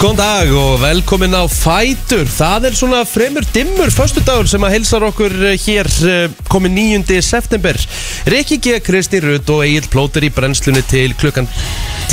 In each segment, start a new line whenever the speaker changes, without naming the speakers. Góðan dag og velkomin á Fætur Það er svona fremur dimmur föstudagur sem að heilsar okkur eh, hér komið 9. september Rikki G, Kristi Rutt og Egil Plóter í brennslunni til klukkan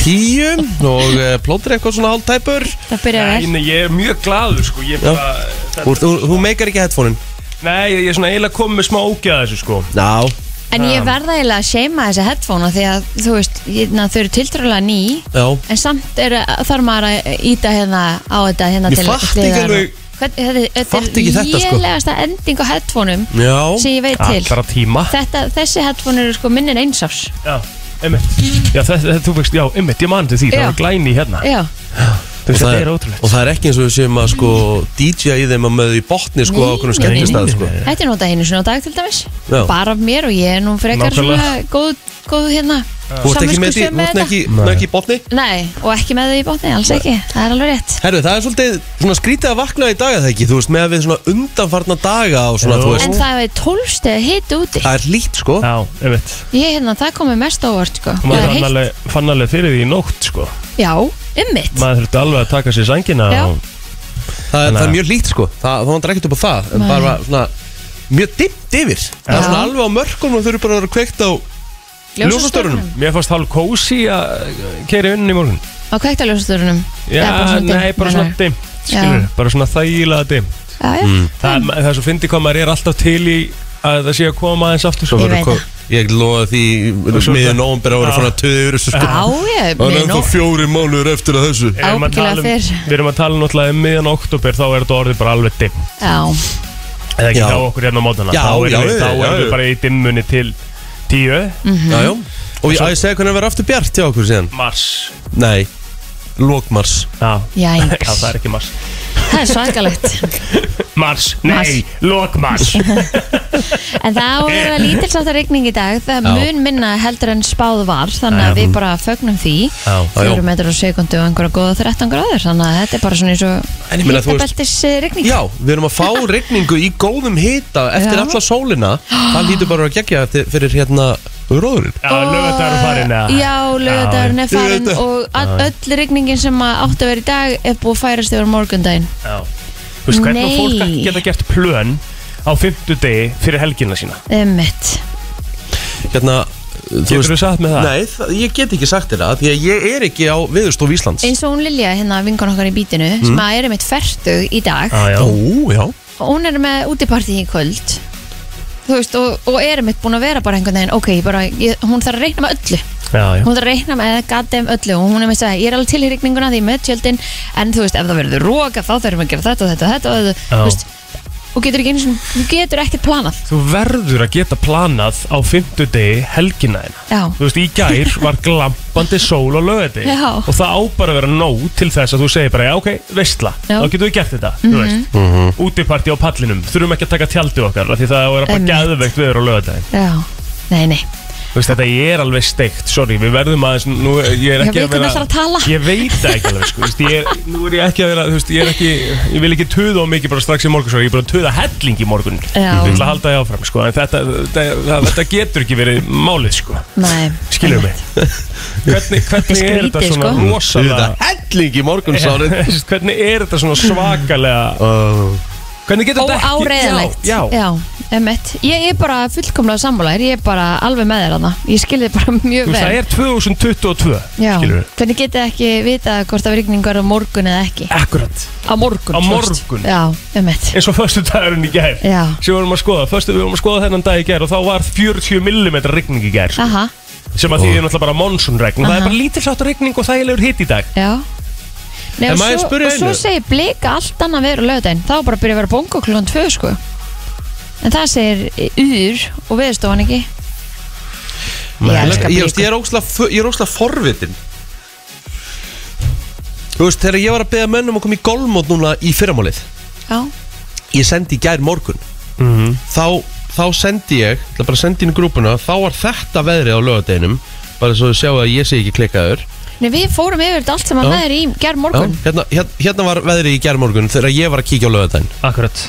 10 og eh, Plóter eitthvað svona hálftæpur
Það byrjar vel
Nei, ég er mjög gladur sko ég bara,
Þú ert- þú- Þú meikar ekki headphone-in
Nei, ég er svona eiginlega komið með smá ógæða þessu sko Um,
Já,
En
Um.
ég verða eiginlega að seima þessi headphone Því að þú veist, ég, na, þau eru tiltrúlega ný
já
En samt er, þarf maður að íta hérna á þetta hérna
Ég
til
fatt ekki
hliðar og-
alveg-
Hvern- þetta-
fatt
Þetta
ekki
er
þetta, sko.
lélegasta ending á headphoneum
Já,
sem ég veit til
Allra tíma
þetta, Þessi headphone eru sko minnir einsás
Já, einmitt Já, þetta, þetta, þú veist, já, einmitt, ég mani til því Það
Já.
var glæni hérna
Já,
Þú
Og
veist,
það,
þetta
er,
er
og
ótrúlegt
það er ekki eins og við séum að sko DJ í þeim að möðu í botni sko á
Nei,
okkur
nei,
skemmtistað
nei,
sko
nei,
þetta er notað einu sinni á dag til dæmis
Já.
Bara af mér og ég er nú frekar svona
Nákvæmlega.
góð, góð hérna
Þú ert ekki með því,
samviskusöm
þú ert
þetta.
ekki, þú ert ekki í botni
Nei, og ekki með þau í botni, alls ekki Það er alveg rétt
Herru, það er svolítið svona skrítið að vakna í dag að það ekki, þú veist, með að við svona undanfarna daga og svona,
Jú.
þú
En
veist,
það er tólfsteg hiti úti
það er lít, sko.
Já, einmitt
Ég hérna, það komið mest ávart sko
Og
Það er
maður fann
heitt-
alveg, fann alveg fyrir því í nótt sko
Já, um ummitt
Maður þurfti alveg að taka sér sængina
Já.
og,
Það er, það er
Þannig að-
mjög lít, sko. Það, það vantar ekkert upp á það, en
Nei.
bara svona mjög dimmt yfir. Það
Já.
er svona alveg á mörkunum og þau eru bara að vera kveikt á ljósastörunum.
Mér fannst hálf kósi að keiri vinnin í morgun
Á kveikt á ljósastörunum
Já, nei, bara svona
dimmt
dimmt Skilur, bara svona þægilega dimmt Mm.
Já, já,
Það, það er svo fyndi hvað maður er alltaf til í að það sé að koma aðeins aftur sko.
Svo
Ég
verður
svo
veit
ko- Ég loða því
svo-
miðan ómbir að vera
Já.
fann að töðu yfir þessu, sko.
já, ég
Það er
nei,
ennþá
nó-
fjóri mánuður eftir að þessu.
Ef við erum að
Ábyggilega
tala um-
fyrr.
Við erum að tala náttúrulega um miðjan oktober þá er þetta orðið bara alveg dimm
Já,
eða ekki
Já.
hjá okkur hérna á mótana
Já,
þá erum
já,
við,
já,
þá
já,
erum
já.
við bara í dimmunni til 10
Mhm.
Já, já. Og ég, að ég segja hvernig að vera aftur bjart hjá okkur síðan.
mars
Nei, lókmars.
Já,
Jæks.
Já, það er ekki mars
það er svakalegt
Mars, nei, lok mars
En það á að vera lítilsáttar rigning í dag Það
Já.
mun minna heldur en spáð var Þannig að
Já.
við bara fögnum því
Já,
Já, já.
Fjórum metrar á sekundu og einhverja góða 13 gráður Þannig að þetta er bara svona eins
En ég
og
meina, þú veist-
Hittabeltis rigning
Já, við erum að fá regningu í góðum hita
Já.
eftir alla sólina Það lítur bara að gegja eftir, fyrir hérna Róðurinn
já lögðar farin eða?
Já, lögadagurinn er
Já, ég
farin
veit það.
og all- öll rigningin sem að átti að vera í dag er búið að færast yfir á morgundaginn
Já. Þú veist hvernig
Nei.
fólk geta gert plön á fimmtudegi fyrir helgina sína
Emmitt
Hérna, þú
Getur þú sagt með það?
Nei, það, ég get ekki sagt þér það Því að ég er ekki á viðurstof Íslands
Eins og hún Lilja, hérna vingan okkar í bítinu sem að er mitt fertu í dag
Já, Mhm. Ah, já.
Ó, já
og hún er með útipartí í kvöld Þú veist, og, og er mitt búin að vera bara einhvern veginn ok, bara, ég, hún þarf að reikna með öllu
Já, Ah, já.
hún þarf að reikna með gatum öllu og hún er með að segja, ég er alveg til í reikninguna því með tjöldin en þú veist, ef það verður róka þá þurfum við að gera þetta og þetta og þetta og þetta
Já.
þú veist, og getur ekki eins og þú getur ekkert planað
Þú verður að geta planað á fimmtudegi helgina þína
já,
Þú veist, í gær var glampandi sól á lögati
Já.
Og það á bara að vera nóg til þess að þú segir bara Já, ok, veistla,
Já.
þá getur við gert þetta Þú veist, mm
Mhm.
útiparti á pallinum Þurfum ekki að taka tjaldið okkar af Því það á að vera bara
Einmitt.
geðveikt viður á lögati
já, nei, nei
Þú veist, þetta er alveg steikt, sorry Við verðum aðeins, nú, ég
Já,
er ekki
við
að vera
hvernig ætlar að tala?
Ég veit það ekki alveg, sko Þú veist, ég er, nú er ég ekki að vera, þú veist, ég er ekki Ég vil ekki tuða á mikið bara strax í morgun Svo ég er bara að tuða helling í morgun
Já.
Ég vil að halda því áfram, sko En þetta, þetta, þetta getur ekki verið málið, sko
nei,
Skilur mig Hvernig, hvernig
Þetta er
er þetta
skrítið,
svona
sko.
rosalega
Þetta helling í morgunsárið
Þú veist, Hvernig er þetta svona svakalega
uh,
Hvernig getur þetta ekki
óáreðalegt
Já, já,
emmitt, ég er bara fullkomlega sammálaðir, ég er bara alveg með þér hana ég skilði bara mjög
Þú veist,
vel
það er 2022
já,
Skilur við
hvernig getið ekki vita hvort að rigningar á morgun eða ekki
Akkurat
á morgun,
Á
þú veist.
morgun.
já, emmitt,
Eins og förstu dagurinn í gær
já,
sem við vorum að skoða, förstu við vorum að skoða þennan dag í gær og þá var 40 mm rigning í gær
aha,
sem að því er náttúrulega bara monsunregn og það er
Aha.
bara lítilsáttur rigning og þægilegur hitt í dag
Já Nei,
En
og,
maður
svo,
spyrir
og svo
einu.
segir blika allt annað veður á lögudaginn þá er bara að byrja að vera bongo klukkan tvö sko en það segir e, ur og veðurstofan ekki Ég elska
Mhm. ég, veist, ég
blika
er óksla, ég er óksla forvitin Þú veist, þegar ég var að beða mönnum að koma í golfmót núna í fyrramálið
Já,
Ég sendi í gær morgun
mm -hmm.
þá, þá sendi ég Það bara að senda inn í grúpuna Þá var þetta veðrið á lögadeginum Bara svo þau sjáu að ég sé ekki klikkaður
Nei, við fórum yfir þetta allt sem
Já.
að maður í gerð morgun
Já, hérna, hér- hérna var veðrið í gerðmorgun Þegar ég var að kíkja á lögadaginn
Akkurat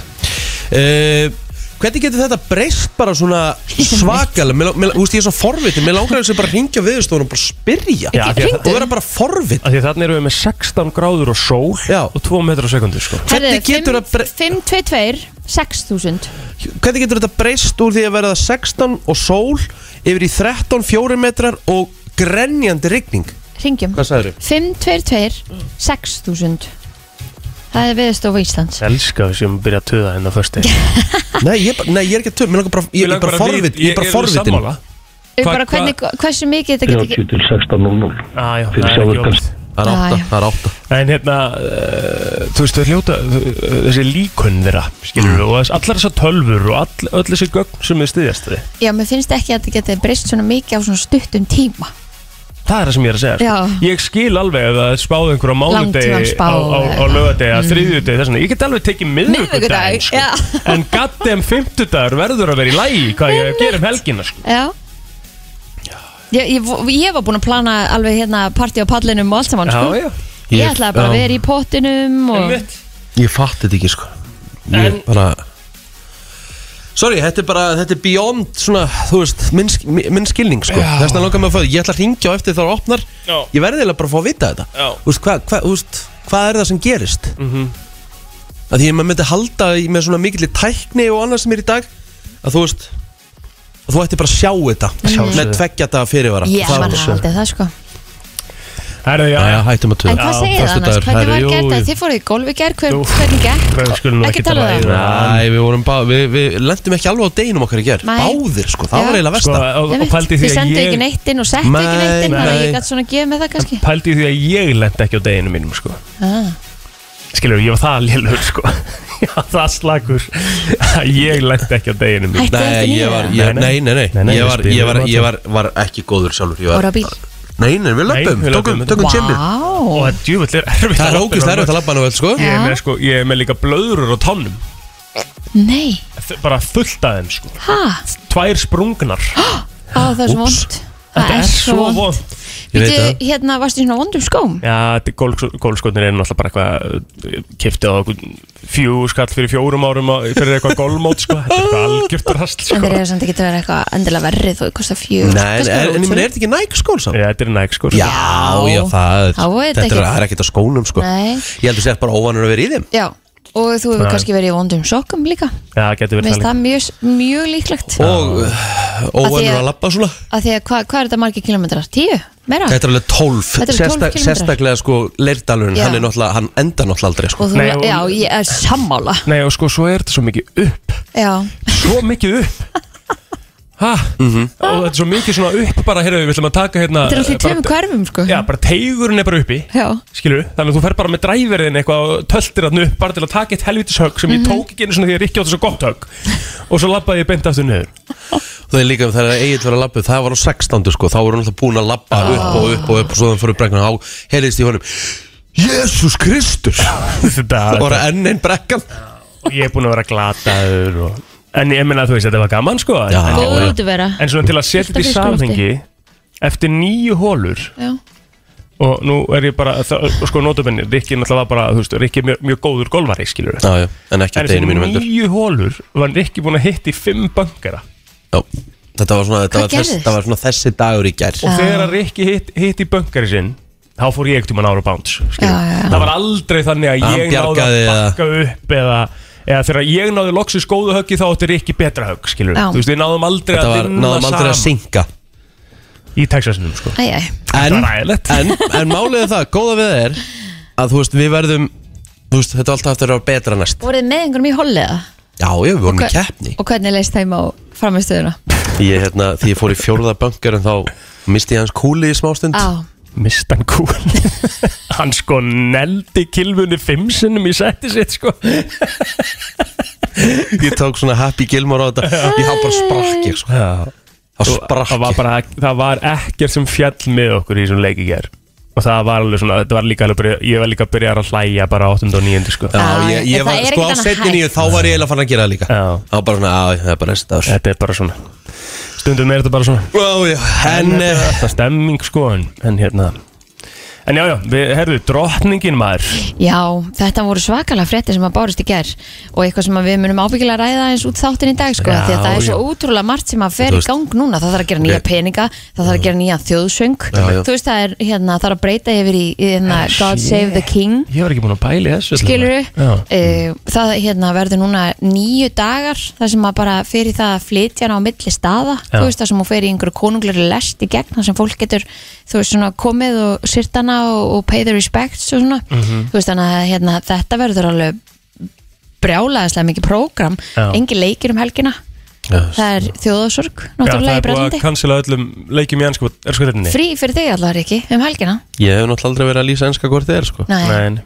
uh, Hvernig getur þetta breyst bara svona svakalega? Mér, mér, þú veist, ég er svo forvitið, mér langar þess að bara hringja viðstofunum og bara spyrja
Já, af því að
og vera bara forvitið.
Af Því að þarna erum við með 16 gráður og sól
Já.
og 2 metrar á sekundu sko.
Hvernig getur það bre-
522, 6000
Hvernig getur þetta breyst úr því að verða 16 og sól yfir í 13, 4 metrar og grenjandi rigning?
Ringjum
Hvað sagður þau?
522, 6000 Það er viðstofu Íslands
Elskar við sem byrja að hérna töða hennar först
Nei, ég, bara- nei, ég er ekki að töm, mér langar bara, ég, ég er bara forvitið, ég er bara forvitið.
Ég bara
Hvað-
hvernig, hversu mikið þetta getur Ah,
30 til 16.00
ah, já,
Fyrir
það er ekki
sjálfvirkan.
óvart.
Það er átta,
Já, já.
það er átta.
En hérna, uh, þú veist, þau hljóta þau- þessi líkunn þeirra, skilur við og þess- allar þessar tölfur og all, öll þessi gögn sem við styðjast við
Já, mér finnst ekki að þetta getur breyst svona mikið á svona stuttum tíma
Það er það sem ég er að segja sko.
Já.
Ég skil alveg ef það er spáð einhverja mánudegi
Langtímaspá
á, á, á
eða-
lögadegi, mm. þriðjudegi, þess vegna Ég get alveg tekið miðvikudaginn
Miðvikudag,
sko.
já.
En goddamn fimmtudagur verður að vera í lægi hvað ég ger um helgina sko.
Já Ég, ég, ég var búin að plana alveg hérna partí á pallinum og allt saman sko.
Já, já
Ég ætlaði bara að vera í pottinum og...
Einmitt.
Ég fatt þetta ekki sko Ég
En-
bara Sorry, þetta er bara, þetta er beyond svona, þú veist, minn, sk- minn skilning sko
Já.
Þess vegna langar mig að fá það, ég ætla að ringja á eftir það opnar
Já.
Ég verði eiginlega bara að fá að vita þetta
Já. Mhm.
Þú veist, hvað hva, þú veist, hvað er það sem gerist? Mm -hmm. Að því að maður myndi halda í- með svona mikill tækni og annað sem er í dag Að þú veist, að þú ætti bara að sjá þetta
Sjálfsögðu.
Með tveggja þetta fyrirvara
Ég
Það
man
var-
aldrei það sko
Herðu, já,
Jæja,
já
hættum að
En
töða
hvað
Já,
segir það annars?
föstudagur,
Hvernig
herri,
var
jú,
gert
jú.
það? Þið fóruð í golf í gerð, hver,
Jú.
hvernig gekk?
Hvað skulum við
Ekki
ekki
tala
tala
um
um það?
Nei, við vorum bara, við, við lendum ekki alveg á deginum okkar í gerð
Nei.
Báðir, sko, það
Já.
var eiginlega
Sko,
versta
og, og
Einmitt,
pældi því
Þið
að
sendu ekki
ég
neitt inn og settu ekki
Nei,
neitt inn Þannig að
nei.
ég gæti svona að gefa með það kannski
Pældi því að ég lendi ekki á deginu mínum sko.
ah.
Skilur, ég var það lélur sko. Ég var það slagur að Ég lendi ekki á deginu mínum
Hættu
Nei,
ekki
ég var,
niður
ég,
Nei, nei.
nei, nei, nei,
Nei, nei,
Ég,
við
var, ég,
spilum
var,
þetta.
ég var, var ekki góður sjálfur Ég var,
Voru á bíl?
Nei, nei, við löpum,
við
tökum,
löbbum.
tökum tjemmi
Og
Vá
það djúvill er erfitt
Það er
að labba
ógust
inn á
erfitt
völl.
að labba nú vel, sko
Ég er, með,
Já.
sko, ég er með líka blöðrur á tánum
Nei,
Þ- Bara fullt af þeim sko.
ha?
Tvær sprungnar
Á, það er svo
Úps.
vond
Þetta er svo vond
Ég veit
Býtu,
það.
hérna, varstu í svona vondum skóm?
Já, þetta er gólfs- gólfskotnir er náttúrulega bara eitthvað Kiftið á eitthvað fjú skall fyrir fjórum árum á- Fyrir eitthvað gólmót sko. Þetta er eitthvað algjört rast
En
sko.
þeir eru samt ekki að vera eitthvað endilega verri þó kosta fjögur
Nei, en- en en ég meina, er þetta ekki næg skól samt?
Já, þetta er næg sko
Já, já, það er
Þá er þetta
Þetta er-
ekki-
það er ekkert á skónum, sko
Nei.
Ég heldur sér bara óvanur að vera í þeim
Já, og þú hefur
Nei.
kannski verið í vondum sokkum líka
Já, getur
Mér
verið
finnst
það
það mjög, mjög líklegt
Og uh,
Af því að-
óvanur að labba svona
Af því að hva- hvað er þetta margir kilometrar? Tíu? Meira?
Þetta er alveg 12
Þetta eru 12
sérstak-
kílómetrar.
Sérstaklega, sko, leirdalurinn
Já.
Hann er náttúrulega, hann endar náttúrulega aldrei, sko
Og þú,
Nei, og-
já, ég er sammála
Nei, og sko, svo er þetta svo mikið upp
Já,
Svo mikið upp Hæ?
Mhm.
Og þetta er svo mikið svona upp bara, heyrðu, við ætlum að taka hérna
þetta er alltaf í
bara-
tveimur hverfum sko
Já, bara teigurinn er bara uppi
Já.
Skilur, þannig að þú fer bara með dræverðin eitthvað og töltir hann upp bara til að taka eitt helvitis högg sem
Mhm.
ég tók ekki einu svona því að Rikki átti svo gott högg og svo labbaði ég beint aftur niður
Það er líka þegar Egil var að labba upp, það var á 16 sko, þá voru hann alltaf búin að labba
Ah.
upp og upp og upp og svo þannig fyrir brekkan og þá heyrðist í honum Jésús Kristus Það
Þetta,
voru enn einn brekkan
ég er búin að vera glataður og... En ég meina að þú veist, þetta var gaman sko
Já.
en,
Góð
já.
útivera
en svona til að setja þetta í
Fullt af fiskulofti.
samhengi Eftir nýju hólur
Já,
og nú er ég bara, það, sko nótabenni Rikki náttúrulega var bara, þú veist, Rikki er mjög, mjög góður golvari, skilur
Já, já, en ekki
En
að deginu
þessi
mínum heldur
nýju hólur var Rikki búin að hitta í fimm bankara
Já, Þetta var svona, þetta
Hvað
var, þess,
gerðist?
þetta var svona þessi dagur í gær
og þegar að Rikki hitt, hitt í bankari sinn þá fór ég ekkert um hann ára bounce skilur.
Já, já, já.
það var aldrei þannig að
Hann
ég náði að
bjargaði,
bakka upp eða, eða þegar ég náði loksins góðu höggi þá átti Rikki betra högg skilur.
Já.
þú veist við náðum aldrei
Þetta
að
var,
vinna
náðum aldrei
saman
að synka
í Texasinum sko.
æj, æj
En,
var ræðilegt.
en, en málið er það, góða við það er að þú veist, við verðum þú veist, þetta er alltaf eftir að vera betra næst
Voruð þið með einhverjum í holliða?
Já, já, við vorum í keppni
Og hvernig leist þeim á framistöðuna?
Ég, hérna, því ég fór í fjórða bankar en þá misti ég hans kúli í smástund
Á,
mistan kúl hann sko neldi kilfunni fimm sinnum í setti sitt sko.
Ég tók svona Happy Gilmore á þetta Ég haf bara sprakk ég sko
það,
Það sprakk
var
ég
bara, það var ekkert sem fjall með okkur í þessum leik í ger og það var alveg svona, þetta var líka alveg byrja, ég var líka að byrja að hlæja bara á 8. og 9. sko
Já,
Já,
ég,
en
ég
það er
var sko á
ekkert annað
setni nýju Þá var ég eiginlega fann að gera það líka
Já.
Það var bara svona, já, það er bara næsta ár
Þetta er bara svona Stundum er þetta bara svona
Ó, já, En,
Þetta
eh,
er alltaf stemming sko En, en hérna En já, já, við, herðu, drottningin maður
Já, þetta voru svakalega fréttir sem að bárist í gerð og eitthvað sem að við munum ábyggilega ræða eins út þáttin í dag sko,
Já,
því að það er
já.
svo ótrúlega margt sem að
Þú
fer í
veist-
gang núna, það þarf að gera nýja
Ok.
peninga það þarf að gera nýja þjóðsöng
Já, já. Ah,
þú veist það er, hérna, þarf að breyta yfir í í, hérna,
En
God
shit.
Save the King
Ég var ekki búin að pæli þessu
skilur
Já.
það hérna, verður núna nýju dagar þar sem maður bara fer í það að flytja hana á milli staða,
Já.
þú veist það sem hún fer í einhverju konungleri lest í gegn þar sem fólk getur þú veist svona komið og sýrt hana og, og pay the respects og svona
Mhm.
þú veist þannig að hérna, þetta verður alveg brjálaðislega mikið prógram
Já.
engin leikir um helgina það er þjóðasorg,
Já, það
náttúrulega í
er búið
brellandi
að cancela öllum leikjum í ennsku erskvöldinni
frí fyrir þig allar ekki, um helgina
Ég hef náttúrulega aldrei verið að lýsa enska hvort þið er sko
Nei.
Nei,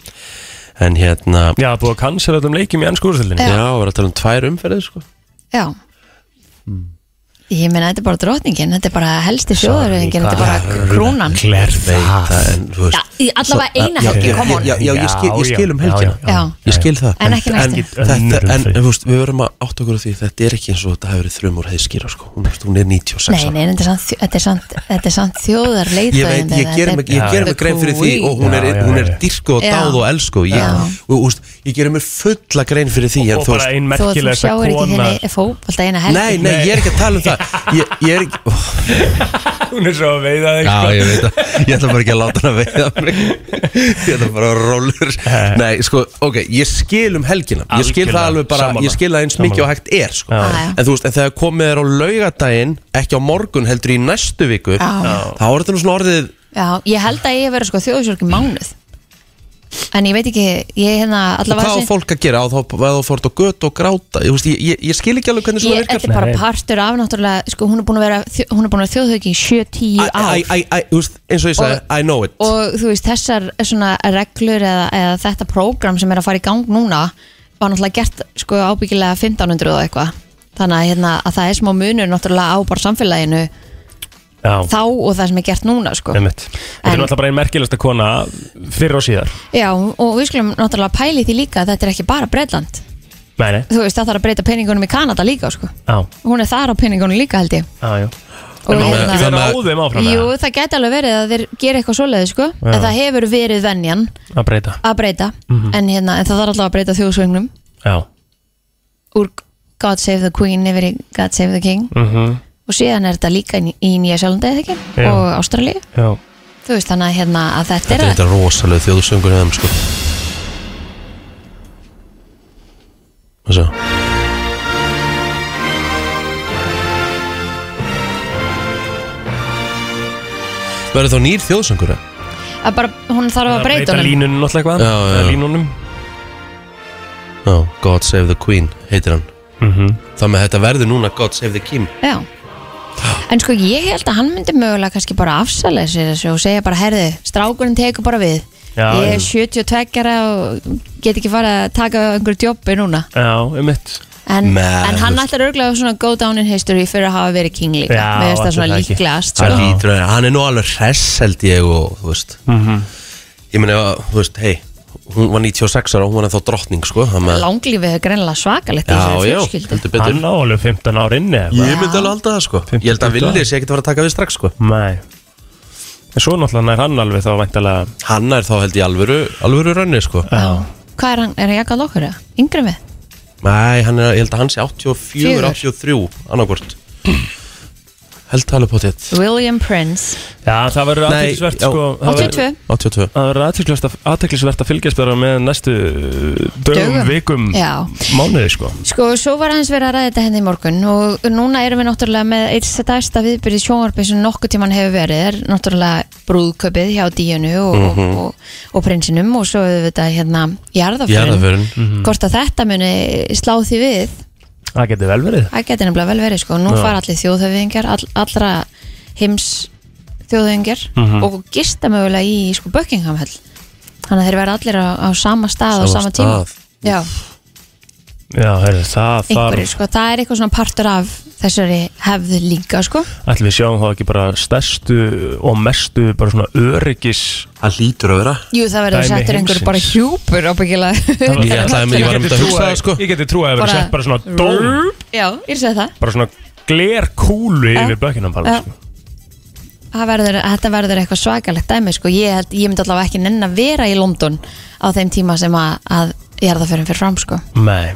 En hérna,
já, það er búið að cancela öllum leikjum í ennsku úrstöldinni
já, við erum að tala um tvær umferðið sko
Já
Mm.
Ég meina, þetta er bara drotningin, þetta er bara helsti sjóðaröðingin, þetta er bara krúnan
Klær
Það en, þú
Já, í allavega eina
Já,
helgi,
já,
come on
Já, já, ég skil, ég skil um helgina
já.
Ég skil það
En ekki næstu.
en, þetta, en, en þú veist, við verum að átta okkur á því Þetta er ekki eins og þetta hefur verið þrjum úr heiðskýra sko. hún, þú veist, hún er 96
Nei,
ára.
nei, þetta er samt, þetta er samt, þetta er samt þjóðarleiðtöðin
Ég veit, ég ger mig, ég ger mig grein fyrir því Og hún er,
Já, já,
hún er
já.
dýrku og
Já.
dáð og elsku Ég,
Já.
og, þú veist, ég ger mig fulla grein fyrir því En
Og
þú veist
bara ein
Þó að þú
merkilegasta
sjáur ekki
kona
henni fókbalta eina helgi
Nei, nei, ég er ekki að tala um það Ég, ég er ekki oh,
Hún er svo að veiða þig sko.
Já, ég veit það, ég ætla bara ekki að láta hana veiða mig Ég ætla bara að rólur Nei, sko, ok, ég skil um helgina Ég skil það
Algjörlega,
alveg bara,
sammála.
ég skil það eins mikið
Sammála.
og hægt er sko.
Já, Ah, já.
En þú veist, en þegar komið er á laugadaginn Ekki á morgun, heldur í næstu viku
Já. Já.
Þá er þetta nú svona orðið
Já, ég held að ég hef verið sko þjóðsjórki mánuð En ég veit ekki, ég hérna allavega
Hvað á
sé-
fólk að gera, á þá, að þú fórt á gött og gráta Ég, veist, ég, ég, ég skil ekki alveg hvernig svona
Ég,
virkar
þetta er bara
Nei.
partur af náttúrulega, sko, hún er búin að vera, hún er búin að vera þjóðhauki í 7-10
Æ,
ár.
æ, æ, æ, þú veist, eins og ég sagði, I know it
og þú veist þessar svona reglur eða, eða þetta prógram sem er að fara í gang núna var náttúrulega gert sko ábyggilega 1500 og eitthvað þannig að, hérna, að það er smá munur náttúrulega á bara samfélaginu
Já,
þá og það sem er gert núna sko
Einmitt. Þetta er
En-
náttúrulega bara einn merkilegasta kona fyrir og síðar
já og við skulum náttúrulega pæli því líka að þetta er ekki bara Breitland
Nei, nei,
þú veist það þarf að breyta peningunum í Kanada líka sko
á,
hún er þar á peningunum líka held ég
á, já
Og
En má
hérna-
ekki vera á
Þannig að-
þeim áfram
Jú,
eða?
það gæti alveg verið að þeir gera eitthvað svoleiði sko,
Já.
en það hefur verið venjan
Að breyta,
að breyta,
Mhm.
en, hérna, en það þarf alltaf að breyta þjóðsvögnum
já
úr God Save the Queen yfir í God Save the King
Mhm.
og síðan er þetta líka í, í Nýja Sjálandi eða ekki
Já.
og Ástralíu
Já,
þú veist þannig að, hérna, að þetta er
Þetta er
að,
þetta rosalega þjóðsöngur hefðum sko Og svo Verður þá nýr þjóðsöngur eða?
að bara, hún þarf að breyta honum
línunum
Já,
náttúrulega eitthvað
já.
eða Línunum
Já, God Save the Queen heitir hann
Mhm.
Það með þetta verður núna God Save the King
Já. en sko ég held að hann myndi mögulega kannski bara afsala sér þessu og segja bara herði, strákurinn tekur bara við
Já,
ég er
já.
72 ára og get ekki fara að taka einhverju djópi núna
Já, um mitt
en,
Nei,
en hann
þú
ætlar örglega svona go down in history fyrir að hafa verið king líka
Já,
Mér finnst það
ætli
svona
það ekki.
líklegast
Það
sko.
lítur að hann er nú alveg hress held ég og þú veist
Mhm.
Ég meni að, þú veist, hei Hún var 96 ára og hún var ennþá drottning sko þannig að-
langlífið er greinlega svakalegt í
Já,
þessari
já,
fjölskyldu
heldur betur
Hann á alveg 15 ár inni eða eitthvað.
Ég myndi alveg halda það sko Ég held að
50
Vili sé ekkert að fara að taka við strax sko
Nei En svo náttúrulega nær hann alveg þá væntalega
Hanna er þá held ég alvöru, alvöru rönni sko
Já. Hvað er hann, er hann jakað okkur eða? Yngri með?
Nei, hann er, ég held að hann sé 84, 83 annarkvort Held talið på þitt
William Prince
Já, það
Nei,
verður aðteklisvert
já.
sko það
82
verður-
82
Það verður athyglisvert að- athyglisvert að fylgjast bara með næstu uh, dögum,
Dögum.
vikum,
Já.
mánuði sko
Sko, svo var aðeins verið að ræða þetta henni í morgun og núna erum við náttúrulega með eitt stærsta viðbyrði sjónvarpi sem nokkuð tíman hefur verið er náttúrulega brúðköpið hjá Díunu og, og, og, og prinsinum og svo hefur þetta hérna jarðaförun
Jarðaförun
Hvort að þetta muni slá því við
Það getur vel verið
Það geti nefnilega vel verið sko Nú fara allir þjóðhöfðingjar all, Allra heims þjóðhöfðingjar Og gista mögulega í sko Buckingham höll Þannig að þeir verða allir á, á sama stað á
Sama
sama tíma
stað.
Já,
Já, heyrðu, það
einhverjir
þarf
sko Það er eitthvað svona partur af þessari hefð líka sko
Ætlum við sjáum þá ekki bara stærstu og mestu bara svona öryggis
Það hlýtur að vera
Jú, það verður
Dæmi
settur einhver
heimsins.
bara hjúpur ábyggilega
Ég ætlaði mig, ég var um þetta að hugsa það sko
Ég geti trúið að það verið sett bara svona dóm
Já, ég sé það
Bara sko. svona glerkúlu yfir bökinum bara
Já.
sko
það verður, þetta verður eitthvað svakalegt dæmi sko. ég, held- ég myndi allavega ekki nenn að vera í London á þeim tíma sem að, að ég er það fyrir fyrir fram sko.
Nei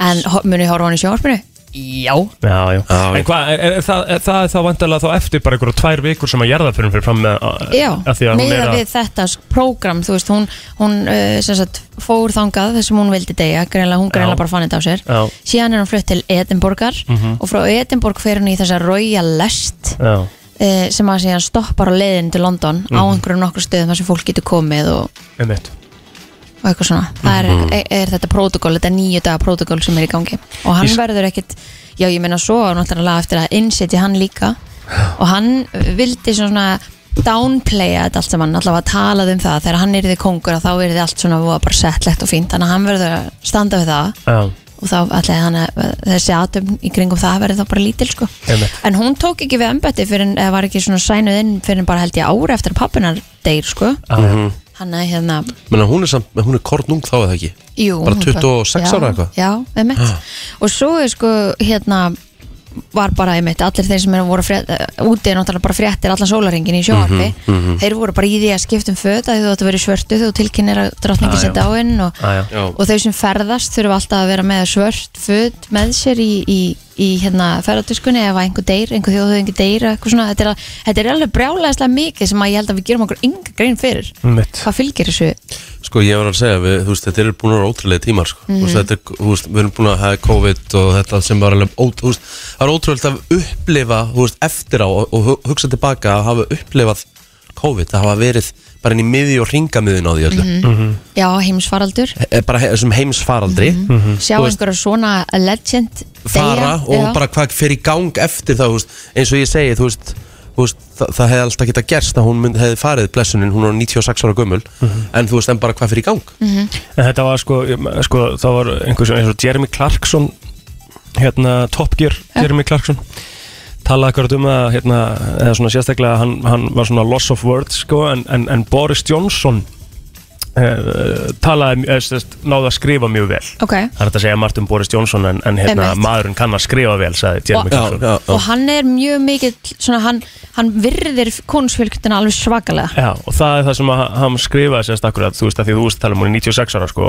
en ho- muni horfa á hann í sjónvarpinu? Já
Já, já.
Já, já.
En hvað, er, er, það, er, það er þá vandalega þá eftir bara einhverju tvær vikur sem að jarða fyrir fyrir fram með að,
Já,
að því að hún er
meða
að
við þetta program, þú veist, hún, hún uh, sem sagt, fór þangað þessum hún vildi deyja, greinlega, hún greinlega
Já.
bara fann þetta á sér
Já.
síðan er hún flutt til Edinborgar Mhm.
Mhm.
og frá Edinborg fer hún í þessa Royal Lest
Já,
uh, sem að síðan stoppar á leiðin til London á einhverjum nokkur stöðum þar sem fólk getur komið og,
einmitt
og eitthvað svona það er, er, er þetta protokól, þetta nýju daga protokól sem er í gangi og hann
Ís-
verður ekkit já ég meina svo á náttúrulega eftir að innsetja hann líka og hann vildi svona downplaya þetta allt saman, allavega talaði um það þegar hann yrði kongur að þá yrði allt svona voða bara settlegt og fínt, þannig að hann verður að standa við það
Já,
og þá ætlaði hann að þessi atöfn í kringum það verði þá bara lítil sko
einmitt
En hún tók ekki við embætti fyrir en var ekki svona sænuð inn fyrir en bara held ég ára eftir að pappinar deyr sko
Ah, Já,
hann að hérna,
Menna, Mhm. hún, er samt, hún er kornung þá eða ekki
jú
Bara
hún
26
já,
ára eitthvað?
Já, einmitt og svo er sko hérna var bara einmitt, allir þeir sem eru voru frétt, eh, úti er náttúrulega bara fréttir allan sólaringin í sjóarfi,
Mhm,
Mhm,
þeir voru bara í því að skipta um föt að þú áttu að vera í svörtu þegar þú tilkynir að drottningi
Já,
sér
já.
dáinn og,
já, já.
og þeir sem ferðast þurfa alltaf að vera með svört föt með sér í, í, í hérna, ferðardiskunni ef að einhver deyr, einhver þjóðhauðingi deyr eða eitthvað svona, þetta er, al- þetta er alveg brjálæðislega mikið sem að ég held að við gerum okkur ynga grein fyrir
einmitt
hvað fylgir þessu
Sko ég var að segja, við, þú veist, þetta eru búin að vera ótrúlega tímar sko. mm.
Mhm.
veist, þetta, er- þú veist, Við erum búin að hafa COVID og þetta sem var alveg ó, þú veist, Það er ótrúlega að upplifa þú veist, eftir á og, og hu- hugsa tilbaka að hafa upplifað COVID Það hafa verið bara inn í miði og ringamiðin á því öllu mm
Mhm.
Mhm.
já, heimsfaraldur,
Bara he, sem heimsfaraldri
Mhm.
Mhm.
sjá einhverja svona legend
fara
deyja,
og
já.
bara hvað fer í gang eftir það, þú veist, eins og ég segi þú veist, þú veist, það, það hefði alltaf geta gerst að hún mynd, hefði farið blessunin, hún var 96 ára gömul en þú veist, en bara hvað fer í gang
En þetta var sko, ég- sko það var einhver sem eins og Jeremy Clarkson hérna Top Gear Jeremy Clarkson talaði akkurat um að hérna, eða svona sérstaklega hann, hann var svona loss of words sko, en, en, en Boris Johnson eh, talaði eh, sérst, náði að skrifa mjög vel
ok,
Það er hægt að segja margt um Boris Johnson en, en hérna,
Einmitt.
maðurinn kann að skrifa vel
Og-
sagði Jeremy Clarkson
já,
og hann er mjög mikið svona, hann, hann virðir konusfjölkjöndina alveg svakalega
Já, og það er það sem að hann skrifaði sérst akkurat, þú veist, að því að þú veist tala um hún í 96 ára, sko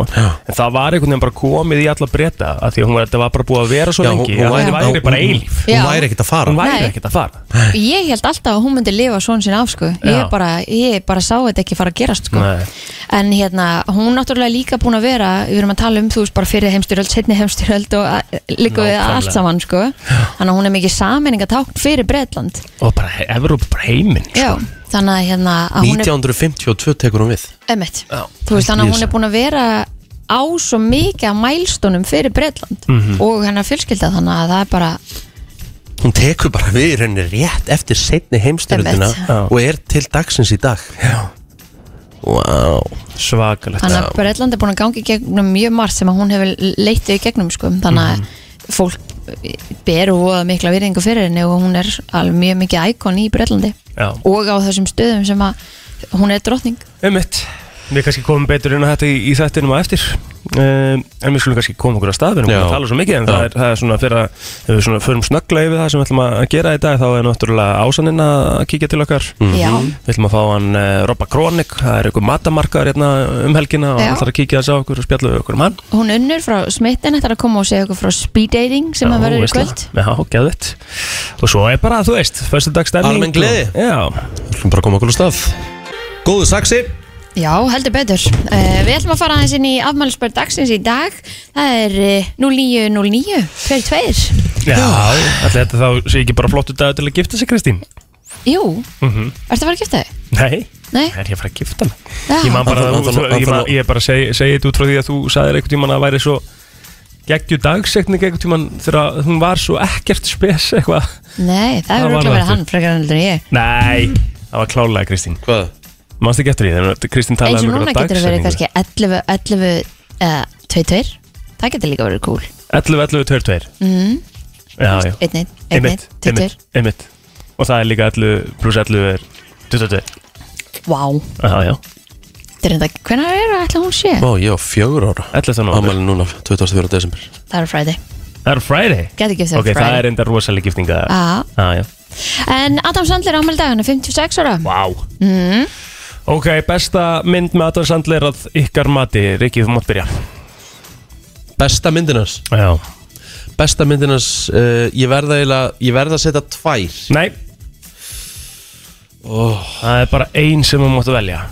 En það var einhvern veginn bara komið í alla breyta að því að hún var, þetta var bara búið að vera svo
Já,
lengi að
væri-
Hún væri bara
hún-
eilíf
Hún
Já.
væri ekkert að fara
Hún væri
Nei.
ekkert að fara
ég held alltaf að hún myndi lifa svona sinna af sko. ég,
Eh. Já.
bara, ég bara sá þetta ekki fara að gerast sko.
Nei.
en hérna, hún náttúrulega líka búin að vera við erum að tala um, þú veist, bara fyrir heimstyröld setni heimstyröld og að- líka við
Nákvæmlega.
allt saman sko. þannig að hún er mikið sammenningatákn fyrir Bretland
Og bara he- Evrópa, bara heiminn sko.
Já, þannig að, hérna, að hún er
1952 tekur hún við
emitt,
Já.
þú veist, þannig að hún
Lýsa.
er búin að vera á svo mikið að mælstónum fyrir Bretland
Mhm.
Mhm.
og hennar fjölskylda þannig að það er bara
Hún tekur bara við í rauninni rétt eftir setni heimstyrjöldina
Einmitt.
Já.
og er til dagsins í dag Já Vá
Svakalegt
þannig að Bretland er búin að gangi gegnum mjög margt sem að hún hefur leitið í gegnum sko. þannig að
Mhm.
fólk beru og mikla virðingu fyrir henni og hún er alveg mjög mikið íkon í Bretlandi
Já,
og á þessum stöðum sem að hún er drottning
ummitt Við kannski komum betur inn á þetta í, í þættinum að eftir um, En við skulum kannski koma okkur að stað Við erum búin
Já.
að tala svo mikið En það
Já.
er, það er svona fyrir að Ef við svona förum snögglega yfir það sem við ætlum að gera í dag Þá er náttúrulega ásaninn að kíkja til okkar
Mhm.
Já,
Við ætlum að fá hann uh, Robba Kronik, það er einhver matamarkaður hérna um helgina og
Já.
hann þarf að kíkja þess að okkur og spjalla við okkur um hann.
hún unnur frá smittin ætlar að koma og segja okkur frá speed dating sem
Já,
að verður í
veistla.
kvöld
Já, geðvitt. Og svo er bara, þú veist, fyrstu dag stemming.
Almenn gleði.
Já,
Við ætlum bara að koma okkur á stað Góðu saxi
Já, heldur betur. Uh, við ætlum að fara aðeins inn í afmælisbörn dagsins í dag. Það er uh, 0909, hver tveir?
já, allir þetta þá sé ekki bara flottu dag til að gifta sig, Kristín.
Jú,
Mhm.
ertu að fara að gifta þig?
Nei,
Nei?
er ég að fara að gifta mig?
Já.
Ég man bara,
Hann þarf-
að þú,
hann þarf-
ég, man,
hann þarf-
ég bara segi, segi þetta út frá því að þú sagðir einhvern tíman að væri svo geggju dagsekni einhvern tíman þegar hún var svo ekkert spes eitthvað.
Nei, það
Það
hefur
var
örugglega verið
aftur.
hann frekar heldur en ég.
Nei, það var klálega, Kristín.
Hvað?
Manst ekki eftir því þegar Kristín talaði
Eins og
um
núna
einhverja
getur það verið
dagsetningu.
kannski 11, 11, uh, 2, 2. Það getur líka verið cool.
11, 11, 2, 2 mm.
Mhm.
Já, já
1, 1, 1, 1,
Einmitt,
2, 2.
einmitt, einmitt Og það er líka 11 pluss 11 er 22
Vá,
Já, já
þetta er enda, hvenær er það ætla hún sé?
Ó, ég á fjögur ára
11 þannig
Ammæli núna, 24. desember
Það er fræði.
Það er Friday
Gæti ekki eftir
Ok, það
Friday.
er enda rosalega giftinga
Já.
ah, já.
En Adam Sandler ámæli dag, hann er 56 ára
Vá mm. Ok, besta mynd með Adam Sandler að ykkar mati Rikki, þú mátt byrja
Besta myndinars
Já
Besta myndinars uh, Ég verða eiginlega Ég verða að setja tvær
Nei oh. Það er bara ein sem þú mátt velja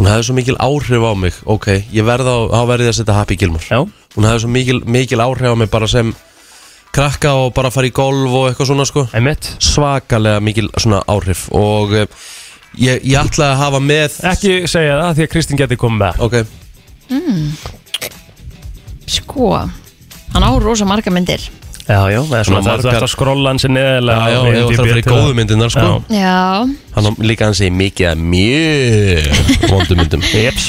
Hún hafði svo mikil áhrif á mig Ok, ég verða á Há verði að setja Happy Gilmore
Já
Hún hafði svo mikil, mikil áhrif á mig Bara sem krakka og bara fara í golf og eitthvað svona sko
Einmitt
Svakalega mikil svona áhrif Og uh, ég, ég ætlaði að hafa með
Ekki segja það því að Kristín geti komið með
Ok,
Mm. Sko, hann á rosa marga myndir
Já, já, það
Svona
er svona margar... Þú
margar-
ert að skrolla hann sér neðalega
já, já, ég var það að fara í góðu myndinar sko
Já.
Já,
Hann á líka hann segi mikið að mjög vondum myndum
Jeps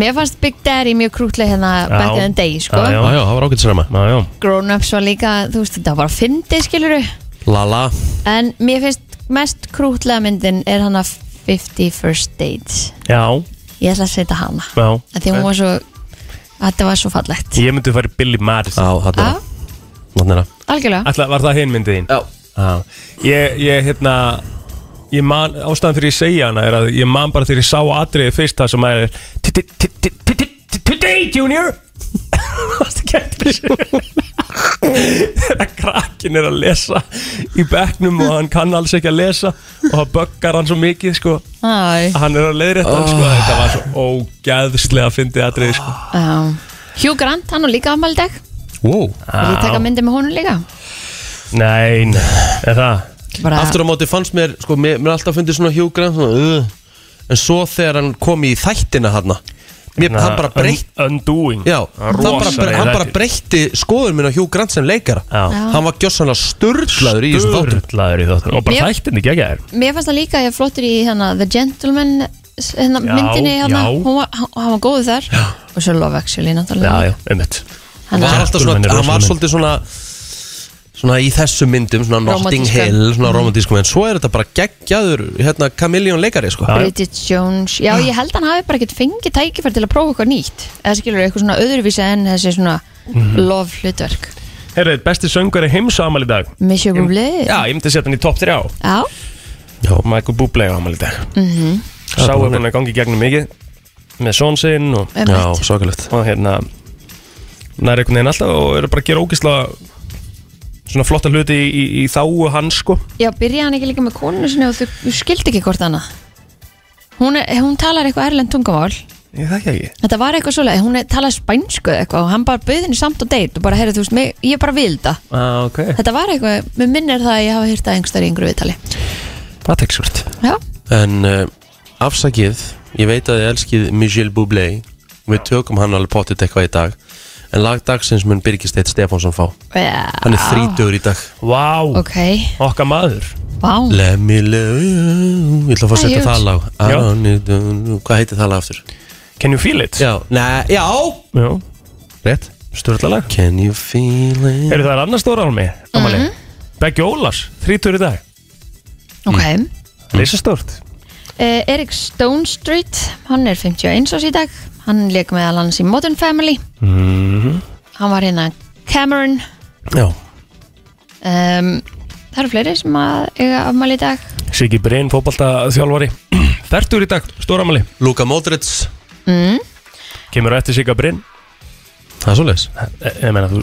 mér fannst Big Daddy mjög krútlega hérna
Já.
back in the day, sko
Já,
Já, já, það var ágætt sér maður
Já, já
Grown Ups var líka, þú veist, þetta var fyndi, skiluru
Lala,
En mér finnst mest krútlega myndin er hann að 51st Dates
Já,
Ég ætla að setja hana
já
Af Því hún var svo, þetta var svo fallegt
Ég myndi fara í Billy Madison
á, hann
Já,
er það Hann er það
algjörlega
Ætla, var það hinn myndið þín?
Já
Já. Ég, ég, hérna Ég man, ástæðan fyrir ég segja hana er að ég man bara þegar ég sá atriðið fyrst það sem að er "T- t- t- t- t- t- Today, Junior! Varstu kæmt þessu? Þegar krakkin er að lesa í bekknum og hann kann alls ekki að lesa og það böggar hann svo mikið, sko
Æ,
Hann er að leiðrétta hann, sko
Ah.
Þetta var svo ógæðslega fyndið atriði, sko
já. Hugh Grant, hann á líka afmæli í dag
Wow
Vil ég taka myndi með honum líka?
Nei, nei, er það?
Bara,
Aftur á móti fannst mér, sko, mér, mér alltaf fundið svona hjúgrann svona, uh, En svo þegar hann kom í þættina hann Mér, hann bara breytt
Ah. Un- Undoing
Já,
Það er
hann bara,
rosaleg
hann bara
þættir.
breytti skoður minn á Hugh Grant sem leikara
Já.
Hann var gjössanlega sturglaður í þessum þáttum
Sturlaður í þáttum Og bara
Mér-
þættin ekki ekki þær
mér fannst það líka að ég flottur í hana, The Gentleman s- hérna,
Já,
myndinni hana,
já.
hún var, hann hann var góður þar já. og svo Love Actually
Já,
náttúrulega
já, einmitt
Hann
Hann
var
er-
alltaf svona,
Gentleman er
hann var
rosaleg
svolítið svona Svona í þessum myndum, svona Notting
Rómantískan. Mm.
Hill, svona romantískum En svo er þetta bara geggjaður, hérna, Kamilljón leikari, sko
Já.
Bridget Jones, já ég held hann hafi bara ekkert fengið tækifæri til að prófa eitthvað nýtt eða skilur eitthvað svona öðruvísi en þessi svona
Mhm.
love hlutverk
Herrið, besti söngari heims á amal í dag
Monsieur Bublé
Já, ég myndi setja hann í top 3
já,
Og Michael Bublé á amal í dag
Mhm.
Sá
Það er
er hann að gangi gegnum mikið Með són sinn og,
Já,
einmitt.
svakalegt
og hérna Nær einhvern veginn alltaf og eru bara að gera ógislega Svona flotta hluti í, í, í þáu hans sko
já byrjaði hann ekki líka með konu sinni og þau þau skildi ekki hvort annað hún, er, hún talar eitthvað erlend tungumál
Ég þekki ekki
þetta var eitthvað svoleið, hún er, talar spænsku eða eitthvað og hann bara bauð henni samt og deit og bara heyrðu þú veist, mig, ég bara vil það
Ah, ok
Eh.
þetta var eitthvað, mér minnir það að ég hafa hýrt að einhverstað í yngru viðtali
Það tek svart
já,
En uh, afsakið, ég veit að þið elskið Michel Bublé Við tökum hann alveg potið eitthvað í dag En lag dagsins mun Birgir Steit Stefánsson fá
já,
Hann er þrítugur í dag
Vá,
ok
okkar maður
vá,
Let me love you Ég ætla að fá að
Það er
setja það
huge.
lag I
Já.
don't need to know- Hvað heitir það lag aftur?
Can you feel it?
Já, nei, já
Já
Rétt
Sturlalag
Can you feel it?
Eru það er annar stóra álmi, ámali mm Beggi Ólars, 30 í dag Mm.
ok
Lýsa stórt
Uh, Erik Stone Street, hann er 51 ás í dag, hann leik með alans í Modern Family,
Mhm.
hann var hérna Cameron,
Já
um, það eru fleiri sem að eiga afmæli í dag,
Siggi Bryn, fótbalta þjálfari 30 í dag, stóra ámali
Luka Modric
Kemur á eftir Sigga Bryn
Það er svoleiðis
Eh, Ég meina, þú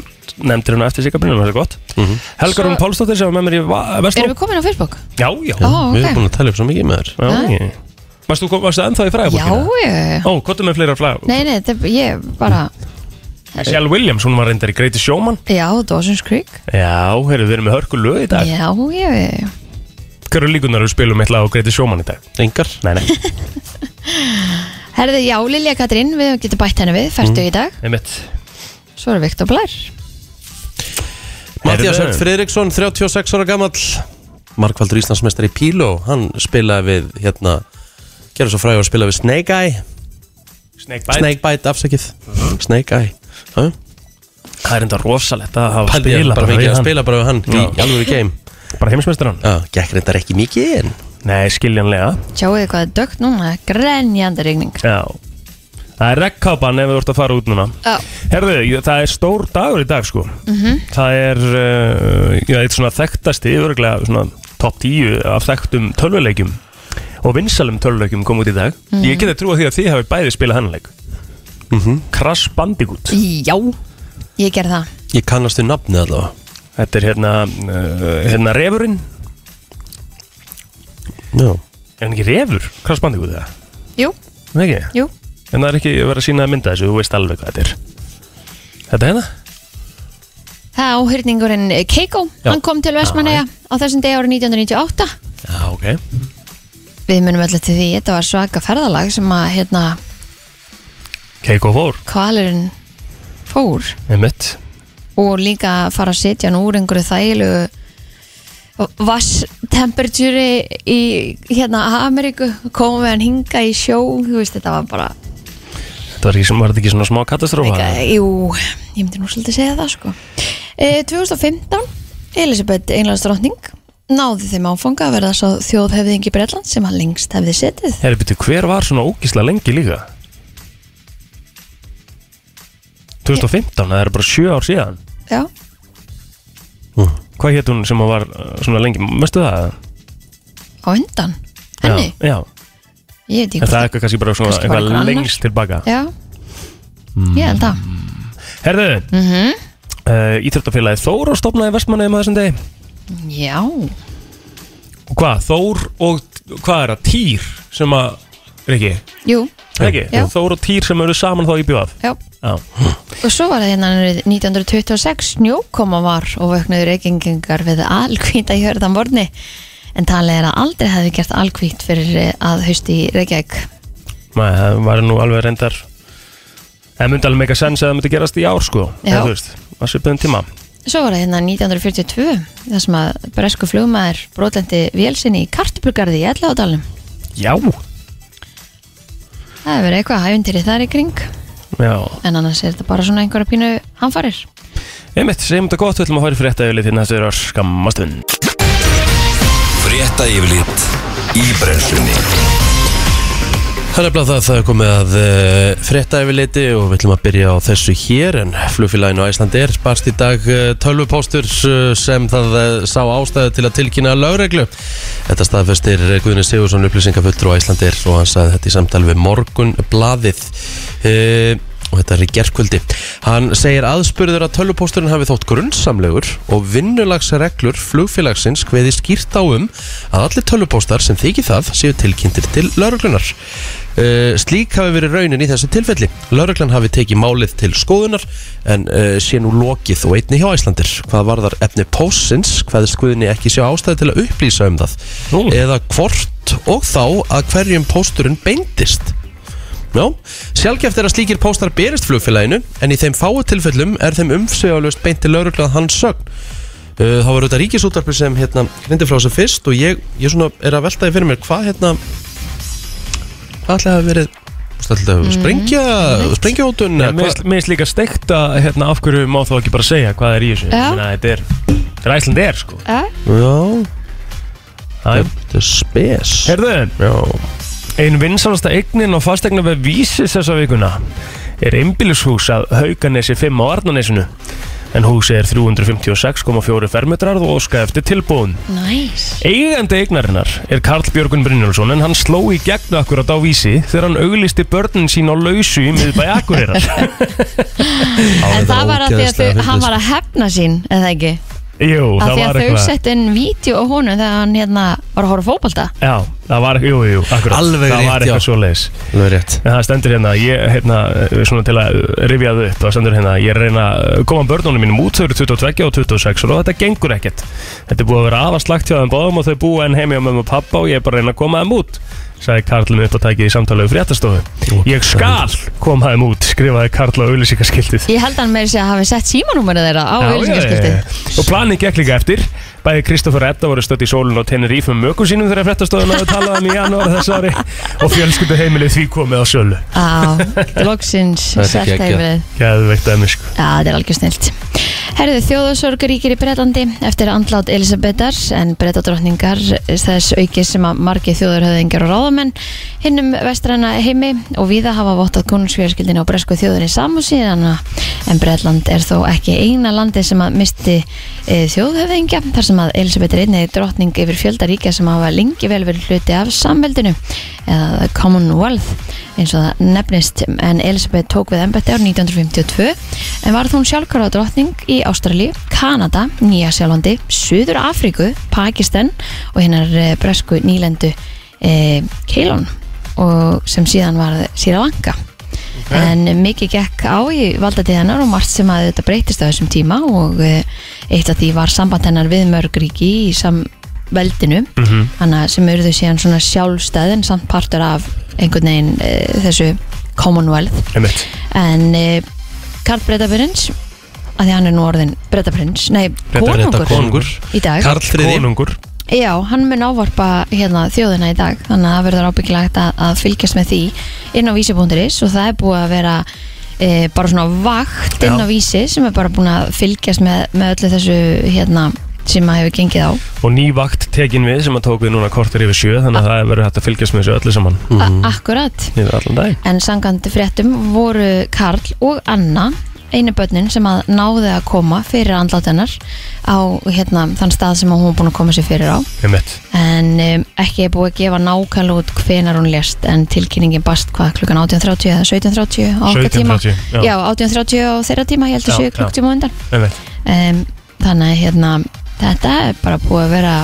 nefndir hún eftir Sigga Bryn, það er gott
Mhm.
Helgar hún
Svo-
Pálsdóttir sem var með mér í Va- Vestló
erum við komin á Facebook?
Já, já,
Ó, ok.
Við erum búin að tala upp svo mikið með þér
já ég- Varstu, kom- varstu ennþá í
Já,
fræðabókina?
ég,
Ó, hvað er með fleira fræðabók?
nei, nei, þetta, ég bara,
Michelle Williams, hún var reyndar í Greiti Sjóman
já, Dawson's Creek,
Já, heyrðu, við erum með hörku lög í dag
já, ég,
Hverju líkunar við spilum eitthvað á Greiti Sjóman í dag?
Engar
Nei, nei,
herði, já, Lilja Katrín, við getum bætt henni við, færtu
Mm.
í dag,
einmitt
svo er Viktor Blær,
Mattias
Heyrðu.
Örn Friðriksson, 36 ára gamall Markvaldur Íslandsmeistari í Píló Hann spilaði við hérna Gerðu svo fræði að spila við Snake Eye
Snake
Snake Bite afsakið Snake Eye Hæ?
Það er enda rosalegt að hafa
Pældi ég
spila
bara mikið
við
að
hann.
spila bara við hann í
Já.
alvöru game
Bara heimsmeistarann
Já, gekk reyndar ekki mikið en
Nei, skiljanlega
sjáuðu hvað er dögt núna, grenjandi regning,
Já Það er rekkápan ef þú ert að fara út núna
Já.
Herðu, ég- það er stór dagur í dag sko -hmm. Það er uh, já, eitt svona þekktasti yfirlega svona top 10 af þekktum tölvuleikjum og vinsalum tölvuleikjum kom út í dag Ég geti trúið því að þið hafi bæði spilað hann leik
Mhm.
-hmm. Crash Bandicoot
Já, ég ger það
Ég kannast við nafni allavega
Þetta er hérna, uh, hérna refurinn
Já
Er hann ekki refur? Crash Bandicoot það?
Jú,
Nei ekki?
jú,
En það er ekki verið að sína að mynda þessu, þú veist alveg hvað þetta er Þetta er hérna?
það er áhyrningurinn eh, Keiko
Já.
Hann kom til Vestmanneja á þessum degi árið 1998
Já, ok
Við munum öll til því, þetta var svaka ferðalag sem að hérna
Keiko fór,
kvalurinn fór
einmitt
og líka að fara að setja hann úr einhverju þægilegu vasstemperature í hérna Ameríku komum við hann hinga í sjó þú veist þetta var bara
Þetta var, ekki, var þetta ekki svona smá katastrófa?
Eitthvað, jú, ég myndi nú svolítið segja það sko e, 2015 Elisabeth Englandsdrottning náði þeim áfanga að verða svo þjóðhefðingi Bretland sem hann lengst hefði setið
Herri, byrju, hver var svona ógísla lengi líka? 2015, það er bara sjö ár síðan
Já,
Hvað hétt hún sem að var uh, svona lengi? Mestu það?
á undan henni,
Já, já.
ég veit ekki
En það
hvort
er eitthvað kannski bara svona
Kannski bara
eitthvað
einhver annar.
lengst tilbaka
Já, ég held Mhm. það
Herðu, mm -hmm. uh, Íþjóttafélagi Þór og stopnaði vestmanni um þessum degi
Já,
Og hvað, Þór og hvað er það, Týr sem að, Riki,
jú,
Riki,
Já.
Þór og Týr sem eru saman þá í bjóðaf
já
Já,
Og svo var það hérna árið 1926 snjókoma var og vöknuðu reykingingar við alkvíta í hörðan vorni en talið er að aldrei hefði gert alkvít fyrir eh, að hausti í Reykjavík
Nei, það var nú alveg reyndar Það myndi alveg meika sens að það myndi gerast í ár sko
Já.
Eða, þú veist, að svipaðum tíma
Svo var það hérna 1942 þar sem að bresku flugmaður brotlendi vélsinni í kartubrugarði í Elláðdalum
Já
Það hefur verið eitthvað hæfundir í þar í kring
Já,
en annars er þetta bara svona einhverja pínu hamfarir
einmitt, segjum þetta gott, við ætlum að fara í frétta yfirlið til næstu er skammastun
Frétta yfirlit í brennslunni
Það er bara það að það er komið að uh, frétta yfirleiti og við ætlum að byrja á þessu hér en flugfélaginu Æslandi er barst í dag uh, tölvupóstur uh, sem það uh, sá ástæðu til að tilkynna lögreglu. Þetta staðfestir eh, Guðni Sigursson upplýsingafullur og Æslandir og hann sagði þetta í samtali við Morgunblaðið uh, og þetta er í gerkvöldi. Hann segir aðspurður að tölvupósturinn hafi þótt grunnsamlegur og vinnulagsreglur flugfélagsins hveði skýrt á um að allir tölvupóstar sem þykir það séu tilkynntir til lauruglunar. Uh, slík hafi verið raunin í þessu tilfelli. Lauruglan hafi tekið málið til skoðunar en uh, sé nú lokið og einni hjá Æslandir. Hvað varðar efni pósins, hvað skuðinni ekki sjá ástæði til að upplýsa um það
Nú.
eða hvort og þá að hverjum pósturinn beindist. Já, sjálfgeft er að slíkir póstar berist flugfélaginu en í þeim fáu tilfellum er þeim umsvegalust beint til lauruglan hans sögn Uh, þá var auðvitað ríkisúttarpi sem hérna hindi frá þessu fyrst og ég, ég svona er að veltaði fyrir mér hvað hérna hvað ætlaði að hafa verið Þú veist, ætlaði að hafa verið sprengja sprengjahótun eða
Mér
hvað-
finnst- mér finnst líka steikt að hérna, af hverju má þá ekki bara segja hvað er í þessu
Já.
Ég meina, Þetta er, þetta er Æslandi er sko
Já,
Já,
Æ.
þetta er spes
Herðu,
Já
Einn vinsalasta eignin og fastegna við vísis þessa vikuna er einbýlishús að Hauganesi 5 á Arnanesinu en húsi er 356,4 fermetrar og óska eftir tilbúin.
næs
Eigandi eignarinnar er Karl Björgun Brynjálsson en hann sló í gegn akkurat á vísi þegar hann auglisti börnin sín á lausu í miðbæ Akureyrar.
En það var að því að þau, hann var að hefna sín eða ekki,
Jú,
að
það
því að
var
þau
eitthvað.
sett inn vídeo á honum þegar hann hérna var að horfa á fótbolta
Já, það var, jú, jú, akkurat.
Alveg
það
rétt,
var
já.
eitthvað svo leiðis.
Alveg rétt
En það stendur hérna, ég, hérna, svona til að rifja það upp, það stendur hérna, ég er að reyna að koma börnunum mínum út, þau eru 22 og 26 og þetta gengur ekkert. Þetta er búið að vera afaslagt hjá þeim báðum og þau búa enn heimi á mömmu og pappa og ég er bara að reyna að koma þeim út, sagði Karlin upp að tækið í samtalegu fréttastofu. Ég skal koma þeim út, skrifaði Karl á auðlýsingaskiltið.
Ég held hann með þess að hafi sett símanúmerið þeirra á auðlýsingaskiltið
Og planin gekk líka eftir. Bæði Kristoffer og Edda voru stött í sólun og tennir ífum mökum sínum þegar fréttastofun að tala um í janúar þess ári og fjölskyldu því komið á sölu.
Á, loksins
er
sett
geggjað.
heimilið
Gæðveikt að mér sko.
Já, þetta er algjör snilt Herðu þjóðasorg ríkir í Bretlandi eftir andlát Elisabetar en bretadrottningar þess aukið sem að margi þjóðarhöðingar og ráðamenn hinnum vestræna heimi og viða hafa vottað konungsfjörskildin á bresku þjóðurinn saman síðan en Bretland er þó ekki eina landi sem að misti e, þjóðhöfðingja þar sem að Elisabeth er einnig drottning yfir fjölda ríkja sem hafa lengi vel verið hluti af samveldinu eða the Commonwealth eins og það nefnist en Elisabeth tók við embætti ár 1952 en varð hún sjálfkara drottning í Ástralíu, Kanada, Nýjasjálfandi, Suður Afríku, Pakistan og hinnar eh, bresku nýlendu e, Keilon og sem síðan varð Sri Lanka en mikið gekk á í valdatíð hennar og margt sem að þetta breytist á þessum tíma og eh, eitt af því var samband hennar við mörg ríki í samveldinu mm
Mhm.
-hmm. sem eru þau síðan svona sjálfstæð en samt partur af einhvern veginn eh, þessu Commonwealth
Einmitt.
en eh, Karl Breitaprins að því hann er nú orðin Breitaprins, nei, konungur
konungur
í dag
Karl þriði
Konungur
Já, hann mun ávarpa hérna, þjóðina í dag þannig að það verður ábyggilegt að, að fylgjast með því inn á vísi.is og það er búið að vera e, bara svona vakt inn á vísi sem er bara búin að fylgjast með, með öllu þessu hérna, sem að hefur gengið á
Og ný vakt tekin við sem að tók við núna kortir yfir sjö Þannig að það verður hægt að fylgjast með þessu öllu saman
A
Mhm.
Ah. Akkurat
Yfir allan dag
En sangandi fréttum voru Karl og Anna einu börnin sem að náði að koma fyrir andlátennar á hérna, þann stað sem að hún var búin að koma sér fyrir á
Einmitt
en um, ekki er búið að gefa nákvæmlega út hvenar hún lést en tilkynningin bast hvað klukkan 18.30 eða 17.30 á okkar tíma
17.30, já.
já 18.30 á þeirra tíma ég held
Já,
að séu
já.
klukktíma á undan
Einmitt
um, þannig að hérna þetta er bara búið að vera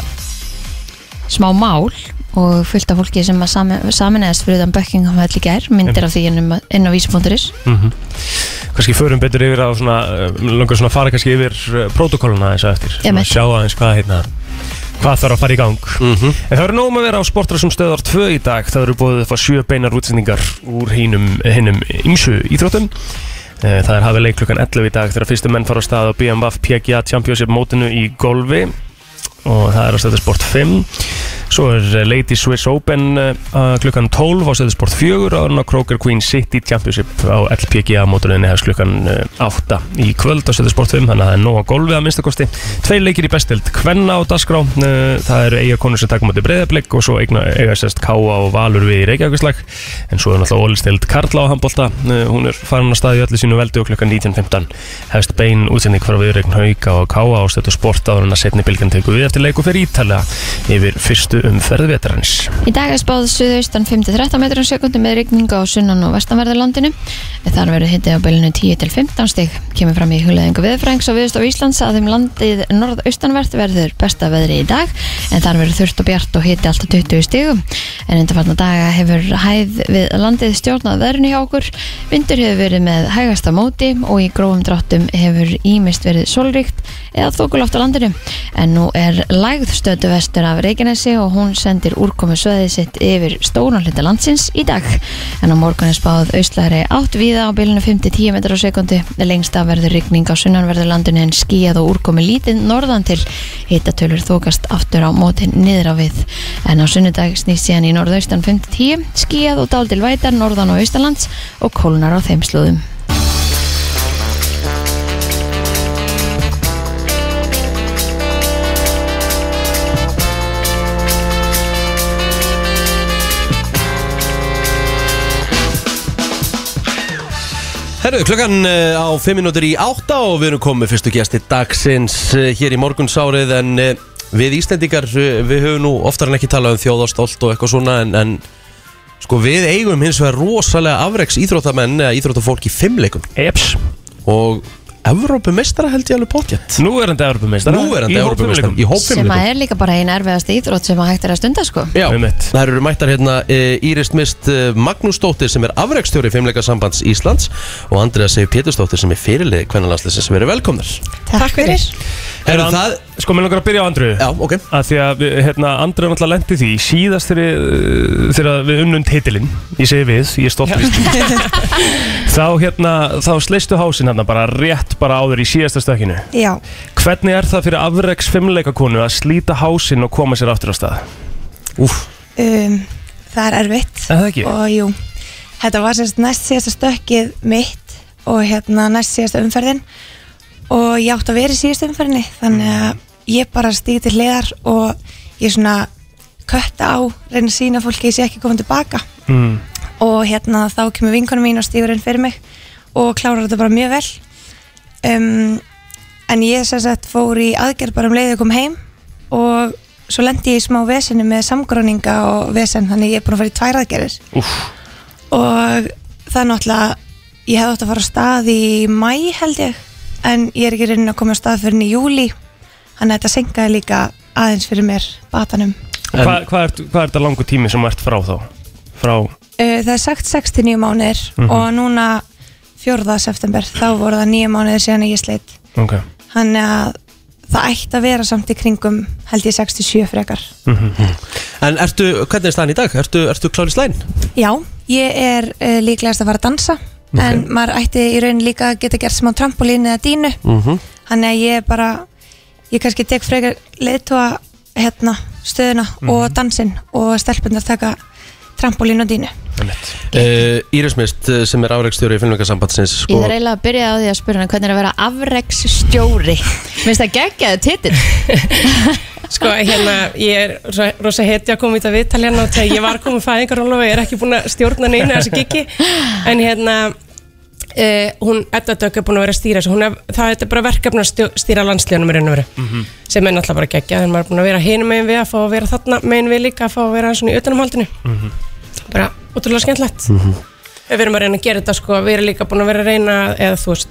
smá mál og fullt af fólki sem að sami, saminæðast fyrir utan Buckingham hell í gær, myndir af því inn, um, inn á vísi.is
Mhm. kannski förum betur yfir á svona, eh, mig langar svona að fara kannski yfir eh, protokóluna þess að eftir, svona
Einmitt.
sjá aðeins hvað hérna hvað þarf að fara í gang en það eru nóg með að vera á sportrasum stöðar 2 í dag, það eru búið upp að sjö beinar útsendingar úr hinnum, hinnum ymsu íþróttum Eh, Það er hafið leik klukkan 11 í dag þegar fyrstu menn fara á stað á BMWF PGA Championship mótinu í golfi og það er á stöðu sport 5 svo er eh, Lady Swiss Open eh, að klukkan 12 á stöðu sport 4 ára á Kroger Queen City Championship á LPGA móturinni hefst klukkan eh, 8 í kvöld á stöðu sport 5 þannig að það er nóg að golfi að minnstakosti Tveir leikir í bestild Kvenna á Dasgrá eh, það eru eiga konur sem takum átti breyðablik og svo eigna, eiga sérst K.A. og Valur við í Reykjavíkslag en svo er náttúrulega ólistild Karla á handbólta hún er farin að staði öllu sínu veldi og klukkan 19.15 hefst bein útsending frá viðreikn hauka og káa á stötu sport áður en að setni bylgan tekur við eftir leiku fyrir Ítalja yfir fyrstu umferð vetarans
Í dag er spáð suðaustan 5-13 metrum sekundi með rigningu á sunnan og vestanverðarlandinu. Þar verður hitti á bylunu 10-15 stig. Kemur fram í hugleðingu viðfrængs og viðstof Íslands að þeim landið norðaustanvert verður besta veðri í dag en þar verður þurft og bjart og hitti alltaf 20 stigum. En undanfarna daga hefur hæð við landið stjórnað veðrinu hjá okkur. Vindur hefur verið með hægasta móti og í grófum dráttum hefur ímist verið solríkt eða þokulátt á landinu. En nú er lægð stötu vestur af Reykjanesi og hún sendir úrkomu sveðið sitt yfir stóran hluta landsins í dag. En á morgun er spáð auslari átt viða á bylunu 5-10 metrar á sekundi. Lengst af verður rigning á sunnanverður landinu en skíjað og úrkomu lítið norðan til. Hittatölur þókast aftur á mótin niður á við. En á sunnudag snýst síðan í norðaustan 5-10, skíjað og daldil vætar norðan og austalands og kólnar á þeim slúðum.
Herru, klukkan eh, á 5 minútur í 8 og við erum komið fyrstu gæsti dagsins eh, hér í morgunsárið en eh, við Íslendingar, eh, við höfum nú oftar en ekki talað um þjóðastólt og eitthvað svona en, en sko við eigum hins vegar rosalega afreks íþróttamenn eða íþróttafólk í fimmleikum
Eps,
og Evrópumestara held ég alveg potjett
nú er þetta Evropameistar
Nú er þetta Evrópumestara í
Sem að
hópfimmleikum
er líka bara eina erfiðasta íþrótt sem að hægt er að stunda sko.
Já,
Einmitt.
það eru mættar hérna e, Íris Mist e, Magnúsdóttir sem er afreikstjóri Fimmleikasambands Íslands og Andriða Seif Pétursdóttir sem er fyrirlið hvernalandslisins sem eru velkomnar
Takk fyrir.
Herru það,
Sko, mér langar að byrja á Andriðu
já, ok
að því að við, hérna, Andra náttúrulega lendi því síðast þegar uh, þegar við unnum titilinn, ég segi við, ég er stoltur í því þá hérna þá sleistu hásinn hérna bara rétt bara áður í síðasta stökkinu
Já,
hvernig er það fyrir afreks fimmleikakonu að slíta hásinn og koma sér aftur á stað
Úf,
um, það er erfitt
Er það ekki?
Og jú, þetta var sérst næst síðasta stökkið mitt og hérna næst síðasta umferðin og ég átti að vera í síðustu umferinni þannig að ég bara stíði til hliðar og ég svona kötta á, reyna að sína fólki að ég sé ekki koma tilbaka
mm.
og hérna þá kemur vinkonum mín og stígur inn fyrir mig og klárar þetta bara mjög vel um, en ég sem sagt fór í aðgerð bara um leiðið kom heim og svo lendi ég í smá vesinu með samgróninga og vesen þannig ég er búin að fara í tvær aðgerðir
Úff.
og það er náttúrulega ég hefði átt að fara á stað í mæ held ég en ég er ekki reynin að koma á stað fyrir í júli þannig að þetta senkaði líka aðeins fyrir mér batanum
En, hvað, hvað, er, hvað er þetta langu tími sem ert frá þá? Frá,
Uh, það er sagt 69 mánuðir
Mhm.
og núna 4. september þá voru það 9 mánuðir síðan að ég sleitt
ok
þannig að það ætti að vera samt í kringum held ég 67 frekar
En ertu, hvernig er staðan í dag? Ertu, ertu klári slæn?
Já, ég er uh, líklegast að fara að dansa en maður ætti í raun líka að geta gert smá trampolín eða dínu
Mm -hmm.
þannig að ég er bara ég kannski tek frekar leiðtóa hérna, stöðuna og dansinn og stelpunar taka trampolín og dínu
uh, Írismist eh, sem er sko. áreikstjóri í filmvikasambandsins
Sko-
Ég þarf eiginlega að byrja á því að spyrja hana hvernig er að vera afreksstjóri Minnst það geggjaði titill
Sko, hérna, ég er rosa- rosa heti að koma í þetta viðtal hérna og þegar ég var komin fæðingar og ég er ekki búin að stjórna neina þessu gigi, en hérna uh, hún, Edda Dögg er búin að vera að stýra þessu, hún er, það þetta er bara verkefni að stjó, stýra landslíðanum í raun og veru sem er náttúrulega bara geggja, en maður er búin að vera hinum megin við að fá að vera þarna megin við líka að fá að vera aðeins svona í utanumhaldinu bara ótrúlega skemmtlegt við erum að reyna að gera þetta sko, við erum líka búin að vera að reyna eða þú veist,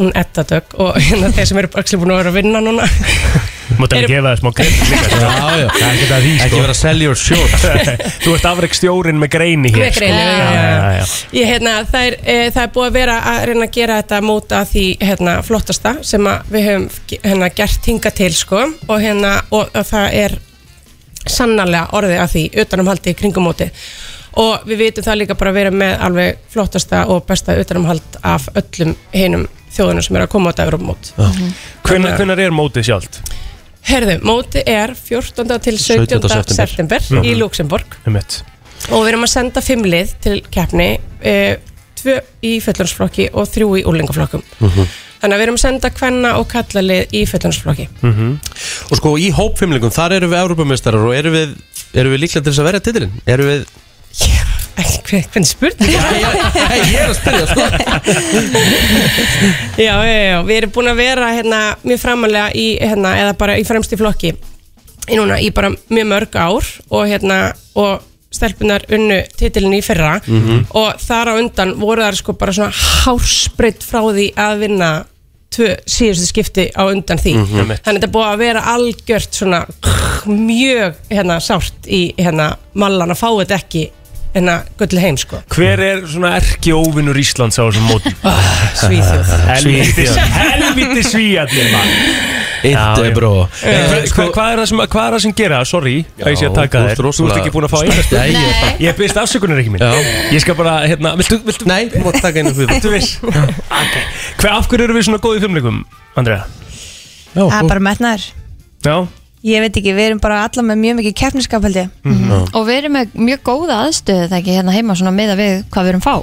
hún Edda Dögg og hérna þeir sem eru bara actually búin að vera að vinna núna
Máttu
Eru-
ekki gefa það smá grein líka sko.
Já, já,
Það er ekki það því
ekki
sko
vera að selja úr sjót
Þú ert afreg stjórin með greini hér
Með
sko.
greini, já, já, já.
já, já.
Ég, hérna, það, er, e, það er búið að vera að reyna að gera þetta móta því hérna, flottasta sem að við höfum ge- hérna, gert hinga til sko, og, hérna, og, og það er sannarlega orðið að því utanumhaldi í kringum móti og við vitum það líka bara að vera með alveg flottasta og besta utanumhald af öllum hinum þjóðunum sem eru að koma á þetta Evrópumót.
Hvenær, hvenær er mótið sjálft?
Herðu, móti er 14. til 17.
17.
september í Luxemburg
Einmitt.
og við erum að senda fimm lið til keppni e, tvö í fullunnsflokki og þrjú í úlingaflokkum
Mhm.
þannig að við erum að senda kvenna og kalla lið í fullunnsflokki
Og sko í hópfimlingum, þar erum við Európamestrar og erum við, erum við líklega til þess að verja titilinn? Erum við
hver, hvernig spurning já,
Hei, ég er að spyrja sko
já, já, já, við erum búin að vera hérna, mjög framalega í, hérna, eða bara í fremsti flokki í núna í bara mjög mörg ár og hérna og stelpunar unnu titilin í fyrra
Mm.
og þar á undan voru þar sko bara svona hársbreytt frá því að vinna tvö síðustu skipti á undan því
Einmitt.
þannig þetta er búið að vera algjört svona mjög hérna sárt í hérna mallan að fá þetta ekki hérna gull heim sko
Hver er svona erki óvinnur Íslands á þessum mótum?
Svíþjóð
Helviti Helviti svíjarnir maður.
Eitt
já.
bró
Hver-
sko-
hver- Eh, Hvað er það sem, hvað er það sem gera? Sorry, að ég sé að taka þér Þú ert ekki búin að fá einhvers
Nei, ég er bara
Ég byrst afsökunar ekki mín
Já.
Ég skal bara, hérna, viltu, viltu
Nei, þú mátt taka einu fyrir
Þú veist okay. Hver, af hverju eru við svona góðið fimmleikum, Andrea? Já,
það er bara metnaður
Já,
ég veit ekki, við erum bara alla með mjög mikið keppniskap held ég
Og við erum með mjög góða aðstöðu það ekki hérna heima svona meða við hvað við erum fá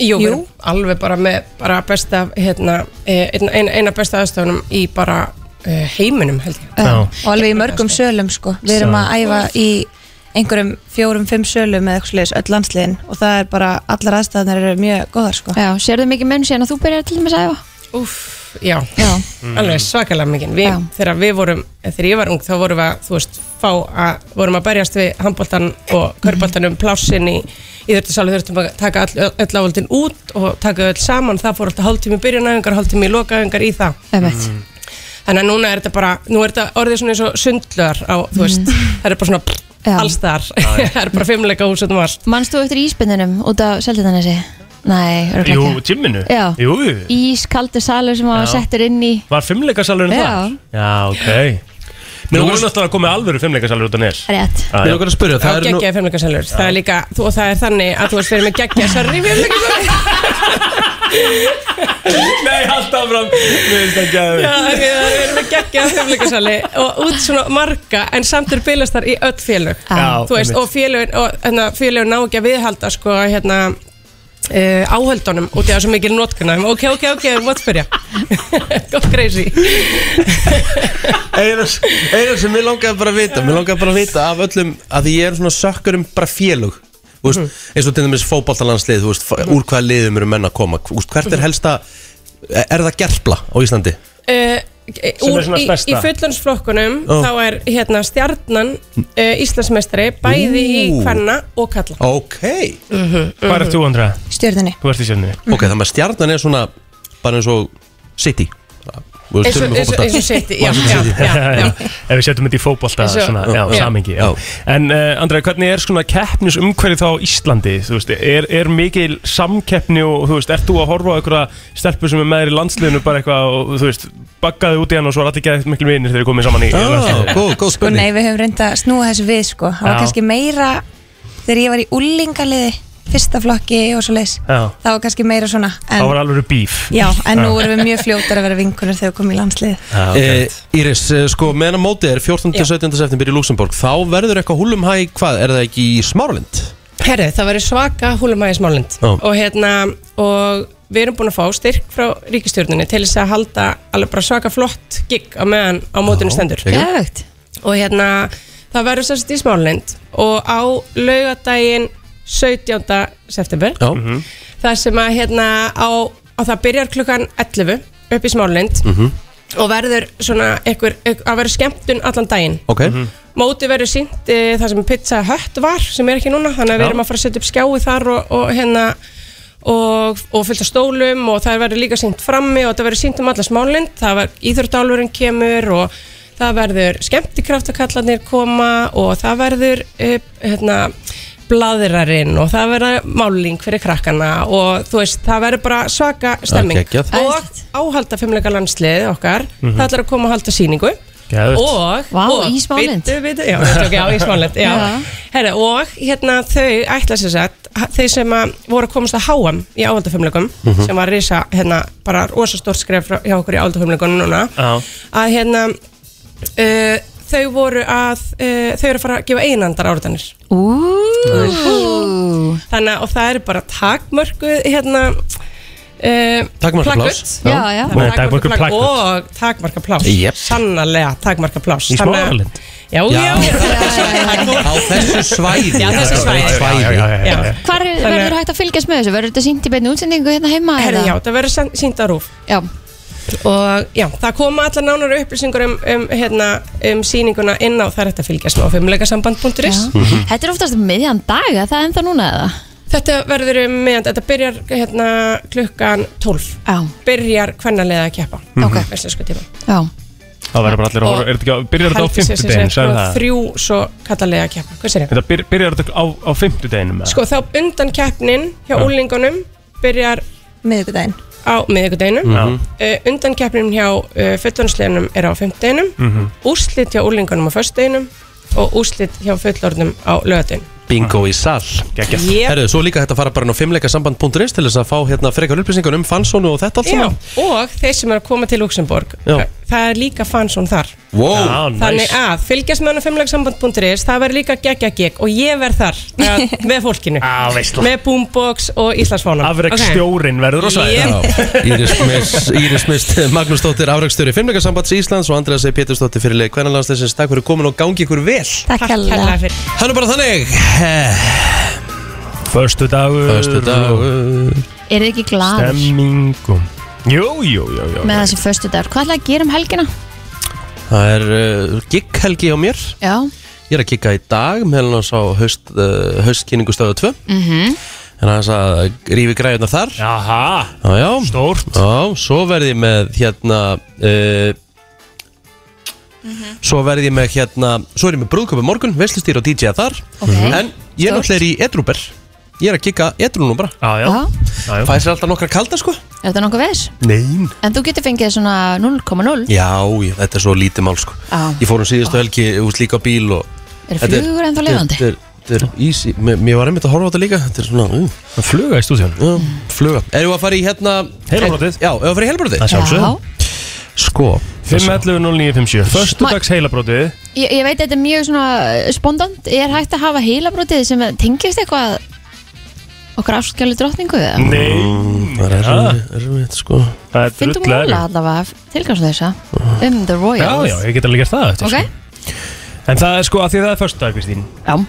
Jú,
Jú.
Jú. alveg bara með bara besta, hérna, eh, eina, eina- eina besta aðstofunum í bara eh, heiminum held ég
Já.
um, og alveg í mörgum sölum sko. við erum að æfa í einhverjum fjórum, fimm sölum eða eitthvað sliðis öll landsliðin og það er bara, allar aðstæðanar eru mjög góðar sko.
Já, sérðu mikið mun síðan að þú byrjar til dæmis að æfa
Úff, já, Mm.
Já,
alveg svakalega
Já.
mikið við, þegar við vorum, eh, þegar ég var ung þá vorum við að, þú veist, fá að vorum að berjast við handbóltan og körboltan um plássin í íðurtisálu þurftum að taka all, öll ávöldin út og taka öll saman, það fór alltaf hálftími í byrjunæfingar, hálftími í lokaæfingar í það Mm.
emmitt
þannig að núna er þetta bara, nú er þetta orðið svona eins og sundlöðar á, þú veist, það er bara svona pff,
Mm. Já.
alls þar, það er bara fimmleika hús út um allt
Manst þú eftir ísbindunum út af Seltjarnanesi? Nei,
jú,
örglega ekki
timminu
Já.
Jú,
Ískaldur salur sem
Já.
að settir inn í
var fimmleikasalurinn
Já.
þar? Já, ok Nú
langar-
erum náttúrulega komið alvöru fimmleikasalur út á nes
Rétt
Ég
Já, já.
er okkur að spyrja,
á
það er nú
geggjaði fimmleikarsalur það er líka, þú, og það er þannig að þú veist verið með geggjaði sarri fimmleikarsalur
Nei, alltaf fram
já, við erum með geggjaði fimmleikarsalur og út svona marga en samt eru bilastar í öll félög
Já,
þú veist, og félögin, og, hérna, félögin ná ekki að viðhalda sko, hérna uh, áhöldunum og það er svo mikil notkunum ok, ok, ok, what spyrja gott crazy
Einar einar sem mér langaði bara að vita Mér langaði bara að vita af öllum að því ég er svona sökkur um bara félug Þú veist,
Mhm.
eins og til dæmis fótboltalandslið þú veist, úr hvaða liðum eru menn að koma Þú veist, hvert
Mhm.
er helsta er það gerpla á Íslandi
uh,
Sem er
úr,
svona
í,
stærsta.
í fullunnsflokkunum
Ó.
þá er hérna stjarnan uh, Íslandsmeistri bæði í
Ú.
hvenna og Mhm, kalla
ok, Mm.
Hvað er þú, Andra?
stjörðinni
Þú ert í sjálfni
ok, þannig að stjarnan er svona bara eins og city Þú veist,
eins og
tölum við
eins og-
fótbolta.
eins og sitt já,
Manchester
já,
City.
já, já.
Ef við setjum þetta í fótbolta
Eins og-
svona, já,
Já.
samingi já.
Já.
En uh, Andra, hvernig er svona keppnisumhverfið þá á Íslandi? Þú veist, er, er mikil samkeppni og þú veist, ert þú að horfa á einhverja stelpur sem er með þér í landsliðinu bara eitthvað og þú veist, baggaði út í hann og svo er allir geðið mikil vinir þegar þið komið saman í í
Ah,
Á,
landsliðinu.
góð, góð
Sko nei,
spurning
við höfum reynda að snúa þessu við sko Það var
Já.
kannski meira þegar ég var í úlingaliði Fyrsta flokki og svo leis
Já,
Það var kannski meira svona
þá
en,
var alveg bíf
Já, en
Ah.
nú erum við mjög fljótar að vera vinkunir þegar við komum í landslið
Já,
Eh, Íris, eh, sko, meðan að móti er 14. og 17. september í Luxemburg þá verður eitthvað húlum hæ, hvað, er það ekki í Smáralind?
Herru, það væri svaka húlumæði smálind
Já.
og hérna og við erum búin að fá styrk frá ríkistjórninni til þess að halda alveg bara svaka flott gig á meðan á mótunum stendur
ekki?
Gæðvögt
og hérna það verður sérst í smálind og á laugadaginn 17. september
Já,
Mhm.
þar sem að hérna á, á það byrjar klukkan 11 upp í smálind
Mhm.
og verður svona einhver, einhver að verður skemmtun allan daginn
ok
Mhm.
Móti verður sínt e, það sem Pizza Hut var sem er ekki núna, þannig að
Já.
við erum að fara að setja upp skjái þar og, og hérna og, og fylgta stólum og það verður líka sínt frammi og það verður sínt um alla smálind það verður íþjórdálurinn kemur og það verður skemmtikraftakallarnir koma og það verður e, hérna bladrarinn og það verður máling fyrir krakkana og þú veist, það verður bara svaka stemming
geggjað.
og áhalda fimmleika landslið okkar það ætlar að koma að halda síningu
Geðvegt.
og,
Vá,
og
í Smáleynd.
bitu, bitu, já, þetta er ekki á í Smáleynd, já.
Já.
Herra, og hérna þau ætla sér sett þau sem að voru að komast að háam í áhaldafumleikum sem var risa hérna, bara rosa stórt skref frá, hjá okkur í áhaldafumleikunum núna
Já.
að hérna uh, þau voru að uh, þau eru að fara að gefa einandar árdanir
Úúúú
þannig að og það eru bara takmörkuð hérna uh,
Takmarkað
plakkut.
pláss.
Já, já
Það er
Nei, takmörkuð
plagg
plakkut.
og takmarka plás
Jep.
sannarlega takmarka plás
Í Smáralind?
já, já,
Já. Á þessu svæði
Já, þessu
Það er
svæði.
eitt svæði.
já.
Hvar er-
Þannig-
verður hægt að fylgjast með þessu? Verður þetta sínt í beinni útsendingu hérna heima? eða?
Herði, já, það verður sínt að rúf
Já,
og já, það koma allar nánar upplýsingar um, um, hérna, um sýninguna inn á það er hægt að fylgjast með á
já.
fimmleikasamband.is
Mhm.
Þetta er oftast um miðjan dag, er það ennþá núna eða?
Þetta verður um meðan, þetta byrjar hérna, klukkan 12
Já, Mhm.
byrjar hvernarlega að keppa
Ok.
Veslaugskutíma.
já
Það verður bara allir að horfa, er þetta ekki á, byrjar þetta á
Helgi sér sem
fimmtudegin,
sagt,
sagði
og
það?
þrjú svo kallarlega að keppa Hvað sér ég?
Þetta byr- byrjar þetta á, á fimmtudeginum? eða?
Sko þá undan keppnin hjá
Já.
úlingunum byrjar
Miðvikudaginn
á miðvikudeginum
Já.
uh, undan keppnum hjá uh, fullorðsleginum er á fimmtudeginum
Mhm.
úrslit hjá úlingunum á föstudeginum og úrslit hjá fullorðnum á lögadeginum
Bingo í sall
Geggjað.
yep.
Herðu, svo líka hægt að fara bara inn á fimmleikasamband.is til þess að fá hérna frekar upplýsingar um fansónu og þetta allt
Já,
saman
og þeir sem eru að koma til Luxemburg
Já.
það er líka fansón þar
Wow,
Já,
þannig
næs.
að fylgjast með hann á fimmlegsamband.is það verður líka geggja gegg og ég verð þar að, með fólkinu,
Á, veistla.
með boombox og Íslandsfónan
Afreikstjórin verður á svæði
Yep.
Íris Mist, Íris Mist Magnús Dóttir, afrækstöri Fimmleikasambands Íslands og Andreas E. Pétursdóttir fyrir leik Hvernalandsleisins, takk fyrir komin og gangi ykkur vel
Takk
Takk
hella
fyrir
Það er nú bara þannig
Föstu dagur
Föstu dagur
Er þið ekki glaður
Stemmingum Jú, jú, jú, jú
með þessi föstu dagur? Hvað ætlaði að gera um helgina?
Það er uh, gigghelgi á mér
Já,
Ég er að gigga í dag meðan hans á haust, uh, haustkynningu stöðu 2 mm
Mhm.
-hmm. En hans að rífi græðuna þar
Jaha,
Já, já
stórt
Já, svo verði ég með hérna uh,
Mhm.
Svo verði ég með hérna Svo er ég með brúðköpi morgun, veslustýr og DJ þar
Ok.
En ég er
Stórt.
náttúrulega í edrúber Ég er að kika edrú nú bara
Já, já,
já,
já, já.
Fæ sér alltaf nokkra kalda sko
er þetta nokkuð veðis?
Nein
En þú getur fengið svona 0,0
Já, ég, þetta er svo lítið mál sko
Já.
Ég fór um síðustu helgi út líka á bíl og
Eru
Þetta er-
flugur ennþá lifandi?
Þetta er- þetta er easy Mér mér var einmitt að horfa á þetta líka Þetta er svona, ú,
Það fluga í stúdíun
uh, fluga Erum við að fara í hérna
Heilabrótið.
Já, erum við að fara í helbrotið
Það sjálfsög
Já,
Sko
5.11.09.57 Föstu
Ma-
dags heilabrótið
ég, ég veit þetta er mjög svona eh, spondant Er hægt að hafa heilabrótið sem tengist eitthvað Okkar ástgjölu drottningu eða?
Nei,
Mm, Það er erfitt- erfitt sko
það er
Fyndum
drullið
múla
erfitt.
allavega tilgjáðs þessa um The
Já,
Royals
já, ég get alveg gert það eftir,
Ok,
sko. En það er sko að því það er förstu dag, Kristín
já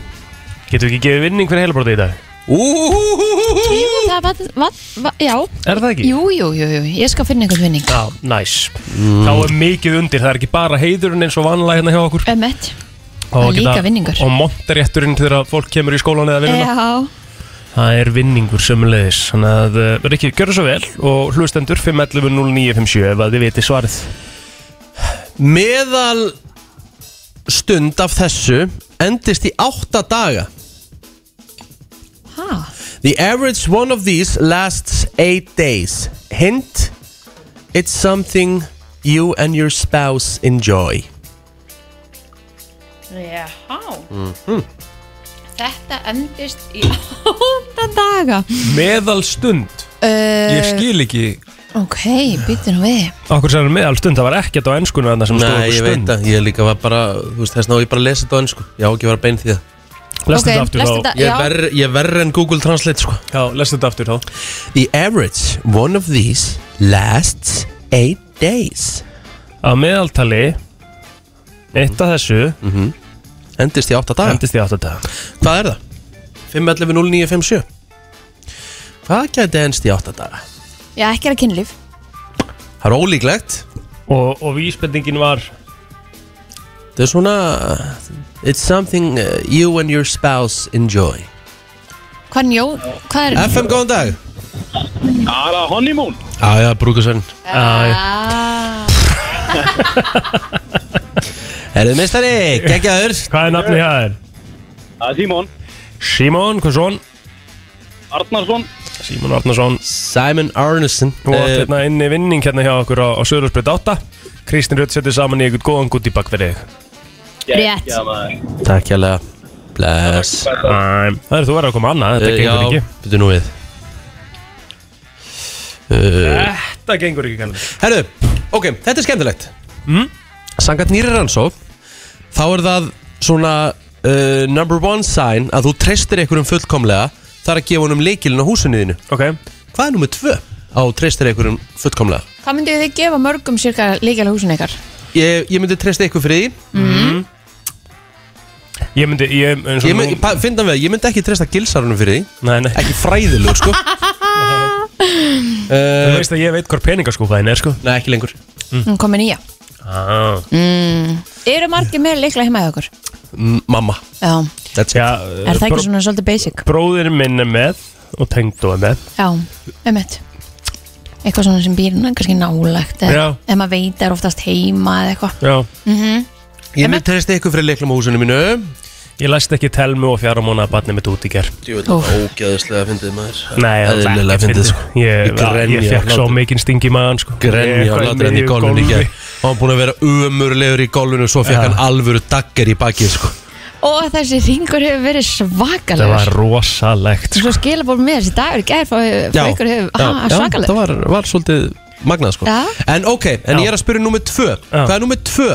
Getum við ekki gefið vinning fyrir heilabrótið í dag?
Jú, það var, var, var, já
Er það ekki?
Jú, jú, jú, jú, ég skal finna einhvern vinning
Já, næs Þá er mikið undir, það er ekki bara heiðurinn eins og vanlega hérna hjá okkur
Ömmett,
Það
Um er líka vinningur.
Og montarétturinn þegar fólk kemur í skólan eða vinnuna
já Eh.
Það er vinningur sömulegis Þannig að, uh, Rikki, gjörðu svo vel Og hlustendur 511-0957 ef að þið viti svarið
Meðal stund af þessu endist í átta daga
Hæ,
The average one of these lasts eight days Hint It's something you and your spouse enjoy
já Þetta endist í átta daga
Meðal stund
uh,
Eh.
Ég skil ekki
Ok, býttu nú við
Okkur sem er meðal stund, það var ekkert á ennskunum Þannig sem
Nei,
stóð
ég
stund
veit að ég líka var bara Þú veist, þessna á ég bara að lesa þetta á ennsku Ég á ekki að vera bein því það
Lestu
Ok,
þetta aftur
lestu
þá
þetta-
Ég
Já.
er verr- ég er verri en Google Translate sko
Já, lestu þetta aftur þá
The average one of these lasts eight days
Að meðaltali Eitt af þessu
Mhm. Endist í átta daga
Endist í áttadaga
Hvað er það? 511 0957 Hvað gæti ennst í 8 daga?
Já, ekki er að kynlíf
Það er ólíklegt
og, og vísbendingin var
Það er svona uh, It's something uh, you and your spouse enjoy
Hvað njó, hvað er
FM, góðan dag
Bara honeymoon
Já, já, brúkusvenn
Ah,
Herðu mistari, geggjaður
Hvað er nafnið það er?
Það er Simon
Simon, hvað svon?
Arnarsson
Simon Arnarsson
Simon Arneson
Og uh,
uh,
hérna inni vinning hérna hjá okkur á, á Söðursbreyt 8 Kristinn Rutt setur saman í einhvern góðan gutt í bak fyrir þig
Rétt.
Já, maður.
Takk hérlega Bless
Æ, Það er þú verið að koma annað, þetta
Eh,
gengur
Já,
ekki
byrju nú við uh,
Þetta gengur ekki kannski
Herru, ok, þetta er skemmtilegt mm? Sangat nýri rannsók Þá er það svona uh, Number one sign að þú treystir einhverjum fullkomlega Það er að gefa honum leikilin á húsinu þínu
Ok,
Hvað er nummer tvö á þú treystir einhverjum fullkomlega?
Hvað myndið þið gefa mörgum cirka líkjala húsin ykkar?
Ég, ég myndi treysta eitthvað fyrir því
Mm.
ég myndi, ég, eins og
Ég myndi,
nú-
pa- finna við, ég myndi ekki treysta gilsarunum fyrir því
Nei, nei,
Ekki fræðilug, sko
þú
uh,
veist að ég veit hvar peningaskúfaðin er sko Mm.
Nei, ekki lengur
Hún kom með nýja
ah.
Eru margir með líkla heima hjá okkur?
M Mm, Mamma
Já,
That's
Já, eh,
it
er það ekki
bró-
svona svolítið basic?
Bróðir minn er með og tengdó er með
Já, einmitt Eitthvað svona sem býr hann kannski nálægt
Já.
eða ef maður veit er oftast heima eða eitthvað
Já
Mhm.
Ég myndi treysta eitthvað fyrir leiklum á húsinu mínu
Ég læst ekki telmu og fjáramóna að barni mitt út í ger
Jú, þetta var ógeðislega fyndið maður
Nei, það er
Eðlilega
ekki
fyndið,
fyndið
sko. Ég
Ég, ég,
grenja
ég
af
fekk svo
hlátri.
mikinn sting í maðan sko. Ég
grenja á
var í
hlátrin í
miðju
gólfinu í gær og hann búin að vera umurlegur í gólfinu og svo fekk hann alvöru dagger í bakið sko.
Og þessi ringur hefur verið
Það var
svakalegur
rosalegt sko.
Svo skilabóð með þessi dagur í gær frá frá ykkur hefur ha,
það
svakalegur
var, var svolítið magnað sko.
Já.
en ok, en
Já.
ég er að spyrja nummið tvö hvað er nummið tvö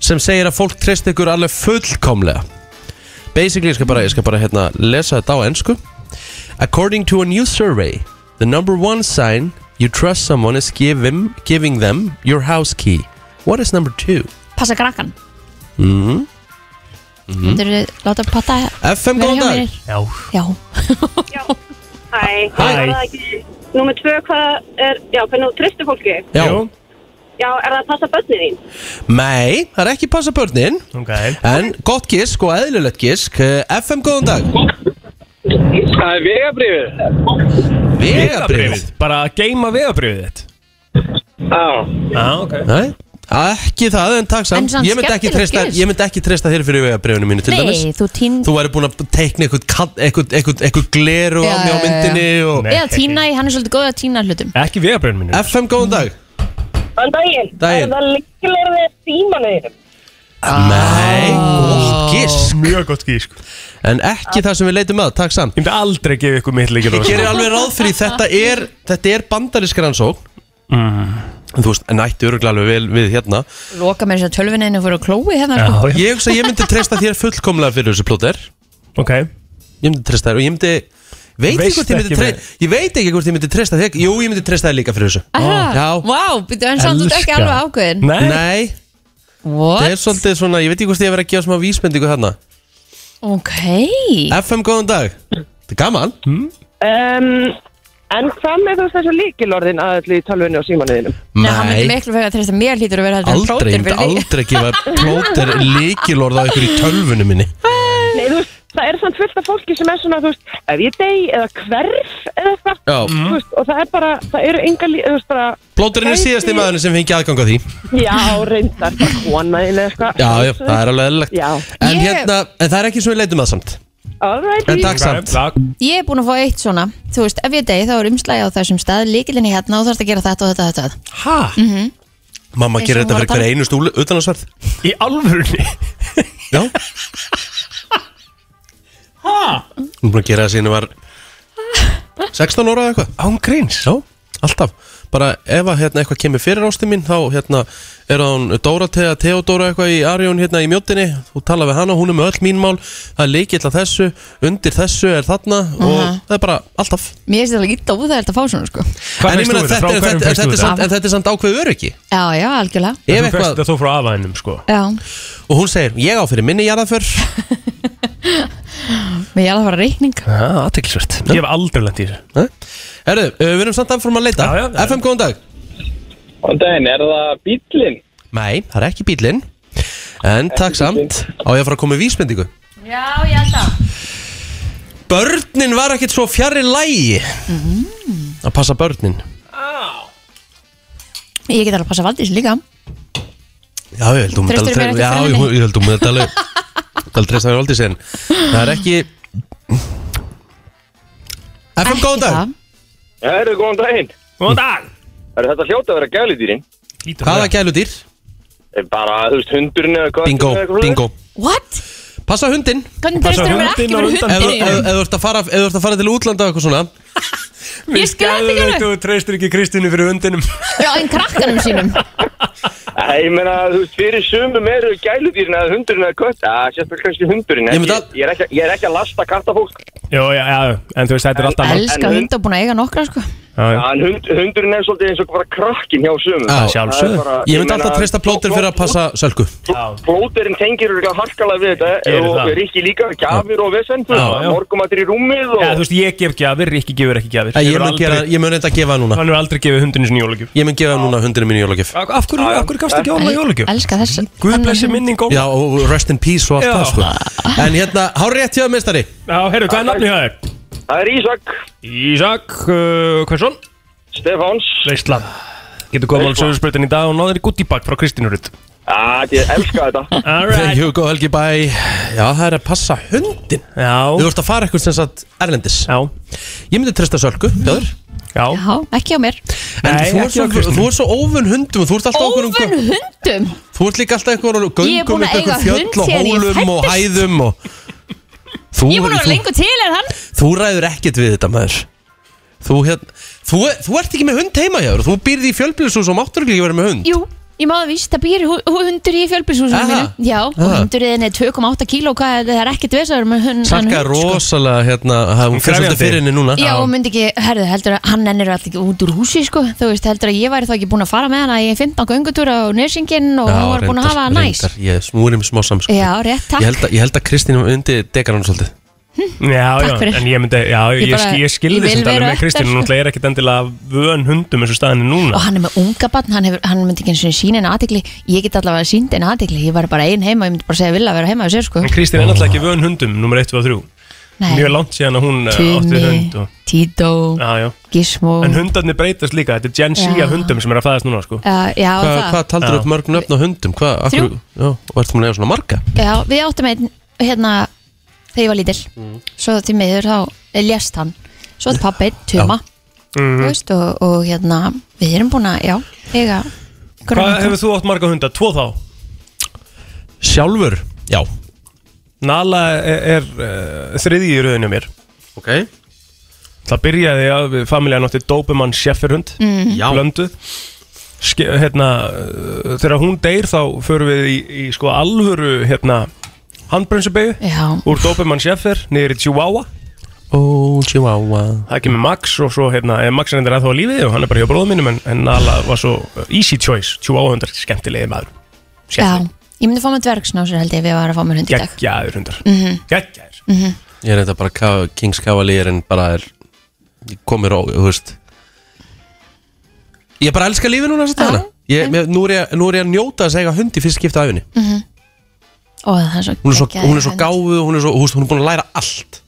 sem segir að fólk treyst ykkur alveg fullkomlega basically, ég skal bara, ég skal bara hérna, lesa þetta á ennsku according to a new survey the number one sign you trust someone is give him, giving them your house key what is number two Mm-hmm.
Passa krakkan mm -hmm. láta patta
FM,
vera
Mm-hmm. góðan
hjá
dag
mér
Já,
Já,
Hæ,
Hæ.
var það ekki Númer tvö, hvað er, já, hvernig þú tristir fólki?
Já.
Jú.
Já, er það að passa börnin þín?
Nei, það er ekki passa börnin
ok
En gott gisk og eðlilegt gisk Eh, FM góðan dag
Það er vegabrýfið
Vegabrifið
Bara að geima vegabrifið þitt
Já
Já, ok
Nei, ekki það en takk
En
samt
samt
Ég myndi ekki
skemmtilegt
treysta,
gisk.
ég myndi ekki treysta þér fyrir vegabrifinu mínu til
nei,
dæmis
þú tín
Þú væri búin að teikna eitthvað, kall- eitthvað, eitthvað, eitthvað gleru á
Já,
mig á
já, já.
myndinni og...
Nei.
Eða tína, í- hann er svolítið góð að tína hlutum
Ekki vegabrifinu mínu
FM góðan dag
Þann daginn,
Daginn.
er það líkilegðið símanuðinum?
Ah.
Nei, gott gisk
Ah. Mjög gott gísk
En ekki það sem við leitum að, takk samt
Ég myndi aldrei gefa ykkur mitt sko. líkil
Ég gerir alveg ráð fyrir því, þetta er, þetta er bandarísk rannsókn En Mm. Þú veist, en ætti öruglega alveg vel við hérna
Loka með þess að tölvinni fyrir að klói hérna sko.
Já, já,
Ég hugsa að ég myndi treysta þér fullkomlega fyrir þessu plóter
ok
Ég myndi treysta þér og ég myndi veit ekki
Veist
hvort ég myndi
ekki
tre-
með-
ég veit ekki hvort ég myndi treysta þig Jú, ég myndi treysta þig líka fyrir þessu Já.
Aha, vá, býttu en samt þú ert ekki
Elska.
alveg ákveðin
Nei,
Nei, það er
What?
svolítið svona, ég veit ekki hvort ég hef verið að gefa smá vísbendingu hérna
Ok
FM, góðan dag Það er gaman
Hmm?
Um, en hvað með þú veist þessu líkilorðin að öllu í tölvunni og símanuðinum?
Nei, hann myndi miklu fyrir að treysta mér hlýtur að vera heldur en
aldrei,
plótur
ég myndi
fyrir þig.
aldrei gefa plóter líkilorð á ykkur í tölvunni minni
Nei, þú veist, það er samt fullt af fólki sem er svona, þú veist, ef ég degi eða hverf eða eitthvað,
Já.
þú
Hmm.
veist, og það er bara, það eru enga líka, þú veist, bara,
Plóterinn er síðasti maðurinn sem fengi aðgang á því
já, reyndar, bara konaðin eða eitthvað.
Já, já, það er alveg eðlilegt
Já.
En
Ég-
hérna, en það er ekki svo við leitum að samt
Alright,
En takk samt
Takk.
Ég er búin að fá eitt svona Þú veist, ef ég degi þá er umslægi á þessum stað Líkilinni hérna og þú þarfst að gera þetta og þetta, og þetta. Mhm.
Ha?
Mamma
Eins og
gerir
hún
þetta
var
fyrir
að
hverja einu stúlu utan að sverð
Í alvörunni?
Já Hún er búin að gera það síðan hún var 16 ára eða eitthvað
Án gríns?
Já, alltaf Bara ef að hérna, eitthvað kemur fyrir ástin mín þá hérna, er hún Dóratea, Theodóra eitthvað í Arjón hérna í mjóttinni þú tala við hana, hún er með öll mín mál það er leikill að þessu, undir þessu er þarna og það er bara alltaf
Mér finnst þetta líka óþægilt að fá svona sko
Hvað
En ég
finnst
meina
þú
þetta
þetta? Frá
er- þetta-
hverjum finnst
þetta
þú
er
þetta?
samt- en þetta er samt ákveð öryggi
Já, já, algjörlega
Ef
Þú fyrst
eitthvað-
þetta þó frá aðvænum sko
Já,
og hún segir, ég á fyrir minni jarðaför
mér er að fara reikning
Aðteklisvert Ég hef aldrei lent í þessu
Herru, uh, við erum samt aðfram að leita
Já, já, já.
FM, góðan dag
Góðan daginn, er það bílinn?
Nei, það er ekki bílinn En takk samt, á ég að fara að koma með vísbendingu
Já, ég held að
Börnin var ekkit svo fjarri lægi
Mm.
Að passa börnin
Ég get alveg að passa Valdís líka
Já, ég held hún myndi
Treystirðu mér
alveg
ekki
Já,
fyrir
ég,
henni?
ég held hún myndi alveg Það er treysta mér aldrei sen Það er ekki FM, góðan dag
Það eru góðan daginn.
Góðan dag!
Er þetta hljóta að vera gæludýrin?
Hvaða gæludýr?
Eh, Bara, þú veist, hundurinn eða hvað?
Bingo, bingo
What?
Passa hundinn
Hvernig
Passa
treystur mér ekki
hundinn
fyrir
á undan
Ef ef-
hundin?
ef þú ert að fara- ef þú ert að fara til útlanda og eitthvað svona Mhm.
Ég skil þetta ekki alveg
Þú treystir ekki Kristínu fyrir hundinum
Já, en krakkanum sínum
Nei, ég meina, þú veist, fyrir sumum eru gæludýrin eða hundurinn eða kött. Já, sérstaklega kannski hundurinn.
Ég
en
myndi
Ég,
að-
ég, er ekki, ég er ekki að lasta kattafólk.
Jó, já, já, en þú veist þetta er alltaf
En-
Elska
en-
hund og búin að eiga nokkra sko
Já, já.
En hund, hundurinn er svolítið eins og bara krakkin hjá sumum.
Já,
Það er
sjálfsögðu.
bara-
Ég myndi
meina,
alltaf treysta plótir fyrir að passa sölku
Plóterinn tengir örugglega harkalega við þetta
Gerir
og
það.
Rikki líka, gjafir og vesen
Já, já.
morgumatir í rúmið og
Já, þú veist, ég gef gjafir, Rikki gefur ekki gjafir
Ég
Hefur
mun gera-
aldrei-
ég mun reynda að gefa það núna
Hann hefur aldrei gefið hundinu sinni jólagjöf
Ég mun gefa núna hundinu mín í jólagjöf
Af hverju, af hverju gafst ekki Óla jólagjöf?
Elska þess
Guð
Hann-
blessi minning Óla
Já, og rest in peace og allt
Já.
það sko En hérna, hár rétt hjá þér, meistari
Já, heyrðu, hvað er nafni það er?
það er Ísak,
Ísak, uh, hversson?
Stefáns
Veistla Getur komið alveg sögursprautin í dag og náður í guttibak frá Kristínu Rutt
að ég elska þetta
Þegar Hugo Helgi bæ Já, það er að passa hundin Þú
Já,
ert að fara eitthvað sem sagt erlendis
já,
Ég myndi treysta sölku, þjóður
já
Já, ekki á mér
En
Nei,
þú ert
ekki á
svo,
Kristínu.
þú ert svo óvun hundum og Þú ert alltaf okkur um
Ófun hundum
Þú ert líka alltaf eitthvað og
Ég er búin
göngum
að eiga
eitthvað
hund
fjöll og
síðan ég
hólum og
fæddist.
hæðum og Þú,
Ég er búin að vera
þú,
lengur til en hann
þú ræður ekkert við þetta maður Þú, hérna, þú, þú ert ekki með hund heima hjá þér Þú býrði í fjölbýlisús og máttur ekki vera með hund
Jú, ég má það víst, það býr hu- hu- hundur í fjölbilshúsinu
Aha.
mínu Já, og
Aha.
hundurinn er 2,8 kíló og hvað, það er ekkert vesaður með hund
Salka er
hann hund, sko.
rosalega hérna að Hún fyrir
Krefjandi.
svolítið fyrir henni núna
Já, og myndi ekki, herðu, heldur að hann ennir alltaf ekki út úr húsi, sko Þú veist, heldur að ég væri þá ekki búin að fara með hana í 15 göngutúra á nörsingin og hún var búin að hafa það næs
reyndar, Ég smúri mig smá samsku
Já, rétt,
ég held,
takk
að, ég held að Kristín undi dekar hann svolítið
Já,
Takk
já,
fyrir.
en ég myndi, já, ég,
Ég
ég,
bara-
skil- ég
ég
skilði
vil
þetta alveg
vera
með Kristín,
öttar,
hún
sko.
náttúrulega er ekkit endilega vön hundum eins og staðinu núna.
Og hann er með unga barn, hann, hefur, hann myndi ekki eins og sína en aðtikli Ég get allavega sínd en aðtikli, ég var bara ein heima, ég myndi bara segja vilja að vera heima á sér, sko
En Kristín er náttúrulega ekki vön hundum, nummer 1 og 3. Mjög langt síðan að hún eh, átti
Tumi,
hund og,
Tito,
já, já.
Gizmo
En hundarnir breytast líka, þetta er Gen Z
Já.
af hundum sem er að fæðast núna, sko.
Uh, já,
Hva,
það
Hvað taldur
Já.
upp mörg nöfn á hundum? Hva,
Þrjú.
já, og ertu mér að eiga svona marga?
já, Við áttum einn hérna þegar ég var lítil Svo til miður þá eh, lést hann Svo þetta pappi einn, Tuma
Mm.
Þú veist, og, og hérna Við erum búin að, já, eiga einhverja
Hvað
nokkra.
hefur þú átt marga hunda? Tvo þá?
Sjálfur? Já
Nala er, er uh, þriðji í rauðinu mér.
Ok
Það byrjaði að við- familjan átti Dobermann Schäferhund, mm.
Já.
blöndu. Ske, hérna, eh, þegar hún deyr þá förum við í, í sko alvöru hérna, handbremsubegu
Já,
úr Dobermann Schäfer niður í Chihuahua
Ó, chihuahua
Það kemur Max og svo, hérna, eh, Max er endur að þá lífið og hann er bara hjá bróðum mínum en, en Nala var svo eh, easy choice, 2800, skemmtilegi maður.
Já, ég myndi fá mig dvergsnásur held ég ef ég var að fá mér hund í dag
Geggjaður hundar.
Mhm.
Geggjaður.
Mhm.
Ég er þetta bara Ka- Kings Cavalier en bara er ég komir á, þú veist Ég bara elska lífi núna þess að dana ég, mér- nú, er ég, nú er ég að njóta þess að eiga hund í fyrst skipta af henni
Mhm. Ó, það er svo
Hún er svo,
geggjaður
hún er svo
hund.
gáfu, hún er svo, húst, hún er búin að læra allt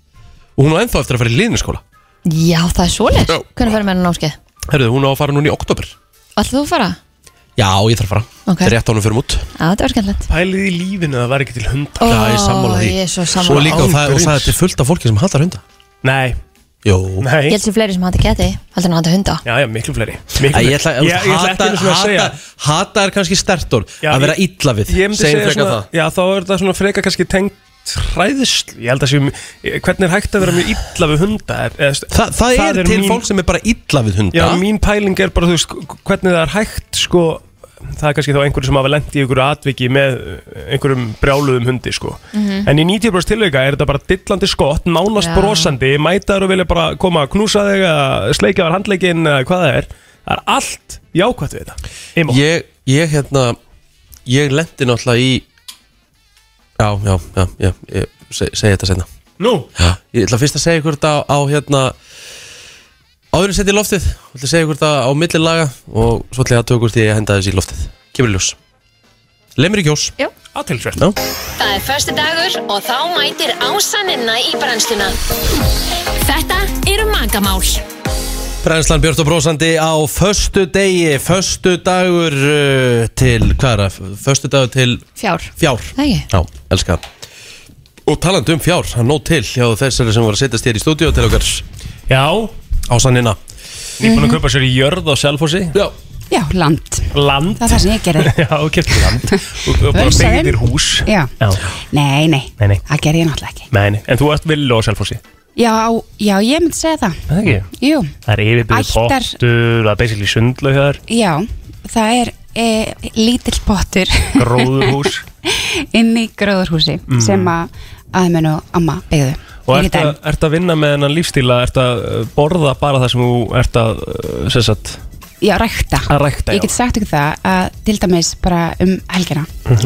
Og hún er ennþá eftir að fara í líðniskóla
Já, það er svoleiðis
Já.
Hvernig færi með hann áskeið?
Herðu, hún á að fara núna í oktober
Alltaf þú að fara?
Já, ég þarf að fara
Ok.
Þegar rétt ánum fyrir mút
Já, þetta var skemmtilegt
Pælið í lífinu að það væri ekki til hundar.
Ó,
Já, ég er sammála því
ég er svo sammála.
Svo líka, og það, og
Ángurins.
það er til fullt af fólki sem hattar hunda
Nei.
Jó
Ég
Nei.
held sér fleiri sem hætti geti Haldur hann hætti hunda
Já, já, miklu fleiri.
Æ,
Miklu fleiri.
Ég ætla,
Ég- ég ætla ekki einu svona að segja.
Hata er kannski stertor
Já,
Að vera
ég-
illa við
Ég myndi
Segjum
segja
frekar
svona,
það
já þá er það svona freka kannski tengt hræðisl, ég held að séum hvernig er hægt að vera mjög illa við hunda eða, eða,
Þa, það, er, til
mín-
fólk sem er bara illa við hunda
Já, mín pæling er bara, þú veist, hvernig það er hægt sko, það er kannski þá einhverju sem hafa lendi í einhverju atviki með eh, einhverjum brjáluðum hundi, sko
Mhm.
en í 90% tilveika er þetta bara dillandi skott nánast
Já.
brosandi, mætaður og vilja bara koma að knúsa þig, að sleikja var handleikin eða hvað það er, það er allt jákvætt við þetta, Imo
ég, ég hérna Ég lendi náttúrulega í Já, já, já, já Ég seg, segi þetta senna
Nú?
Já, ég ætla fyrst að segja ykkur þetta á, á hérna Áður en setja í loftið Ég ætla að segja ykkur þetta á milli laga Og svo ætla ég að tökust ég að henda þessi í loftið Kemur í ljós Lemur í kjós
Já.
Aðtilsvert
Já
Það er förstu dagur og þá mætir ásaninna í brennsluna. Þetta eru magamál.
Brænslan Björn og Brósandi á föstu degi, föstu dagur uh, til, hvað er það, föstu dagur til
Fjár
fjár.
Það ekki?
Já, elska. Og talandi um fjár, hann nóg til hjá þessari sem var að setjast hér í stúdíu til okkar.
Já.
Á sannina. Mhm.
Nýbúin að kaupa sér í jörð á Selfossi
Já.
Já, land
Land
Það er það sem ég gerði
Já, og kefti land Og og bara
Völsaðinn.
byggðir hús
Já.
Já.
Nei, nei,
Nei, nei.
það gerði ég náttúrulega ekki
Nei, nei. en þú ert villu á Selfossi
Já, já, ég myndi segja það
Það ekki?
Jú,
Það er yfirbyggð
Ættar-
pottur, það er basically sundlaug hjá þér
já, það er e, lítill pottur
Gróðurhús.
Inn í gróðurhúsi
Mm.
sem að aðmenn og amma byggðu
Og
Ég
ert
get
að,
enn-
ert að vinna með hennan lífstíla, ert að uh, borða bara það sem þú ert að, uh, sem sagt,
Já, rækta
að rækta
Ég get sagt ykkur það að til dæmis bara um helgina að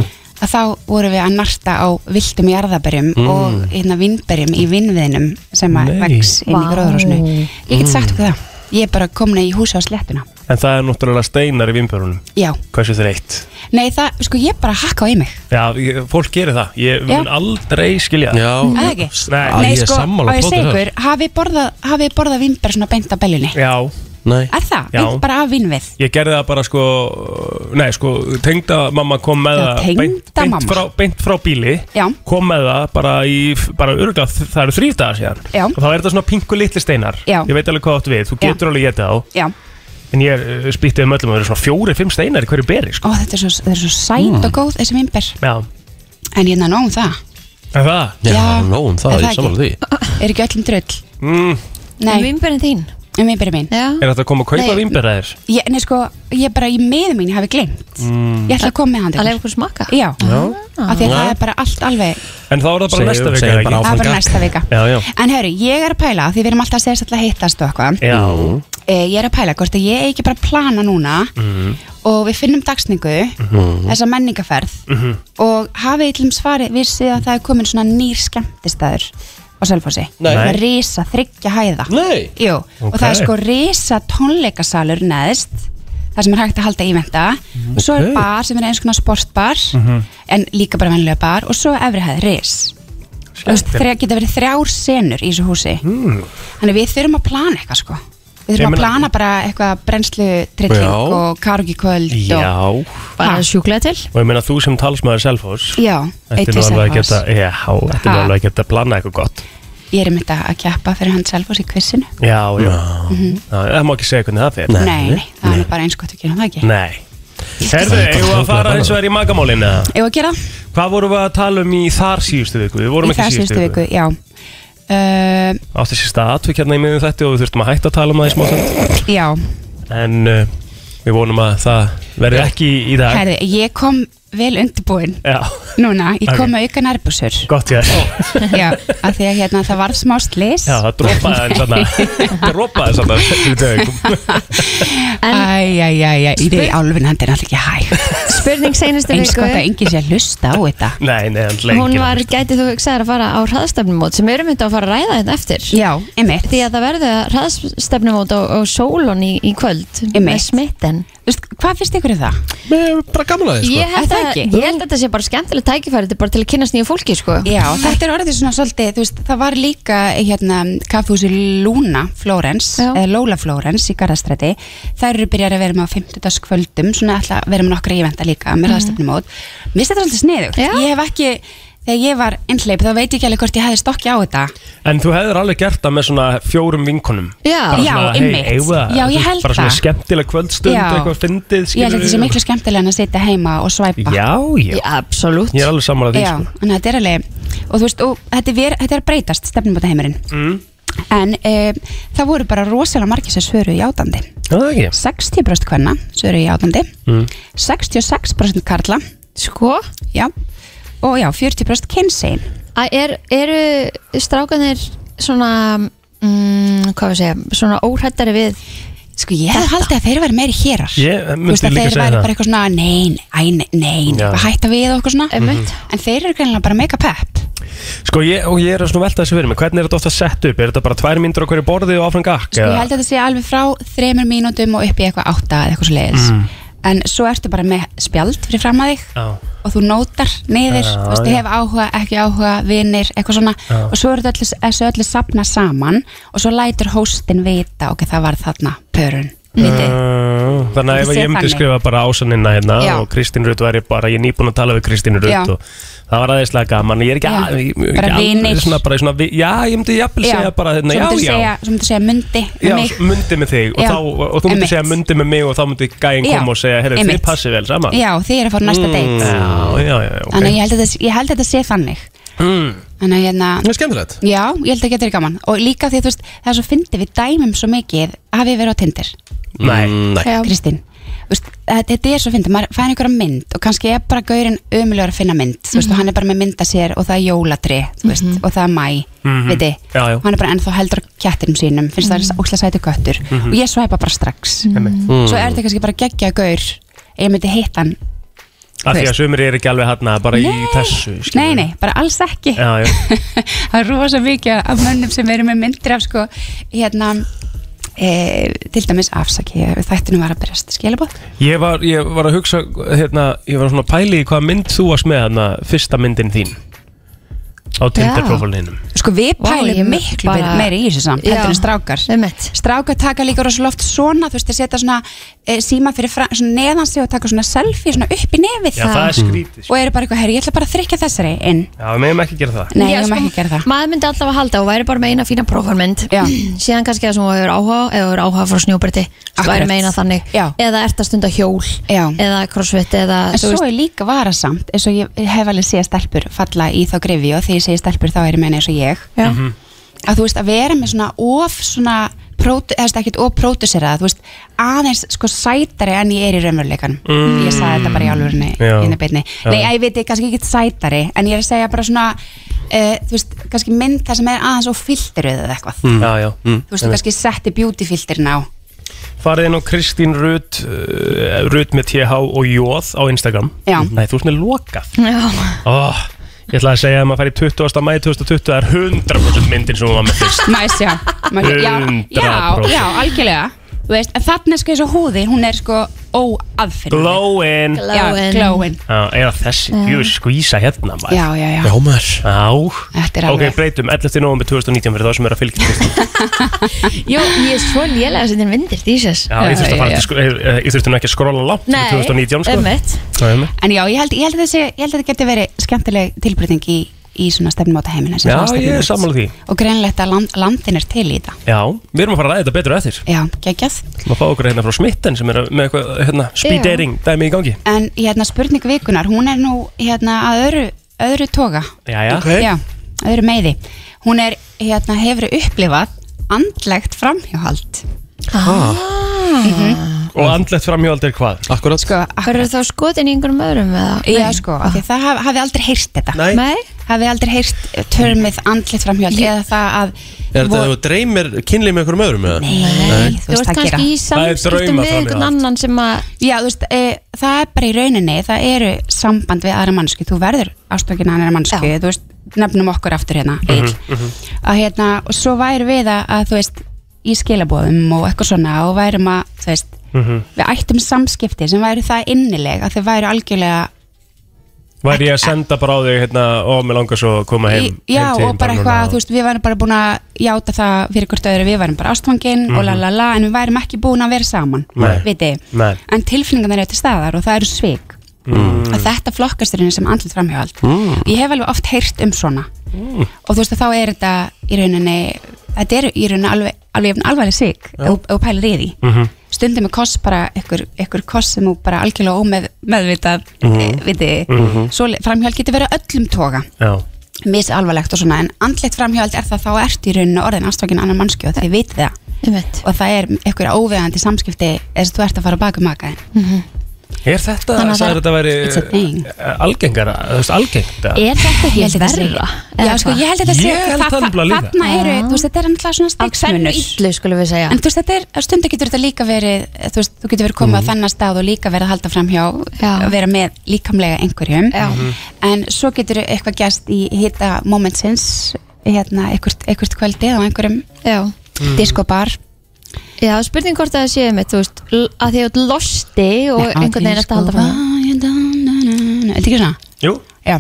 þá vorum við að narta á viltum jarðaberjum
Mm.
og hérna vinnberjum í vinnviðinum sem að
Nei.
vex inn í
Vá.
gróðurhúsinu Ég get sagt
Mm.
ykkur það, ég er bara komin í húsi á slettuna
En það er náttúrulega steinar í vimbörunum
Já,
Hversu þreytt
nei það, sko ég bara hakka á í mig
Já, ég, fólk gerir það, ég
Já.
mun aldrei skilja
Já.
Það ekki?
Nei,
Nei, sko, á ég segi ykkur, hafið borðað, hafið borðað vinnber svona beint af beljunni?
Já
Nei
Er það?
Já.
Beint bara af vinnvið?
Ég gerði það bara sko Nei sko, tengdamamma kom með
Já,
það beint,
tengdamamma.
beint, frá, beint frá bíli
Já.
Kom með það bara í bara örgulega, það eru þrýr dagar síðan
Já.
Og þá er þetta svona pingu litli steinar
Já.
Ég veit alveg hvað áttu við, þú
Já.
getur alveg getið á
Já,
En ég uh, spýtti um öllum að það eru svona fjóri, fimm steinar í hverju beri
ó
sko
þetta er svo, þetta er svo sæt
Mm.
og góð þessi vinnber
Já,
En hérna nóg um það,
er það?
Já, Já,
nóg um það,
er
ég
það
sammála því.
er ekki öllum drull
mm.
Nei,
Um vimberinn þín
um vinnberið mín
Já
Er þetta að koma að kaupa
Nei.
vimberæðir?
ég, Nei sko, ég bara í miður mín hafi glemt
Mm.
Ég ætla að koma með hann til
Að
ykkur.
lefa ykkur smaka
Já,
Já.
af því að
Já.
það er bara allt alveg
En þá er það bara
Segjum-
næsta vika
segjum bara
eða ekki?
Það er bara næsta vika
Já, já
En hörru, ég er að pæla, því við erum alltaf að segja alltaf að hittast og eitthvað
Já
e, Ég er að pæla, hvort að ég eigi ekki bara að plana núna
Mm-hmm.
mm.
og við finnum dagsningu
Mhm.
þessa menningaferð
Mhm.
og hafið illum svari vissið að það er komin svona nýr skemmtistæður á Selfossi
Nei.
Svona risa þryggja hæða
Nei.
Jú, og
Ok.
það er sko risa tónleikasalur neðst það sem er hægt að halda ívenda og svo er
Ok.
bar sem er eins konar sportbar
Mhm.
en líka bara venlega bar og svo er efri hæð ris Þú veist, þrjá, geta verið þrjár senur í þessu húsi
mm.
Þannig við þurfum að plana eitthvað sko Við
Ég
þurfum að
meina-
plana bara eitthvað brennslu trilling
Já.
og kargi kvöld og
Já
bara
sjúklega til
Og ég meina þú sem talsmaður Selfoss
Já,
Þetta er nú
Eitri Selfoss.
alveg að geta, já, þetta er nú
Ha.
alveg að geta að plana eitthvað gott
Ég er um þetta að keppa fyrir hann Selfoss í kvissinu
Já, já,
Mhm.
Já, það má ekki segja hvernig það fyrir
Nei, nei, það er nú bara eins gott við gerum það ekki
Nei Herðu,
Það er
eigum við að fara eins og er í magamálinu eða?
Ef að gera það?
Hvað vorum við að tala um í þar síðustu viku? Við vorum
Í
ekki
það síðustu viku, já uh,
Átti sér statvik hérna í miðum þetta og við þurftum að hætta að tala um það í smá stund
Já,
En uh, við vonum að það verði ekki í dag
herði, ég kom vel undirbúin
Já.
núna, ég kom
Ok.
með auka nærbúsur
Gott ég
Já, af því að hérna það varð smá slis
Já, það dropaði aðeins þarna Dropaði þarna fyrir dögum.
Æjæjæjæ, ég er í álfin, hann er alltaf ekki hægt
Spurning seinustu
Eins
viku
gott að enginn sé að hlusta á þetta
Nei, nei, hann
Hún var, gæti þú hugsaðar að fara á hraðstefnumót sem erum þetta að fara að ræða þetta eftir
Já, einmitt
Því að það verður hraðstefnumót á, á sólun í, í kvöld með smitten
Vist, Hvað finnst ykkur um það?
Bara gaman að sko.
Ég held
það
að,
ekki
ég held að þetta sé bara skemmtileg tækifæri þetta er bara til að kynast nýju fólki sko.
Já, þetta er orðið svona svolítið, þú veist, það var líka hérna kaffhúsi Luna Flórens, eða Lóla Flórens í Garðastræti, þær eru byrjar að vera með á 50. kvöldum, svona alltaf vera með nokkra ívenda líka, með
Mhm.
raðstefnumót Mér finnst þetta svolítið sniðugt, ég hef ekki þegar ég var einhleip, þá veit ég ekki alveg hvort ég hefði stokki á þetta
En þú hefðir alveg gert það með svona fjórum vinkunum
Já.
Bara
Já,
svona,
einmitt.
hey, eigum við það?
Já, ég
Þú veist,
held
Bara svona
það.
skemmtileg kvöldstund,
Já.
eitthvað fyndið
Ég held að þetta sé miklu skemmtilega en að sitja heima og svæpa
Já, já
Absolutt
Ég er alveg sammála því
Já,
sko.
þannig að þetta er alveg og þú veist, og þetta er, ver- þetta er að breytast stefnumóta heimurinn
mm.
en e, það voru bara rosalega margir sem svöru játandi
Það ekki
60% hvenna svöru játandi
Mm.
66% karla
Sko?
Já, og já, 40% kynsegin
Æ, er, Eru strákanir svona mm, hvað við segja, svona óhrættari við
Sko ég hefði haldið að þeir væri meiri hérar
Ég eh,
Þú veist
myndi
að
líka
þeir
segja
væri
það.
bara eitthvað svona nein, æ, nei, nein,
Já. Mhm.
eitthvað hætta við og eitthvað svona
Einmitt.
en þeir eru greinilega bara mega pepp
Sko ég, og ég er að svona velta þessu fyrir mig Hvernig er þetta ofta sett upp? Er þetta bara tvær myndur á hverju borði og áfram gakk?
Sko ég held að þetta sé alveg frá þremur mínútum og upp í eitthvað átta eða eitthvað svo leiðis
Mm.
en svo ertu bara með spjald fyrir fram að þig
Já.
og þú nótar niður,
Já,
þú veist,
já.
ég hef áhuga, ekki áhuga, vinir, eitthvað svona
Já.
og svo eru þetta öllu, þessu öllu sapna saman og svo lætur hóstin vita ok, það var þarna pörun vitið.
Uh, þannig
Þetta
að ef
sé
ég myndi
þannig.
skrifa bara ásanina hérna
Já.
og Kristín Rutt væri bara, ég er nýbúin að tala við
Já.
Kristín Rutt og það var aðeinslega gaman ég er ekki,
Já.
að, ég,
Bara
ekki
vinir.
svona, bara, í svona, vi- já, ég myndi jafnvel segja bara hérna, já,
svo myndir
já,
segja, svo myndir segja myndi um
já,
mig.
myndi með þig og,
Já.
þá, og þú myndi
Einmitt.
segja myndi með mig og þá myndi gæinn
Já.
koma og segja, herri, þið
Einmitt.
passið vel saman Mm.
já, þið eru að fara á næsta date
já, já, já, ok
þannig að ég held að þetta- ég held að þetta sé þannig
mm.
þannig að hérna
Það er skemmtilegt
Já, ég held að geta þér gaman og líka því að þú veist, það er svo fyndið við dæmum svo mikið hafið verið á Tinder,
Nei,
Mm.
Nei.
Kristín Þú veist, þetta- þetta er svo fyndið, maður fær einhverja mynd og kannski er bara gaurinn ömulegur að finna mynd þú veist, og hann er bara með mynda sér og það er jólatri þú veist, og það er mæ,
Mhm.
viti
Já, já.
og hann er bara ennþá heldur á kjattinum sínum finnst það er ósla sætu göttur
Mhm.
og ég svæpa bara strax
Einmitt. Mhm.
svo er þetta kannski bara geggja gaur ég myndi hitt hann,
af því að sumir eru ekki alveg hérna bara í þessu skilur.
nei nei, bara alls ekki
já, já.
það er rosa mikið af mönnum sem eru með myndir af sko, hérna e, til dæmis afsaki þættinu var að byrjast skilabóð
Ég var, ég var að hugsa hérna, ég var svona að pæli í hvaða mynd þú varst með hérna, fyrsta myndin þín á
Já.
Tinder-profilninum
sko við
Vá,
pælum
ég
miklu
bara-
meiri í þessu samt
Já,
heldur en strákar strákar taka líka rosa loft svona þú veist þeir setja svona e, síma fyrir fra, svona neðan sig og taka svona selfie svona upp í nefið
Já, það er skrítið, sko.
og eru bara eitthvað, herri ég ætla bara að þrykja þessari inn
Já, við meðum ekki gera það
Nei, ég
sko,
má ekki gera það.
Maður myndi alltaf að halda og væri bara með eina fína prófarmynd síðan kannski það sem þú hefur áhuga eða þú hefur áhuga frá snjóbriti þú væri
Akkurat.
með eina þannig Já. eða ert að stunda hjól
Já.
eða crossfit eða
En svo er líka varasamt, eins og ég hef alveg séð stelpur falla í þá grifi og þegar ég segi stelpur þá er ég meina eins og ég
Mhm.
að þú veist að vera með svona of svona pródu, eða ekkert of pródusera þú veist aðeins sko sætari en ég er í raunveruleikanum
Mm.
ég sagði þetta bara í álurinni
Já.
í beinni
Já.
nei að ég veit ég kannski ekki sætari en ég er að segja bara svona uh, þú veist kannski mynd það sem er aðeins og filteruð eða eitthvað
mm. Já, já mm.
þú veist þú kannski setti beauty filterin á
Farið inn á Kristín Rut uh, Rut með TH og Jóð á Instagram
Já.
Nei, þú ert með lokað
Já.
oh, Ég ætla að segja að maður fær í 20. mæði 2020 það er 100% myndin sem hún var með fyrst
Mæs, já, mæs, já, já,
100%.
já, algjörlega Þú veist, en þarna er sko eins og húðin, hún er sko óaðfinnandi
Glowin
Já, glowin
Já, eða þessi,
Já.
jú, skvísa hérna maður
Já, já, já.
maður
Þetta
Já
er
Ok,
alveg-
breytum 11. november 2019 fyrir þá sem er að fylgja Kristín
Jú, ég er svo lélega sem þinn vindir, Jesus
Já, ég þurfti að fara til sko- eh, eh, ég þurfti nú ekki að skrolla langt
Nei,
til 2019 sko.
einmitt.
Nei, einmitt.
En já, ég held, ég held að þessi, ég held að þetta geti verið skemmtileg tilbreyting í, í svona stefnumóta heimina
Já, ég er sammála því
Og greinlegt að land, landin er til í þetta
Já, við erum að fara að ræða þetta betur eftir
Já, geggjað
Má fá okkur hérna frá smitten sem er að- með eitthvað hérna, speed
Já.
dating dæmi í gangi
En hérna spurning vikunar, hún er nú hérna að öðru, öðru toga
Jæja. Ok.
Já, öðru meiði Hún er, hérna, hefur upplifað andlegt framhjóhald
Ah.
Mhm.
Og andlegt framhjóld er hvað?
Akkurat
sko,
Verður þá skotin í einhverjum öðrum eða? Ah.
Já, sko, af því það haf, hafi aldrei heyrt þetta
Nei. Nei.
Hafi aldrei heyrt törmið andlit framhjóld eða það að
Er þetta að þú dreymir kynlið með einhverjum öðrum? eða? Nei
þú veist
ert
það gera
kannski í samskiptum við einhvern annan sem að
Já, þú veist, e, það er bara í rauninni það eru samband við aðra mannsku þú verður ástökin að aðra mannsku þú veist, nefnum okkur aftur hérna
Mhm,
mm
Mhm.
að hérna, og svo væri við að, að þú veist, í skilabóðum og eitthvað svona og værum að, þú veist
Mhm.
við ættum samskipti sem væri það innileg að þau væri algjörlega
Væri ég að senda bara á þig hérna og mér langar svo að koma
í,
heim
já,
heim til
og
þín
bara
núna
eitthvað, þú veist, við værum bara búin að játa það fyrir hvort öðru, við værum bara ástfangin
Mhm.
og la la la, en við værum ekki búin að vera saman
Nei.
viti,
Nei.
en tilfinningarnar eru til staðar og það eru svik
Mm.
og þetta flokkasturinn sem andlut framhjóðald
Mm.
ég hef alveg oft heyrt um svona
Mm.
og þú veist að þá er þetta í rauninni þetta eru í rauninni alveg, alveg, alveg alvarleg sig
Já.
ef ef þú pælir í því
Mhm.
stundum er kost bara ykkur, ykkur kost sem þú bara algjörlega ómeð meðvitað mm
Mhm.
-hmm. viti, mm
Mhm.
svo framhjóðald getur verið á öllum toga
Já,
mis alvarlegt og svona en andlit framhjóðald er það þá ert í rauninni orðin ástfangin annar mannsku og þið vitið það og það er ykkur óvegandi samskipti eða þú ert að fara bakum makaðin
mm -hmm.
Er þetta,
Þannig að
sagður þetta væri
it's a thing.
eh, algengara, þú veist, algengt eða?
Er þetta
Ég held
ekki
þetta sé-
verra?
eða
Já, sko,
hvað?
ég held þetta sé
Ég held
þa-
það
þa-
nefnilega líka.
Þarna eru,
Já.
þú veist, þetta er náttúrulega svona stegsmunur
illu skulum við segja
En þú veist, þetta er, að stundu getur þetta líka verið Þú veist, þú getur verið komið
Mhm.
á þennan stað og líka verið að halda fram hjá Vera með líkamlega einhverjum
Já.
Mhm.
En svo getur eitthvað gæst í hitta momentsins Hérna, eitthvað, eitthvað kvöldið á einhverjum
Já.
Mm.
Mhm. diskobar
Já, spurning hvort að það séu mitt, þú veist l- að því að þú losti og einhvern veginn eftir að halda fram
Þetta ekki svona?
Jú,
Já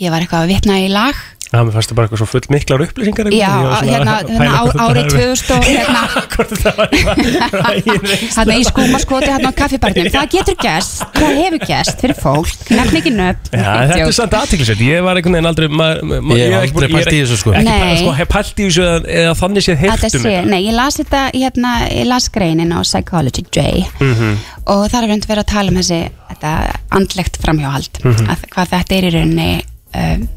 Ég var eitthvað að vitna í lag
það mér fannst það bara eitthvað svo full miklar upplýsingar einhvern
Já,
veginn. Ég var svona
hérna,
að
hérna
pæla
á,
hvort þetta
árið
hafi-
2000 og hérna Þannig í skúmaskoti hérna á kaffibarnum Það getur gæst, það hefur gæst fyrir fólk Nefn ekki nöfn
Já, þetta er
Djók.
samt aðtiklisett, ég var einhvern veginn aldrei maður- maður-
Ég hef
ekki-
aldrei pælt í þessu, sko.
Ekki
Nei.
pælt, sko, hef pælt í þessu eða, eða þannig séð heyrt
Þetta
um
sé, nei, ég las þetta hérna, ég las greinin á Psychology J
Mhm.
og þar er reynd verið að tala um þessi þetta andlegt framhjáhald
Mhm.
að hvað þetta er í rauninni um,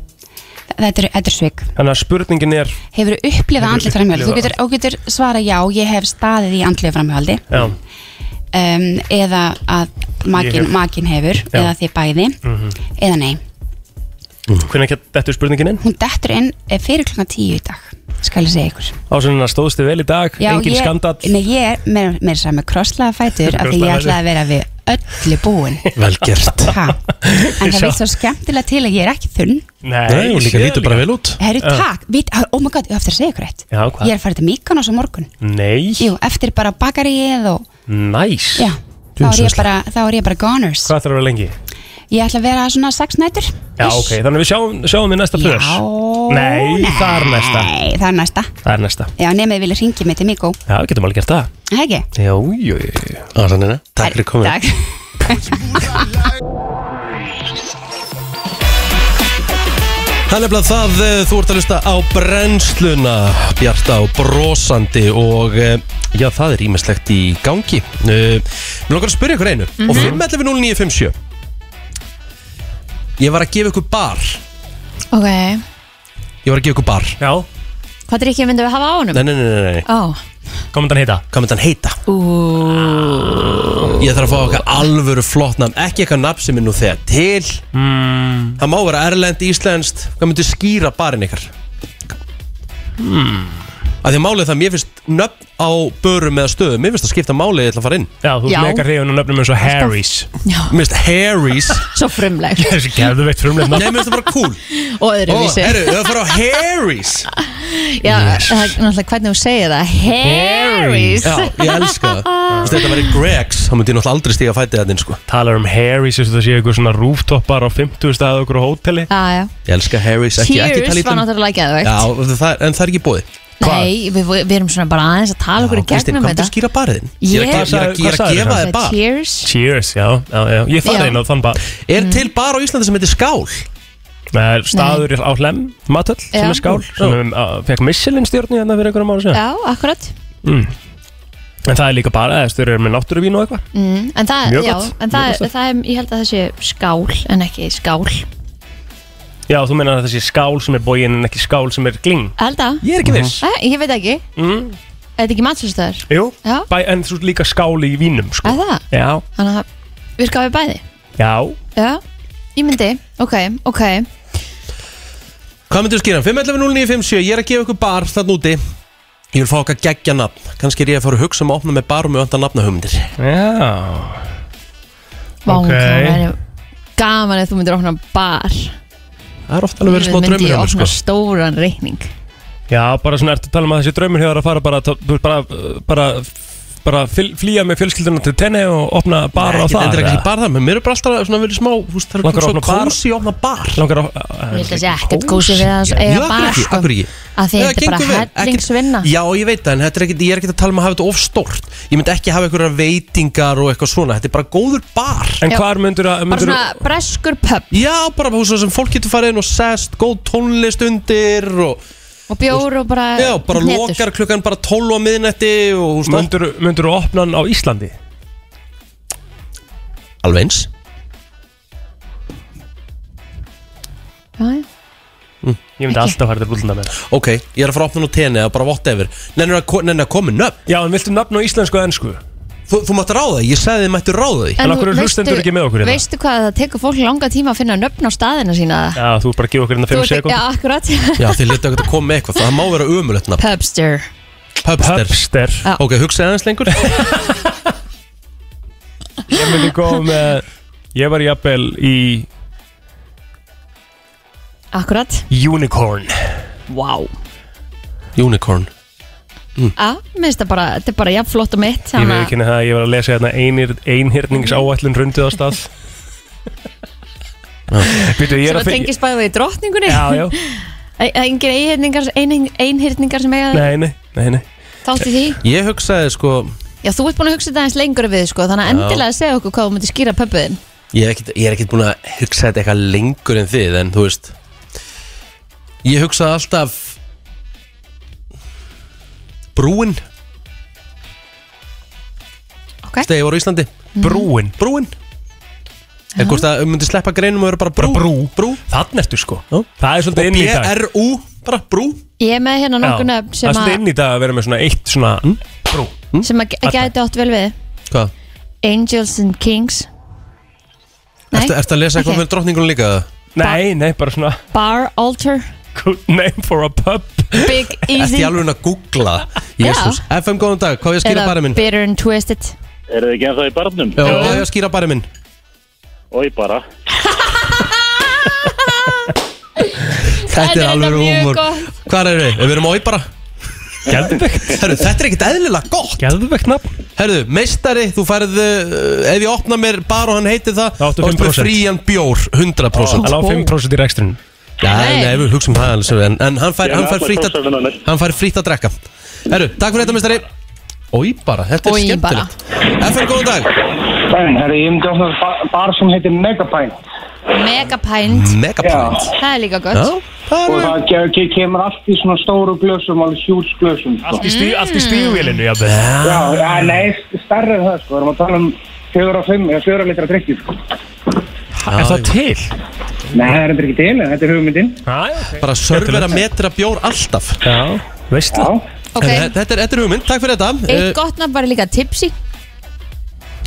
þetta er, þetta er svik
Þannig að spurningin er
Hefur upplifað
Hefurðu
andlegt framhjáhald? Þú
upplifað
getur, þú getur svara já, ég hef staðið í andlegu framhjáhaldi
Já,
um, eða að makin,
Ég hef-
makin hefur
Já.
eða þið bæði
Mhm.
eða nei,
hvernig get- dettur spurningin inn?
hún dettur inn eh, fyrir klokkan tíu í dag, skal ég segja ykkur
Ásynina stóðstu vel í dag, engin
ég,
skandall
Nei, ég er meira meira að segja með krosslaða fætur af því ég
Krosslaða
ætlaði að vera við öllu búin
Vel gert
ha, En það
Sjá.
veit svo skemmtilega til að ég er ekki þunn
Nei, hún líka lítur bara vel út
Herru, takk, vít, oh my god, ég á eftir að segja ykkur eitt
Já,
Ég
hvað?
er að fara til Mykonos á morgun
Nei,
Jú, eftir bara bakaríið og
næs
Já, þá er ég bara, þá er ég bara goners
Hvað þarf að vera lengi?
Ég ætla að vera svona sex nætur
Já, ok, þannig að við sjáum, sjáum við næsta plöss
Já,
Nei, það er næsta
Nei, það er næsta
Það er næsta
Já, nefnir vilja ringi mig til Myko
Já, við getum alveg gert það
Hegi,
Jú, jú, jú Ásynina, takk fyrir komin
takk
Það er nefnilega það, eh, þú ert að lusta á brennsluna, bjarta og brosandi og eh, já, það er ímestlegt í gangi. Eh, Mér langar að spyrja ykkur einu og 5.11.0957 Ég var að gefa ykkur bar
Ok,
Ég var að gefa ykkur bar
Já
hvað er ekki myndum við hafa á honum?
Nei, nei, nei, nei, nei.
Ó,
Hvað myndi hann heita?
Hvað myndi hann heita? Ég þarf að fá okkar alvöru flott nafn Ekki eitthvað nafn sem er nú þegar til
mm.
Það má vera erlend, íslenskt Hvað myndi skýra barinn ykkar?
mm.
Að því að málið er það, mér finnst nöfn á börum eða stöðum, mér finnst að skipta málið ég ætla að fara inn
Já, þú
ert Já. mega
hrifin og nöfnum eins og Harry's
Mér finnst Harry's
svo frumleg
Þessi gerðu veitt frumlega
Nei, mér finnst það bara cool
Og öðruvísi
Ó, herru, það fara á Harry's
Já, það er náttúrulega hvernig þú segir það Harry's
Já, ég elska það Þú veist, þetta væri Greg's, þá myndi ég náttúrulega aldrei stíga að fæti þetta inn, sko
Talar um Harry's, þessu það séu ykkur svona rooftopar á 50 staðu okkur á hóteli
Já, já.
Ég elska Harry's, ekki, ekki
Cheers
tala í
var náttúrulega geðveikt
Já, það, en það er ekki búið
Nei, við, við, við erum svona bara aðeins að tala okkur í
Kristín,
gegnum
hvað myndir
þetta
skýra barðin? Ég er að- ég er að- ég er að gefa þér bar
Cheers
Cheers, já, já, já Ég
Já.
fara inn á þann bara
Er til bar á Íslandi sem heitir Skál?
Með staður á hlem, matöll, sem
Já.
er skál sem fekk Michelin stjórni hérna fyrir einhverjum
um-
ára síðan
Já, akkurat
mm. En það er líka bara eða stjórnir með náttúruvín og eitthvað
mm, En það,
Mjög
já,
gott,
en það,
mjög gott.
er, það er, ég held að það sé skál en ekki skál Ég
Já, þú meinar að þessi skál sem er bógin en ekki skál sem er gling
held að
Ég er ekki viss.
Æ, Ég veit ekki
mm.
þetta ekki matsalstöður?
Jú,
Já.
bæ, en þú ert líka skáli í vínum sko.
Er það?
Já,
Þannig að virka við bæði?
já
Já, ég myndi, ok, ok
Hvað myndir þú skýra? 5.11.09.57 Ég er að gefa ykkur bar þann úti Ég vil fá okkar geggja nafn Kannski er ég að fara að hugsa um að opna með bar og með vantar nafna hugmyndir
Já
Vá,
Ok.
hvað væri gaman ef þú myndir opna bar
Það er ofta alveg verið smá
Myndi
draumur um
ég
hjá mér,
opna
sko.
stóran reikning
Já, bara svona ertu að tala um að þessi draumur hefur að fara bara, bara, bara, bara, bara fyl- flýja með fjölskyldunum til tenni og opna bar á
Ekki
það
endur ekki í bar það Men mér er bara alltaf svona verið smá húst, Það er
Langar að
svo
opna bar?
kósi að opna bar
Langar að
Mér finnst þessi ekkert kósi við að
Jú,
eiga
af hverju
bar
ekki,
sko
af hverju ekki?
Að því þetta
Nei,
er
gengur
bara
vel, ekkert-
hellingsvinna
Já, ég veit það, en þetta er ekkert, ég er ekkert að tala um að hafa þetta of stórt Ég myndi ekki hafa einhverjar veitingar og eitthvað svona Þetta er bara góður bar
En Já. hvar
myndur að
Bara svona breskur pub
Já, bara húsa sem fólk getur farið inn og sest Góð tónlist undir og
og bjór og bara
Já, bara
hnetur.
lokar klukkan bara 12 á miðnetti og húst
Myndur þú opna hann á Íslandi?
Alveg eins
Já, já.
Ég myndi alltaf fara til búlunda með það
Mm. Ok, ég er að fara að opna nú tenni eða bara whatever Nennir að, ko- nennir að koma með nöfn
Já, en viltu nafn á íslensku og ennsku?
Þú, þú mátt ráða því, ég sagði þið mættu ráða því
En þú- veistu-
hérna?
hérna?
Veistu hvað, það tekur fólk langa tíma að finna nöfn á staðina sína
Já, þú bara gefa okkur hérna
Þú
5
ert ekki-
sekund
Já, akkurat
Já, þið letu ekkert að koma með eitthvað, það má vera umulett nafn
Pubster
Pubster,
Pubster.
Já.
Ok, hugsaði aðeins lengur
Ég myndi góð með Ég var jafnvel í
Akkurat
Unicorn
Vá
Unicorn
Já, minnst það bara, þetta er bara jafn flott og mitt
Ég
þannig
veit
að-
ekki það að ég var að lesa hérna einir, einhyrningsáætlun runduð á stað Býtu,
sem
ég er
að
að
tengist bæði við drottningunni
Já, já.
E- Engir einhyrningar, ein, einhyrningar sem eiga
Nei, nei, nei, nei
þátti því
Ég hugsaði sko
Já, þú ert búin að hugsa þetta aðeins lengur við sko, þannig að
Já.
endilega segja okkur hvað þú myndir skýra pöppuðin
Ég er ekkert, ég er ekkert búin að hugsa þetta eitthvað lengur en þið En þú veist Ég hugsaði alltaf Brúin
Ok
Þegar ég voru í Íslandi
Brúin
Brúin En hvort að um myndi sleppa greinum og vera bara brú Brú, brú.
Þann ertu sko Það er svolítið
Og
inn í dag
BRU, bara brú
Ég er með hérna nokkur
Já.
nöfn
Það Hm? er
sem,
svolítið
að-
inn í dag að vera með svona eitt svona Brú
sem að gæ- gæti átt vel við
Hm? Hvað?
Angels and Kings Nei.
Ertu ertu að lesa eitthvað
Ok.
með drottningunum líka?
Nei, nei, bara svona
Bar Altar
Good name for a pub
Big
Ertu
Easy
í alveg að googla? Jésús FM, góðan dag, hvað er að skýra
eða
bara minn?
Bitter and Twisted
Er þið ekki ennþá í barnum?
Já, hvað er að skýra bara minn?
Og ég bara
Þetta er alveg
mjög
húmor
gott.
Hvað er við? Við erum á Íbara
Gæðvegt
Herru, þetta er ekkert eðlilega gott
Gæðvegt nafn
Herru, meistari, þú færð uh, Ef ég opna mér bar og hann heitir það Þá
áttu
ertu með
5%.
frían bjór, 100%
Hann á 5% í rekstrin
Já, nei, nei, við hugsaum það alveg sem við- En, en hann, fær,
Ég er
hann, fær
allar
frítt
prófsöfnun
að, hann fær frítt að drekka Herru, takk fyrir þetta, meistari Ói bara, þetta er
Oj, bara.
skemmtilegt FM, góðan dag
Daginn, herri, ég myndi ofna bar, bar sem heitir Megapint
Megapint
Megapint
Það er líka gott
Og það ke ke kemur allt í svona stóru glösum, alveg hjúls glösum sko.
Allt í
Mm.
stíg- allt í
Mm.
stígvélinu, jafnvel.
Já, ja, nei, starri það sko, við erum að tala um 4 og 5 eða 4 litra drikki sko
Er það til?
Nei, það er þetta ekki til, en þetta er hugmyndin
Ah,
Bara sörver að metra bjór alltaf
Já, veist
það
Ok.
Þetta er- þetta er hugmynd, takk fyrir þetta
Eitt
Eh,
gott nafn var líka Tipsy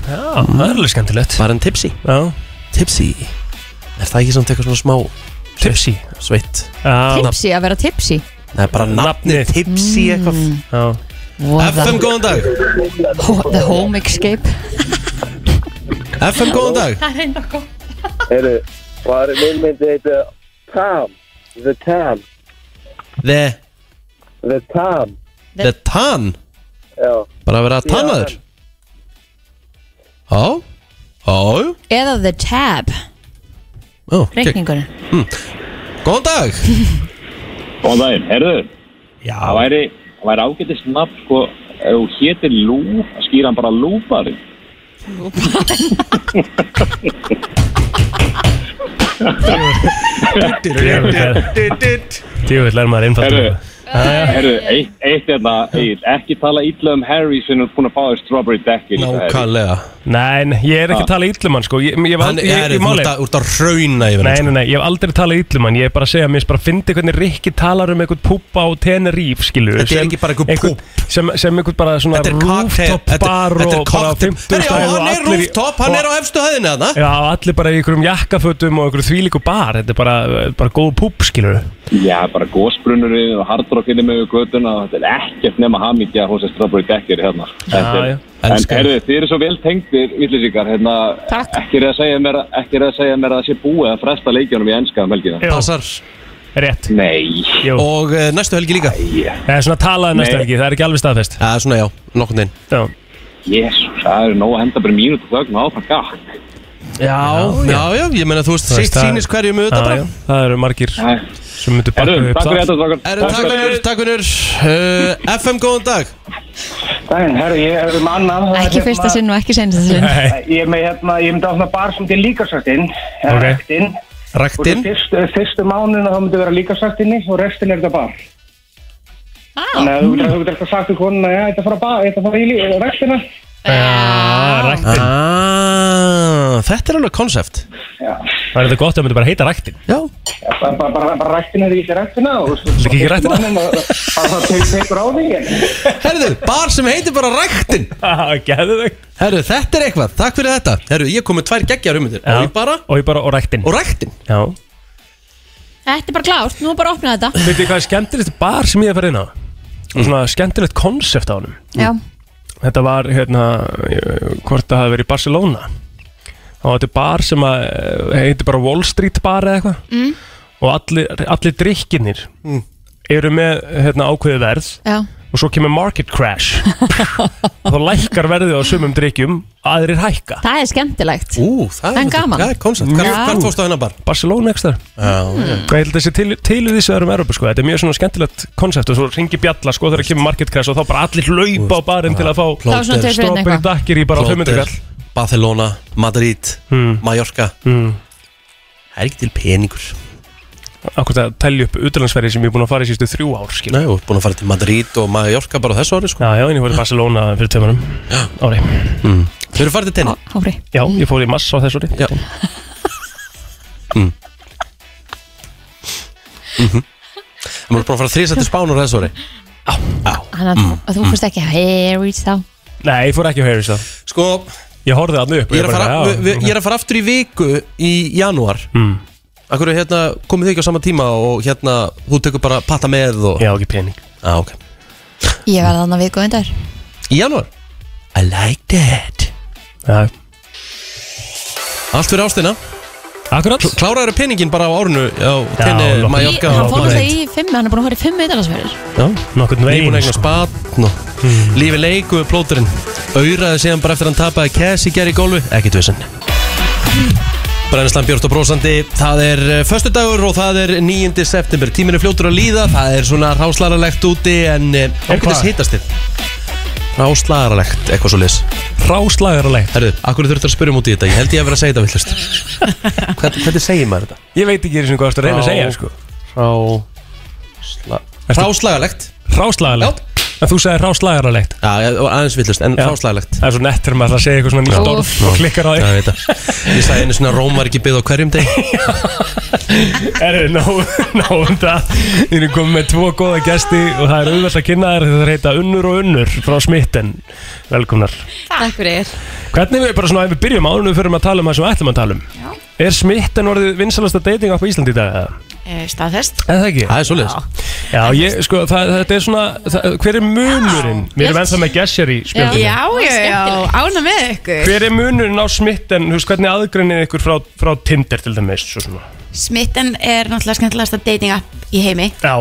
Já, það er alveg skemmtilegt
Var hann tipsi?
Já
Tipsi Er það ekki samt eitthvað svona smá
Tipsi
Sveitt
Tipsy, að vera Tipsy
Nei, bara nafnið tipsi eitthvað
Voða.
FM, góðan dag
Hmm. Ho- The Home Escape
FM, góðan dag
Það er enda gott
Heyrðu, hvað er myndmyndi heiti Tam The Tam
The,
The Tam
the Tan
Já
Bara að vera tannaður Já Já
Eða The Tab
Já,
Reikningur
Góðan dag
Góðan daginn, herðu Já Það væri, það væri ágætist nafn sko Ef hún hétir Lú, það skýra hann bara Lúbari
Djúvill er maður
Herru,
einfaldur
Herru, eitt, eitt er það, ekki tala illa um Harry sem er búin að fá þér strawberry dekkin
Nákvæmlega
Nei, nei, ég er ekki
Ha.
að tala ítlum hann sko Ég, ég,
Hann-
ég,
Herri,
ég,
þú
máli-
ert að- þú ert að rauna yfir hann,
Nei,
sko.
nei, nei, ég hef aldrei talað ítlum hann Ég er bara að segja, mér finnst bara að fyndi hvernig Rikki talar um einhvern púpa á Teneríf skilur
Þetta er ekki bara einhver
púp sem, sem einhvern bara svona
Þetta er cocktail,
rooftop
þetta-
bar
þetta er
og bara
cocktail.
50
Herri, já,
stæð
hann
og
er
allir í-
rooftop, hann
og-
er á efstu hæðinni þarna.
Já, allir bara í einhverjum jakkafötum og einhverjum þvílíku bar Þetta er bara, bara góð púp skilur
Já, bara gósbrunurinn og hardrockinni með göttuna og þetta er ekkert nema hamingja hos þér strawberry dekkir hérna Þetta er-
já.
En
Elskar.
herru, þið eru svo vel tengdir, vitlýsingar, hérna, ekki er að segja mér að- ekki er að segja mér að það sé búið að fresta leikjunum í ennska um helgina.
Passar
Rétt
Nei
Jú.
Og uh, næstu helgi líka
Það er svona talaði næstu
Nei.
helgi, það er ekki alveg staðfest
Það er svona já, nokkun einn
Já,
Jésús, það er nóg að henda bara mínútu þögn og áfram gakk.
já,
já, já, ég meina þú veist,
Það
sitt
veist, það-
sýnis hverjum auðvitað
Já,
bara
já, Það eru margir sem myndu baka
Herru,
upp
takk fyrir þetta, strákar.
Herru, takk vinnur, takk vinnur uh, FM, góðan dag
Daginn, herru, ég er um annað það er
Ekki
hérna-
fyrsta sinn og ekki senasta sinn
Ég er með hérna, ég myndi áfna bar sem til líkasartinn
Ok.
Ræktinn
Ræktinn?
Fyrstu, fyrstu mánuðina þá myndi vera líkasartinni og restin er þetta bar Þannig að þú getur- þú getur eitthvað sagt um konuna, já, þetta fara bar, þetta fara í lí- ræktina
Já, ræktin
ah, Þetta er alveg konsept
Það er þetta gott að það myndi bara heita ræktin
Já
Já, bara, bara, bara, bara ræktina því ekki ræktina og
Líka ekki ræktina?
Það það tekur á því en-
Herðu, bar sem heitir bara ræktin
Gæðu þau
Herðu, þetta er eitthvað, takk fyrir þetta Herðu, ég kom með tvær geggjar um þetta Og ég bara,
og ég bara, og ræktin
Og ræktin
Já
Þetta er bara klárt, nú er bara að opna þetta
Veit þið hvað er skemmtilegt bar sem ég hef farið inn á?
Mm.
Og svona skemmtilegt konsept á honum
Já,
Þetta var, hérna, ég- hvort það hafi verið í Barcelona Og þetta er bar sem að, eh, heitir bara Wall Street bar eða eitthvað
mm.
Og allir, allir drikkinir eru með, hérna, ákveðið verð
já
Og svo kemur market crash Og þá lækkar verðið á sumum drikkjum, aðrir hækka
Það er skemmtilegt
Ú,
er- En gaman. það er concept. Hvar- Já. Hmm. hvar fórstu
á hennar bar?
Barcelona ekki þar
Já
Hvað heldur þessi til, til í þessu öðrum Európa sko Þetta er mjög svona skemmtilegt konsept og svo ringi bjalla sko þegar kemur market crash og þá bara allir laupa á barinn til að fá
var svona tveir fyrir einn
stoppið
eitthvað.
dakkir í bara á 500 kall
Barcelona, Madrid, Mallorca
mm.
Það er ekki til peningur
Akkur það telja upp utlandsferði sem ég er búin að fara í sístu þrjú ár skil
Nei, og búin að fara til Madrid og Mallorca bara á þessu ári sko
Já, já, en ég fór í Barcelona fyrir tömurum ári
mm. Þau eru farið til tenni
Hári
Já, ég fór í massa á þessu ári
Já Þau eru búin að fara þrísa til Spán á þessu ári
Þannig
Mm.
að- að þú fyrst ekki að Harry's þá
Nei, ég fór ekki á Harry's það
Sko
Ég horfði þarna upp og
Ég er að
bara,
fara,
já,
vi, vi, ég er að fara aftur í viku í janúar mm. Akkur hérna, komið þið ekki á sama tíma og hérna, þú tekur bara patta með og...
Já, ekki pening
ah, okay.
Ég var þannig að við góðin dag
Í janúar I like that
Já.
Allt fyrir ástina
Akkurat
Kláraður peningin bara á árinu á
nokkuð.
tenni
Í-
Mallorca
Hann
og-
fór það í fimm, hann er búin að fara í fimm auðvitaðsverður
Já,
nokkurn veginn,
Nýbúin eignar
sko.
spatn og mm. lífi leiku við plóturinn Auðraði síðan bara eftir að hann tapaði Cass í gerð í gólfi, ekkit vissin Brennslan Björn og Brósandi Það er förstu dagur og það er 9. september Tíminn er fljótur að líða, það er svona ráslaralegt úti En eh, ákveðis
hvað?
hittast þið Ráslaralegt, eitthvað svo lis
Ráslagarlegt
Herðu, akkur þurftur að spyrja um út í þetta Ég held ég að vera að segja þetta villust Hvernig, hvernig segir maður þetta?
Ég veit ekki einu sinni hvað þú ert að reyna að segja sko
Rásla...
Ertu-
Ráslagalegt
Ráslagarlegt En þú sagði ráslagarlegt
Já, ég- aðeins villust, en
Já.
ráslagalegt
Það er svo nettur maður að segja eitthvað svona nýtt orð og klikkar á því
Já, ég veit það. Ég sagði einu svona Róm var ekki byggð á hverjum deg
Erðu, náum um það Við erum komið með tvo góða gesti og það er auðvitað að kynna þær þeir heita Unnur og Unnur frá Smitten Velkomnar
Takk fyrir
Hvernig við bara svona, ef við byrjum áður en við förum að tala um það sem við ætlum að tala um Já. Er Smitten orðið vinsalasta dating app á Íslandi í dag? eða?
Eh, Staðfest
Er það ekki?
Það er svoleiðis
Já, ég, sko, það, þetta er svona það, Hver er munurinn? Við erum ennþá með Gessir í
Ah, Já,
spjöldinu
já, já, ána með ykkur
Hver er munurinn á Smitten? Þú veist, hvernig aðgreinir ykkur frá, frá Tinder til dæmis? Svo svona
Smitten er náttúrulega skemmtilegasta dating app í heimi
Já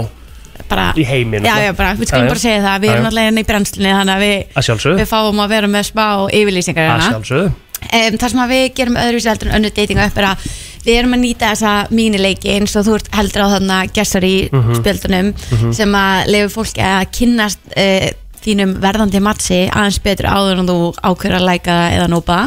bara,
Í sko. heimi
Já, já, bara, við skulum bara segja það Við erum náttúrulega inn í brennslunni Þannig að við,
Að sjálfsögðu.
við fáum að vera með smá yfirlýsingar
Að
hérna.
sjálfsögðu
um, það sem að við gerum öðruvísi heldur en önnu dating app er að við erum að nýta þessa mínileiki eins og þú ert heldur á þarna gessar í
Mhm.
spjöldunum
Mhm.
sem að leifur fólki að kynnast uh, þínum verðandi matsi aðeins betur áður en þú ákveður að læka það eða nópa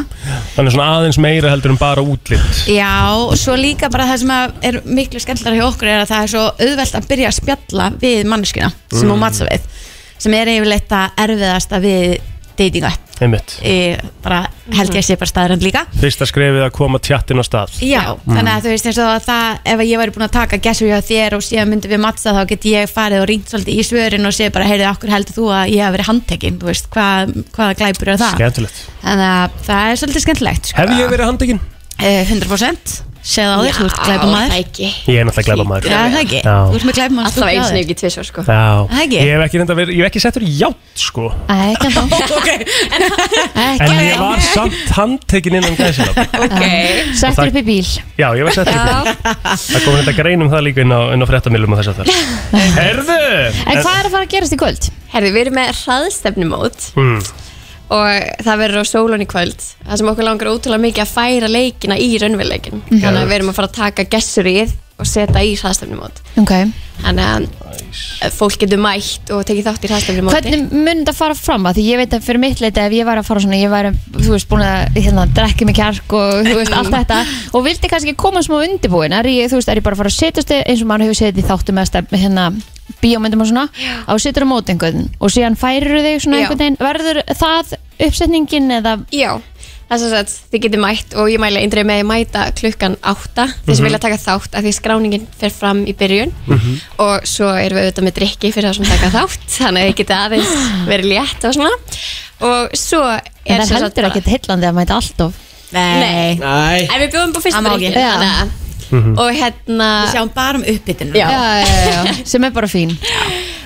Þannig svona aðeins meira heldur en bara útlitt
Já, og svo líka bara það sem að er miklu skemmtilega hjá okkur er að það er svo auðvelt að byrja að spjalla við manneskina sem
Mm.
hún matsa við sem er yfirleitt að erfiðasta við datinga
Einmitt
bara held ég að sé bara staðurinn líka
Fyrsta skrefið að koma tjattinn á stað
Já,
Mm.
þannig að þú veist eins og að það ef að ég væri búin að taka gessu hjá þér og síðan myndum við mattsa þá get ég farið og ringt svolítið í svörin og sé bara, heyrðu, okkur heldur þú að ég hafi verið handtekinn, þú veist, hvað, hvaða glæpur er það?
Skemmtilegt
Þannig að það er svolítið skemmtilegt sko.
Hef ég verið handtekinn?
Eh, 100% Segð á þér, þú ert glæpamaður
það ekki
Ég er náttúrulega glæpa maður
Já, það ekki, þú ert með glæpamaður
Alltaf einu sinni, ekki tvisvar, sko.
Já,
Það ekki?
ég hef ekki, reynda, verið, ég hef ekki settur í játt sko
Æ, ekki
En ég var samt handtekinn innan gæsilab
okay.
Og það-
Settur upp í bíl
Já, ég var settur í bíl. Það kom þetta grein um það líka inn á, inn á fréttamilum og þess að það Herðu
En hvað er að fara að gerast í kvöld?
Herði, við erum með hraðstefnumót
Mm.
og það verður á sólun í kvöld það sem okkur langar ótrúlega mikið að færa leikina í raunveruleikin
Mhm.
þannig að við erum að fara að taka gessurið og setja í hraðstefnumót
Ok
þannig að fólk getur mætt og tekið þátt í hraðstefnumóti
Hvernig mun þetta fara fram að því ég veit að fyrir mitt leita ef ég væri að fara svona, ég væri, þú veist, búin að hérna, drekki mig kjark og þú veist,
Mm.
allt þetta og vildi kannski koma smá undirbúin er ég, þú veist, er ég bara að fara að setjast eins og maður hefur setið í þáttum eða stefn, hérna bíómyndum og svona, á setur á móti einhvern og síðan færir þau svona
Já.
einhvern veginn verður það uppsetningin eða
Já, það er svo að þið getur mætt og ég mæla eindrið með að mæta klukkan 8 þeir sem
Mhm.
vilja taka þátt af því skráningin fer fram í byrjun
Mhm.
og svo erum við auðvitað með drikki fyrir það sem taka þátt þannig að þið getur aðeins verið létt og svona og svo er
en það
sem
er
sagt
heldur
bara-
ekkert heillandi að mæta alltof
Nei.
Nei.
En við bjóðum bara fyrst
Amma á
drikki
ekki. Já.
þannig að-
Mhm.
Og hérna Við sjáum bara um uppbytun
já, já, já, já, sem er bara fín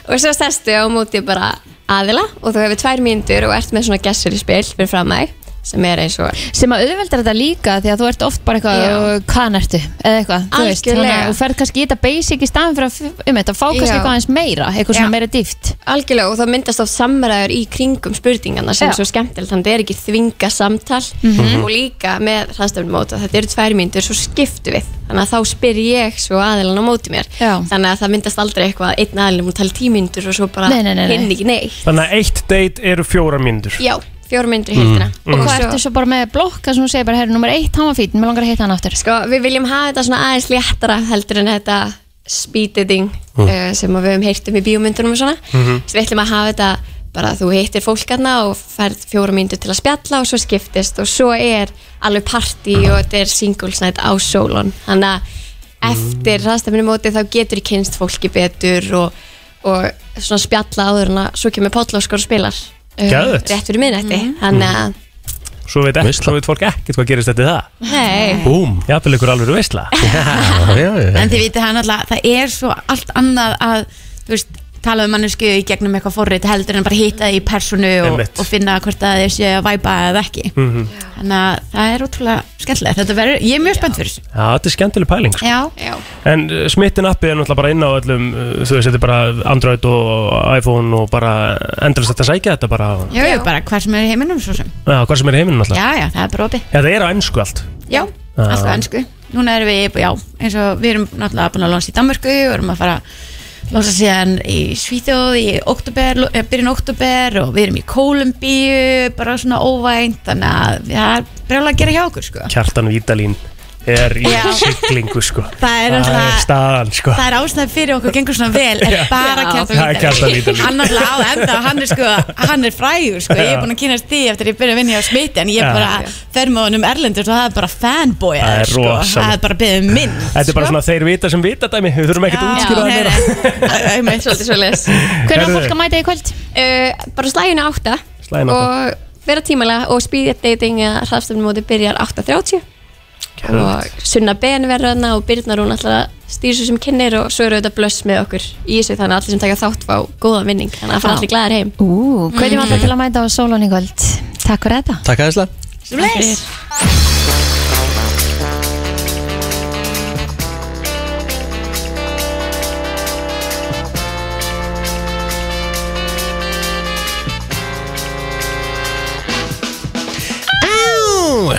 Og svo sestu á móti bara aðila og þú hefur tvær mínútur og ert með svona gessur í spil fyrir fram þig sem er eins og
sem að auðveldar þetta líka því að þú ert oft bara
Já.
eitthvað hvaðan ertu eða eitthvað þú veist,
Algjörlega.
þannig að þú ferð kannski í þetta basic í staðan fyrir að f- um þetta fá kannski
Já.
eitthvað aðeins meira eitthvað
Já.
svona meira dýft
Algjörlega og það myndast oft samræður í kringum spurningarna sem
Já.
er svo skemmtilegt þannig að það er ekki þvinga samtal
Mhm.
og líka með hraðstöfnum móta þetta eru tvær myndur svo skiptu við þannig að þá spyr ég svo aðilan á móti mér
Já.
þannig að það myndast aldrei eitthvað að einn aðilin múið tala tímyndur og svo bara
Nei, nei, nei, nei.
hinn ekki nei
Þannig að eitt date eru fjóra mínútur
Já, fjóra myndur í heldina
Mm, mm.
og hvað ertu svo bara með blokka sem þú segir bara herru, nummer eitt, hann var fín, mér langar að hitta hann aftur
sko, við viljum hafa þetta svona aðeins léttara heldur en þetta speed dating
Mm.
uh, sem að við höfum heyrt um í bíómyndunum og svona
Mhm.
svo við ætlum að hafa þetta bara að þú hittir fólkarna og færð fjóra myndu til að spjalla og svo skiptist og svo er alveg party og þetta er singles night á sólon þannig að eftir rastafinu móti þá getur þú kynst fólki betur og, og svona spjalla áður en að svo kemur pottlóskor og spilar eh,
Geðveikt. Mhm.
rétt fyrir minnætti þannig að
Svo veit, ekki, svo veit fólk ekkert hvað gerist þetta það
hey.
Búm, jafnvel ykkur alveg veistla Já, já,
en þið vitið það náttúrulega, það er svo allt annað að, þú veist, tala um mannesku í gegnum eitthvað forrið heldur en bara hitta þið í personu og,
Einmitt.
og finna hvort að þið séu að væpa eða ekki
Mhm.
þannig að það er ótrúlega skemmtilegt þetta verður, ég er mjög spennt fyrir þessu.
Já, þetta er skemmtileg pæling sko.
já,
En uh, smittin appið er náttúrulega bara inn á öllum uh, Þú veist, þetta er bara Android og iPhone og bara endurist þetta sækja þetta bara Já,
já, já, bara hver sem er í heiminum svo sem
hvað sem er í heiminum náttúrulega
já, já, það er bara opið
Já, það er á ennsku allt
Já,
Já.
alltaf ennsku Núna erum við, já, eins og við erum náttúrulega búin að lónsa í Danmörku og erum að fara að lónsa síðan í Svíþjóð í oktober, lo- eh, byrjun oktober og við erum í Kólumbíu bara svona óvænt þannig að við það er brjálega að gera hjá okkur sko.
Kjartan Vídalín er í
Já.
siglingu sko
Það er náttúrulega-
staðan sko
Það er ástæðan fyrir okkur gengur svona vel er
Það
bara
er
Kjartan
Kjartan
Vídalín
Vídalín.
Hann náttúrulega á enda hann er sko, hann er frægur sko, ég
Já.
er búin að kynast því eftir ég byrja að vinna hjá smiti en ég
Já.
bara fer með honum erlendur og það er bara fanboy
Það er
sko.
rosalegt.
það er bara beðið minn sko.
Þetta er bara svona þeir vita sem vita dæmi Við þurfum ekkert að útskýra það meira
Svolítið svo les
Hvenær á Herðu. fólk að
mæta í kvöld?
bara slæginu átta
Slaginu átta.
Og vera tímalega og speed dating eða hraðstöfnumóti byrjar 8.30
Geðveikt.
Og Sunna Ben verður þarna og Birna Rún alltaf stýr svo sem kynir og svo eru auðvitað blöss með okkur í þessu þannig að allir sem taka þátt fá góða vinning þannig að fara allir glæðir heim
Ú, hvernig var það til að um? mæta á sólun í kvöld Takk fyrir þetta
Takk aðeinslega
Bless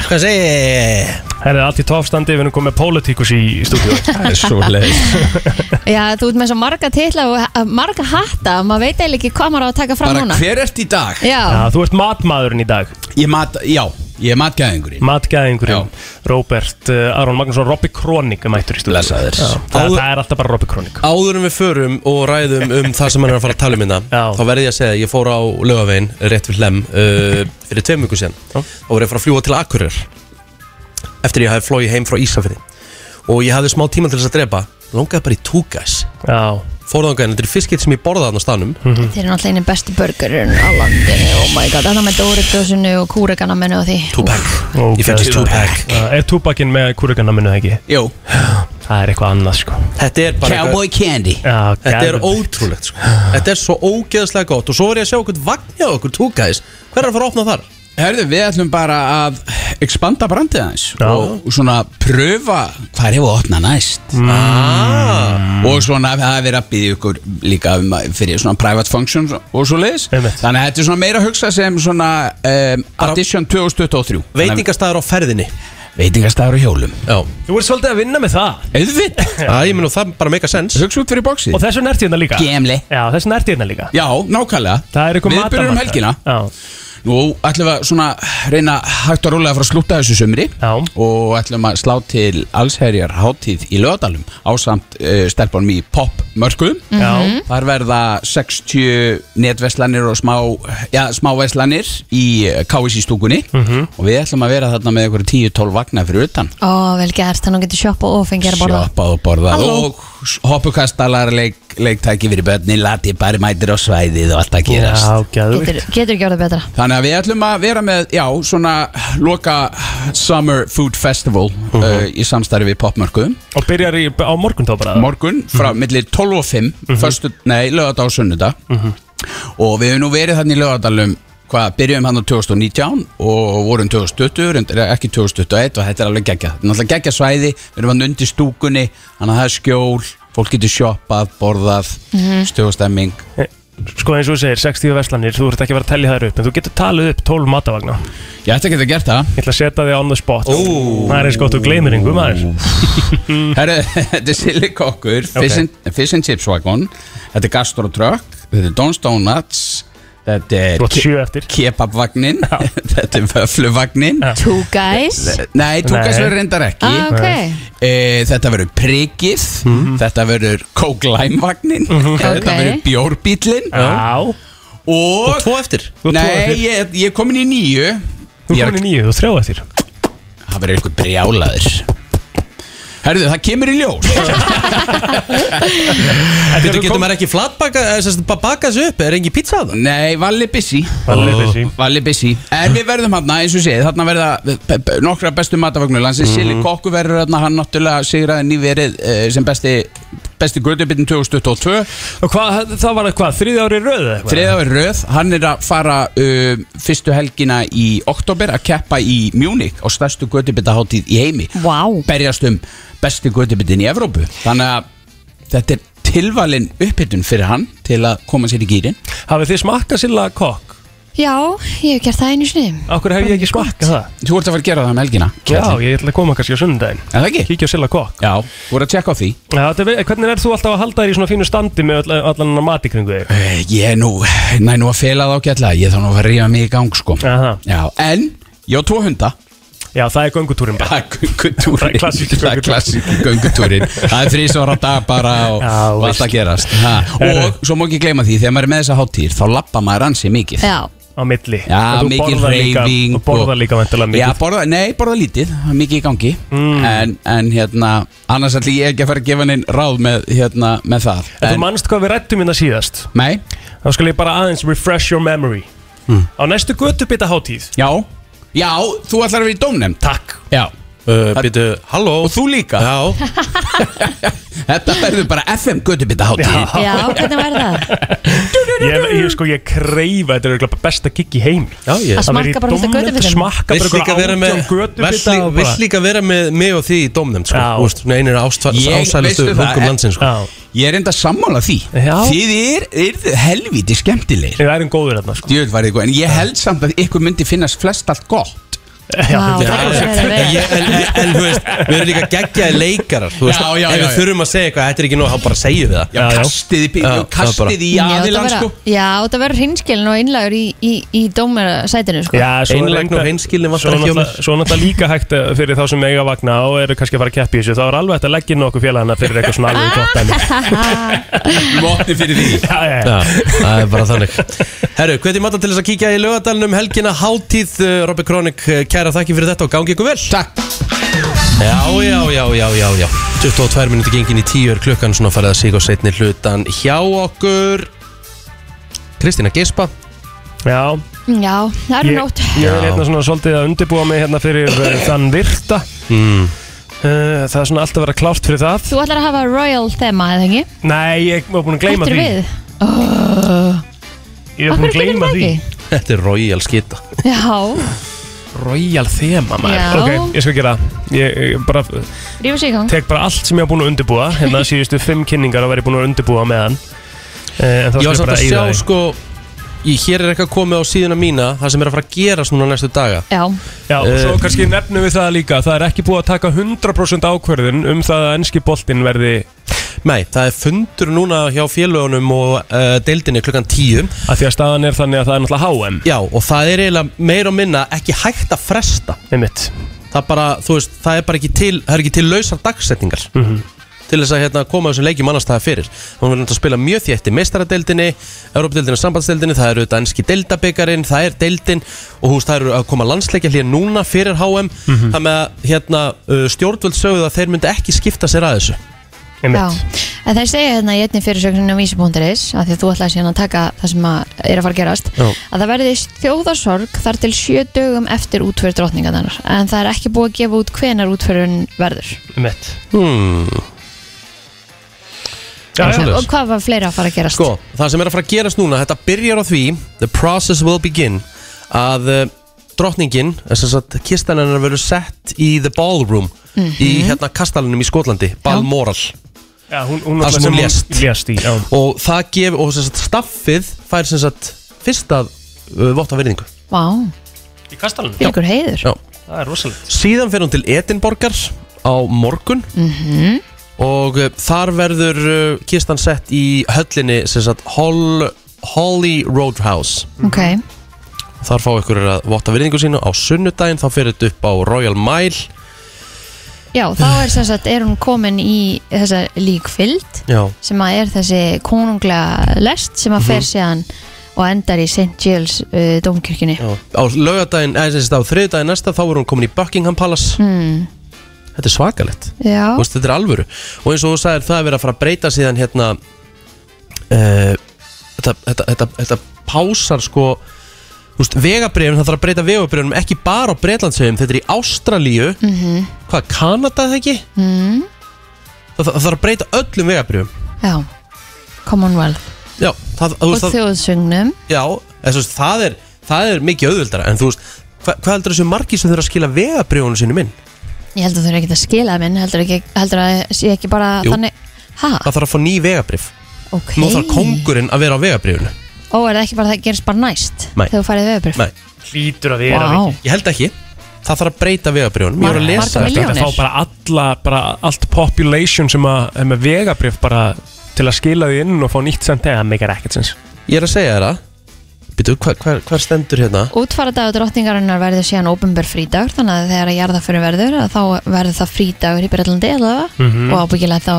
Hvað segi ég?
Það er allt í toppstandi, við erum komið með pólitíkus í stúdíu
Það er svoleiðis. Já, þú ert með svo marga titla og ha- marga hatta og maður veit eiginlega ekki hvað maður á að taka fram
Bara
núna
hver ert í dag?
Já. Já,
þú ert matmaðurinn í dag
Ég mat, já, ég er matgæðingurinn
Matgæðingurinn, Róbert uh, Aron Magnússon, Robby Kronik er mættur í stúdíu
Blessaður.
Já, Það,
Áður-
það er alltaf bara Robby Kronik
Áður en við förum og ræðum um það sem hann er að fara að tala um hérna þá verði ég að segja, að ég fór á lögavegin rétt við hlem uh, fyrir tveim viku síðan og voru ég að fara að fljúa til Akureyr eftir ég hafi flóið heim frá Ísafirði og ég hafði smá tíma til þess að drepa longaði bara í túgæs fórðangaðin, þetta er fiskitt sem ég borðaði þarna á stanum
Þeir eru náttúrulega einu bestu börgurinn á landinu Oh my god, þannig með Dóritósinu og kúreganamennu og því
Tupac
okay.
Ég fæddist Tupac.
Já, Uh, Er Tupakin með kúrugana minnu ekki?
Jó
Það er eitthvað annað sko
Þetta er bara
Cowboy Candy
Já,
Þetta er
geðveikt.
ótrúlegt sko. Þetta er svo ógeðslega gott Og svo er ég að sjá okkur vagnja okkur túkæðis Hver er að fara að opna þar?
Herðu, við ætlum bara að expanda brandið aðeins og svona pröfa hvað er hefur að opna næst
Mm.
ah. og svona það er verið að byggja ykkur líka um, að- fyrir svona private functions og svo leiðis þannig að þetta er svona meira að hugsa sem svona um, addition 2023
Veitingastæður á ferðinni
Veitingastæður á hjólum
Já
Þú ert svolítið að vinna með það
Auðvitt
Já, ég menn og það bara meika sens
Hugsa út fyrir bóksi
Og þessu nerti hérna líka
Gemli
Já, þessu nerti hérna líka
Já, nákvæmlega
Það er eitthvað
Við byrjum um helgina
matarmarkaður. Já
Nú ætlum við að svona reyna hægt og rólega að fara að slúta þessu sömri
Já.
og ætlum að slá til allsherjar hátíð í lögadalum ásamt uh, stelpunum í popmörkum
Já.
Þar verða 60 netverslanir og smá, já, smáverslanir í KVC stúkunni
Mhm.
og við ætlum að vera þarna með einhverju 10-12 vagna fyrir utan
Ó, vel gert, þannig að hún getur shoppað og fengið að borða
Sjoppað og borðað
Halló.
og hoppukastalar leik, leiktæki fyrir börnin, lati bara mætir á svæðið og allt að gerast
Já,
Getur, getur ekki orðið betra
Þannig að við ætlum að vera með, já, svona loka Summer Food Festival uh, í samstarfi við popmörkuðum
Mhm. Og byrjar í, á morgun þá bara Mhm.
Morgun frá millir 12 og 5 mm nei, lögadag og sunnudag
Mhm.
og við hefum nú verið þannig í lögadalum hvað, byrjum hann á 2019 og vorum 2020, reyndar ekki 2021 og þetta er alveg geggja, þetta er náttúrulega geggja svæði við erum hann undir stúkunni, þannig að það er skjól fólk getur shoppað, borðað mm
Mhm.
stjóðstemming
Sko eins og þú segir, 60 verslanir, þú ert ekki að vera að tellja þær upp En þú getur talið upp 12 matavagna
Ég ætti ekki að gera það
Ég ætla að setja þig on the spot Það er eins gott og gleymir yngu maður
Herru, þetta er Silly Kokkur Fish, and- Fish and Chips Wagon Þetta er Gastro Truck Þetta er Don's Donuts Þetta
Þú átt sjö
er Kebabvagnin Þetta er Vöfluvagnin
Two guys
Nei, Tugas verður reyndar ekki
Ah, ok.
e, Þetta verður Prigið
Mhm.
Þetta verður Kóklæmvagnin Þetta
Ok.
verður Bjórbílin Og,
Já
Og tvo eftir
Þú ert tvo
Nei,
eftir.
ég, ég er komin í nýju
Þú er komin í nýju, þú þrjá eftir
Það verður eitthvað brjálaður Herðu, það kemur í ljós
Þetta getur maður ekki flatbaka eða sem sagt bara baka þessu upp, er engi pizza það?
Nei, Valli Bissi
Valli Bissi.
Valli Bissi En við verðum hann, eins og ég segið, þarna verða be- be- nokkra bestu matavagnu landsins mm.
Mhm.
Sili Kokku verður hann, hann náttúrulega sigraði nýverið eh, sem besti, besti gröðubitinn 2022
Og hvað, það var hvað, þriði ári röð eða eitthvað?
Þriða verður röð, hann er að fara uh, fyrstu helgina í oktober að keppa í Munich á stærstu gröðubittahátíð í heimi
wow.
Berjast um besti gröðubitinn í Evrópu Þannig að þetta er tilvalin upphittun fyrir hann til að koma sér í gýrin
Hafið þið smakka Silla Kokk?
Já, ég hef gert það einu sinni
Akkur hef ég ekki smakka það?
Þú ert að fara að gera það um helgina
Já, ég ætla að koma kannski á sunnudaginn
En það ekki?
Kíkja á Silla Kokk
Já, þú ert að tjekka á því
Já, þetta er, ve- hvernig er þú alltaf að halda þér í svona fínu standi með öll, allan annan mat í kringu þig?
Eh, Ég er nú, næ nú að fela það ágætlega Ég þarf nú að fara að rífa mig í gang sko
Aha.
Já, en, ég á tvo hunda
Já, það er göngutúrin
Það
bara
er göngutúrin
Það er klassíski
Það er
göngutúrin.
klassíski göngutúrin Það er þrísvara dag bara og,
Já,
og allt
veist.
að gerast ha. Og svo má ekki gleyma því, þegar maður er með þessa hátír Þá lappa maður ansi mikið
Já
Á milli
Já,
Og þú
mikil
borðar líka-
reyfing
Þú borðar líka vantilega
Já,
mikið Mm.
borða, nei, borða lítið, það er mikið í gangi en, en hérna, annars ætlum ég ekki að fara að gefa neinn ráð með, hérna, með það
En þú mannst hvað við rættum hérna síðast
Nei Hmm.
Þá skal ég bara aðeins refresh your memory Á næstu göttubita hátíð
Já Já, þú ætlar að vera í dómnefnd
Takk
Já
uh, Býtu, halló Og
þú líka
Já
Þetta verður bara FM göttubita hátíð
Já, hvernig væri það?
Ég, ég sko, ég kreifa Þetta er örugglega bara besta gigg í heim Já,
ég- Að smakka bara fullt af götubitum.
Smakka
Vill líka
bara
vera með- vill lí- vill líka vera með mig og því í dómnefnd sko. Þú veist, Svona einir
Ég-
ásælustu
veistu það, eh,
mörgum
en-
landsins sko.
Ég er enda sammála því
Já.
Þið er, er helviti skemmtilegir
hérna,
Við erum góður þarna sko.
Djöld var þið góð En ég held samt að ykkur myndi finnast flest allt gott
Já,
Já,
þetta
já,
er
já.
rosa.
En ég- en- en- En þú veist, við erum líka geggjaði leikarar Þú veist,
Já, já,
ef
já,
við
já.
þurfum að segja eitthvað Þetta er ekki nú, þá bara segjum við það
Já, kastið í bíl, kastið í aðilann, sko.
Já, það verður hinskilin og innlagur í, í, í dómarasætinu sko.
Einlægni og hreinskilni vantar ekki hjá mér.
Svo náttúrulega líka hægt eh, fyrir þá sem eiga vagna og eru kannski að fara að keppi í þessu þá er alveg hægt að leggja inn okkur félagana fyrir eitthvað svona alveg gott dæmi
Votni fyrir því
Já, já, já.
Já, það er bara þannig Herru, hvernig matta til þess að kíkja í lögadalinn um helgina Hátíð, eh, Robby Kronik, eh, kæra þakki fyrir þetta og gangi ykkur vel Takk Já, já, já, já, já, já 22 minúti gengin í 10 er klukkan Svona farið að sig og setni hlutan hjá okkur Kristina Gispa
Já,
Mm, Já, það
ég,
eru nótt
ég er hérna svona svolítið að undirbúa mig hérna fyrir eh, þann virta Eh,
mm.
Það er svona alltaf að vera klárt fyrir það
Þú ætlar að hafa royal thema, eða ekki?
Nei, ég var búin að gleyma
Hættir
því
við? Oh.
Ég var búin að
Af hverju
gleyma
geturðu
því
það
Þetta er royal skita
Já,
Royal þema
Já.
maður Ok, ég skal gera það. ég, ég bara
rífa sig í gang
tek bara allt sem ég var búin að undirbúa Hérna síðustu fimm kynningar að vera búin að undirbúa meðan Eh, En
Ég
þá
var
skal ég
samt
bara
að
eigða
sjá
því
sko í, Hér er eitthvað komið á síðuna mína Það sem er að fara að gerast núna næstu daga Eh,
Já
Já, og svo kannski nefnum við það líka Það er ekki búið að taka 100% ákverðin um það að ennski boltinn verði
Nei, það er fundur núna hjá félögunum og uh, deildinni klukkan 10
Af því að staðan er þannig að það er náttúrulega HM
Já, og það er eiginlega meira og minna ekki hægt að fresta
Einmitt
Það, bara, þú veist, það er bara ekki til, það er ekki til lausar dagsetningar
Mhm.
til þess að hérna, koma þessum leikjum annars það fyrir hún verður náttúrulega að spila mjög þétt í meistaradeildinni Európa-deildinni og sambandsdeildinni það eru þetta enski deildabekarinn, það er deildin og húst það eru að koma landsleikja hlýja núna fyrir HM, mm
Mhm.
það með að hérna, uh, stjórnvöld sögðu að þeir myndi ekki skipta sér að þessu
Já, en það segja hérna í einni fyrirsögninu á vísi.is að því að þú ætlaði síðan að taka það sem að er að fara að gerast
Já.
að það verði þjóðarsorg þar til sjö dögum eftir útfyrir drotningarnar en það er ekki búið að gefa út hvenar útfyrirun verður
Einmitt
hmm. Já, já.
og hvað var fleira að fara að gerast
Sko, það sem er að fara að gerast núna, þetta byrjar á því The process will begin að uh, drottningin, eh, þess að kistan hennar verður sett í the ballroom
Mhm.
í hérna kastalunum í Skotlandi Balmoral,
Já, hún, hún
það sem hún lést
lést í, já.
og það gef, og þess að staffið fær sem sagt fyrsta uh, votta verðingu
Vá,
Í kastalunum?
fyrir ykkur heiður
Já.
Það er rosalegt
síðan fer hún til Edinborgar á morgun
Mhm.
og uh, þar verður uh, kistan sett í höllinni sem sagt Hol, Holly Roadhouse
Ok,
Þar fá ykkur að votta virðingu sína á sunnudaginn, þá fyrir þetta upp á Royal Mile
já, þá er sem sagt er hún komin í þessa líkfyld
Já,
sem að er þessi konunglega lest sem að fer
Mhm.
síðan og endar í St. Giles uh, domkirkjunni
já. Á laugardaginn, eða sem sagt á þriðdaginn næsta, þá er hún komin í Buckingham Palace
mm.
Þetta er svakalegt
Já,
Þú veist, þetta er alvöru Og eins og þú sagðir, það er verið að fara að breyta síðan hérna uh, þetta, þetta, þetta, þetta pásar sko Þú veist, vegabrifin, það þarf að breyta vegabrifinum ekki bara á Breitlandsvegjum, þetta er í Ástralíu
Mhm.
Hvað, Kanada það ekki?
mm.
Það, það þarf að breyta öllum vegabrifum
já Commonwealth
Já, það, þú
og
veist, það-
þjóðsögnum
Já, eða, þú veist, það, er, það er mikið auðvöldara En þú veist, hva, hvað heldur þessu margi sem þurfa að skila vegabrjónu sínum inn?
ég heldur þú er ekkert að skila minn heldur, ekki, heldur að sé ekki bara
Jú.
þannig ha,
Það þarf að fá ný vegabrif
Ah. ok
Nú þarf kongurinn að vera á vegabrifinu
ó, er það ekki bara það gerist bara næst
Nei.
þegar þú farið veðabrif
Nei
Hlýtur að
vera, Vá. Viki.
Ég held ekki Það þarf að breyta vegabrjónum Ég var að
Margar
lesa
milljónir. Þetta fá bara alla, bara allt population sem að, er með vegabrif bara til að skila því inn og fá nýtt sent eða meikar ekkert sens
Ég er að segja þér það Býtu, hvað hva, hva stendur hérna?
útfaradagur drottningarinnar verður síðan óbunber frídagur þannig að þegar að jarðaförin verður að þá verður það frídagur í Breitlandi allavega
Mhm.
og ábyggilega þá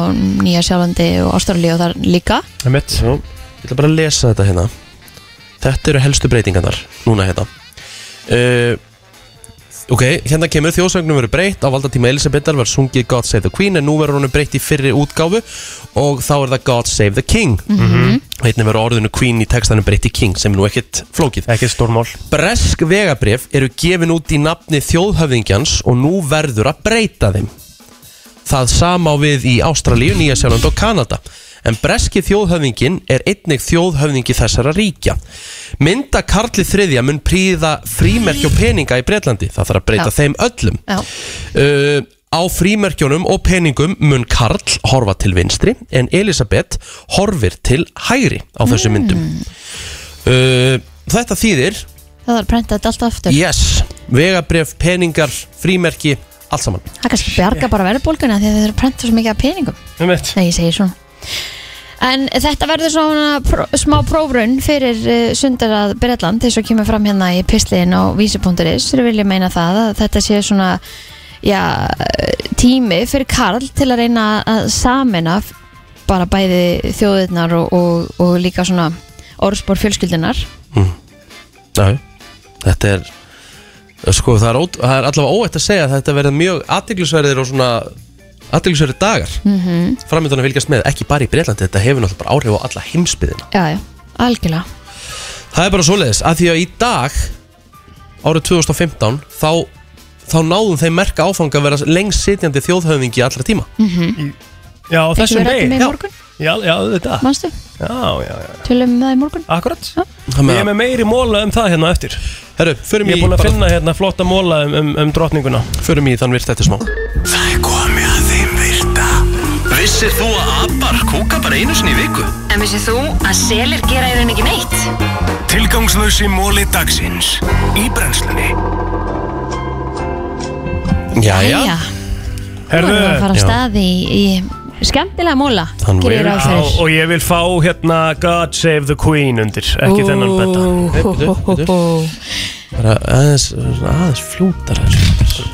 Nýja Sjálandi og Ástrali og þar líka
Það er mitt
Ég ætla bara að lesa þetta hérna Þetta eru helstu breytingarnar Núna hérna uh, Ok, hérna kemur þjóðsögnum verið breytt Á valdatíma Elisabethar var sungið God Save the Queen En nú verður honum breytt í fyrri útgáfu Og þá er það God Save the King
Mhm.
Einnig verður orðinu Queen í textanum breytt í King Sem er nú ekkit flókið
Ekkit stórmál
Bresk vegabrif eru gefin út í nafni þjóðhöfðingjans Og nú verður að breyta þeim Það sama á við í Ástralíu, Nýja Sjálfland og Kanada En breski þjóðhöfðingin er einnig þjóðhöfðingi þessara ríkja Mynda Karli þriðja mun príða frímerki og peninga í Breitlandi Það þarf að breyta
Já.
þeim öllum
Já.
uh, Á frímerkjunum og peningum mun Karl horfa til vinstri En Elisabeth horfir til hægri á
Hmm.
þessum myndum uh, Þetta þýðir
það þarf að prenta þetta allt aftur
Yes vegabref, peningar, frímerki, allt saman
Það kannski bjarga bara verðbólguna því að þeir eru að prenta svo mikið af peningum
Einmitt.
Nei, ég segi svona En þetta verður svona pró, smá prófrun fyrir uh, sundarað Bretland þess að kemur fram hérna í pisliðin á vísi.is þeir vilja meina það að þetta sé svona já, eh, tími fyrir Karl til að reyna að samina f- bara bæði þjóðirnar og, og, og líka svona orðspor fjölskyldunar
Já, Mm. þetta er sko, það er, ót, það er allavega óætt að segja að þetta verða mjög aðdeglisverðir og svona aðdeglisverðir dagar mm
Mhm.
framöndan að fylgjast með, ekki bara í Breitlandi þetta hefur náttúrulega bara áhrif á alla heimsbyðina
Já, já, algjörlega
það er bara svoleiðis, að því að í dag árið 2015 þá, þá náðum þeim merka áfanga að vera lengst sitjandi þjóðhöfðingi allra tíma
mm -hmm.
Já, á
Ekki
þessum
við ræddum
degi
í morgun?
Já, já, þetta
Manstu?
Já, já, já
Tölum við það í morgun?
Akkurat Ég er með meiri móla um það hérna á eftir
Herru, förum
Ég
í
er búin að
bara-
finna hérna flotta móla um, um, um drottninguna
Förum í þann virt eftir smá
Það er komið að þeim virta Vissir þú að abar kúka bara einu sinni í viku?
En vissið þú að selir gera í raun ekki neitt?
Tilgangslösi móli dagsins Í brennslunni
Jæja
Nú erum við að fara á
Já.
stað í, í skemmtilega móla
Hann
Gerir
vil-
ráð fyrir.
Já, Og ég vil fá hérna God Save the Queen undir Ekki
Ó,
þennan betta
hó, hó, hó, hó.
bara aðeins, aðeins flútar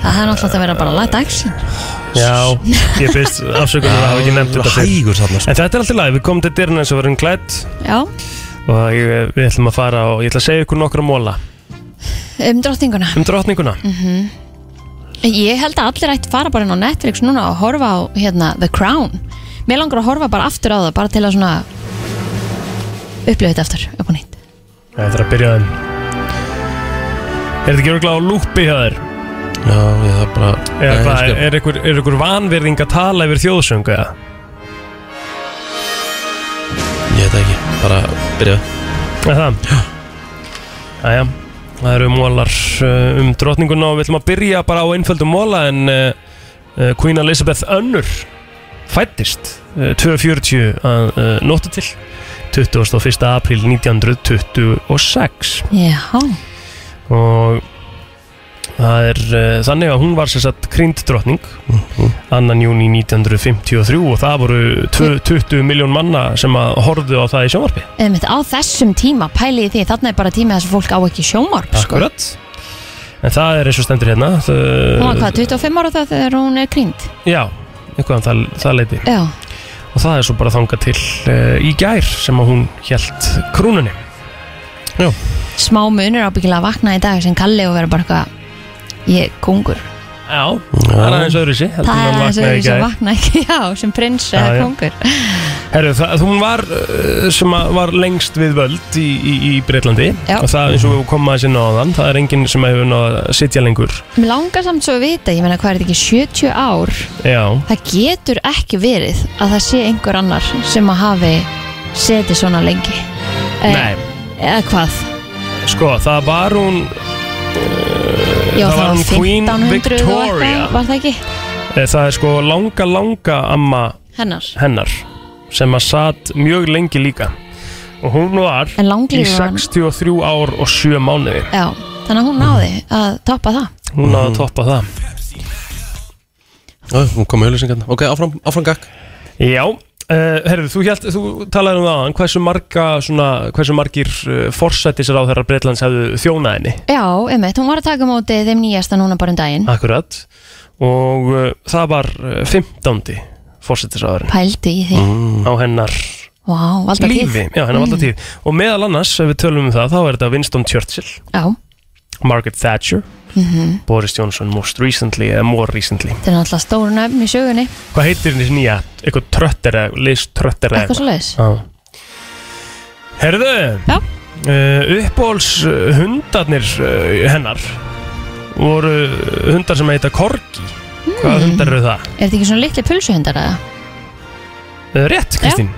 Það er náttúrulega að vera bara lag dagsin
Já, ég byrst afsökunar að hafa ekki nefnt þetta
Hægur þarna sko.
En þetta er alltaf læg, við komum til dyrna eins og verðum klætt
Já,
Og ég, við ætlum að fara og ég ætla að segja ykkur nokkra móla
um drottninguna
Um drottninguna
mm Ég held að allir ætti fara bara inn á Netflix núna og horfa á hérna, The Crown Mér langar að horfa bara aftur á það bara til að svona upplifa þetta aftur upp á nýtt
Það er að byrja þeim Er þetta ekki örgulega á lúpi hjá þér?
Já, ég það bara
Eða
Nei, sko.
hvað,
ég skil.
er ykkur, er ykkur vanverðing að tala yfir þjóðsöngu eða?
Ég veit það ekki, bara byrja
Er það? Já Æja, það eru mólar uh, um drottninguna og við ætlum að byrja bara á einföldum móla en uh, uh, Queen Elizabeth önnur fættist uh, 2.40 að uh, nóttu til 21. apríl 1926
Já,
og það er uh, þannig að hún var sér satt krynd drottning annan júni 1953 og það voru tvö- 20 miljón manna sem að horfðu á það í sjónvarpi
einmitt á þessum tíma pæli því þarna er bara tími þess að fólk á ekki sjónvarp sko.
Akkurat En það er eins og stendur hérna
Hún var
það,
hvað, 25 ára þá þegar hún er kringd
Já, eitthvað um það, það leiti
Já,
Og það er svo bara þangað til uh, í gær sem að hún hélt krúnunni Já
smá munur ábyggilega að vakna í dag sem kalli og vera bara eitthvað ég er kóngur
Já, það er aðeins öðru sér
það er aðeins öðru sem vakna ekki já, sem prins
Já, já.
eða kongur
Herru, það, hún var uh, sem að var lengst við völd í, í, í Breitlandi
Já.
og það eins og við komum aðeins inn á þann það er enginn sem hefur náð að sitja lengur
mér langar samt svo að vita, ég meina hvað er þetta ekki 70 ár,
Já,
það getur ekki verið að það sé einhver annar sem að hafi setið svona lengi Eh,
Nei.
eða hvað,
sko, það var hún uh,
já
það var hún Queen
1500 og
Victoria
eitthvað var það ekki,
Eh, Það er sko langa, langa amma
hennar
hennar sem að satt mjög lengi líka og hún var
En langlífi
í
var hann.
63 ár og 7 mánuði
já, þannig að hún náði að toppa það
hún náði að toppa það
Já, Mhm. hún kom með auðlýsingarna Ok, áfram, áfram gakk
Já, uh, herru, þú, hélt, þú talaði um það áðan, hversu, marga, svona, hversu margir uh, forsættisar á þeirra Breitlands hefðu þjónað henni
já, einmitt, hún var að taka á móti þeim nýjasta núna bara um daginn
Ah. akkurat og uh, það var uh, 15. forsættisáðurinn
pældu í því,
á hennar
vá, wow, valda
lífi Já,
Mm.
hennar valda tíð og meðal annars, ef við tölum um það, þá er þetta Winston Churchill
já,
Margaret Thatcher
mhm
Boris Johnson most recently eða more recently
Þetta er náttúrulega stóru nöfn í sögunni
hvað heitir henni þessi nýja? eitthvað trötter eða Liz trötter eða
Eitthvað svoleiðis.
Já. herðu
Já.
uh, uppbóls hundarnir uh, hennar voru hundar sem heita Korgi
Hmm.
hvaða hundar eru það?
Er þetta ekki svona litli pulsuhundar eða?
Uh, rétt Kristín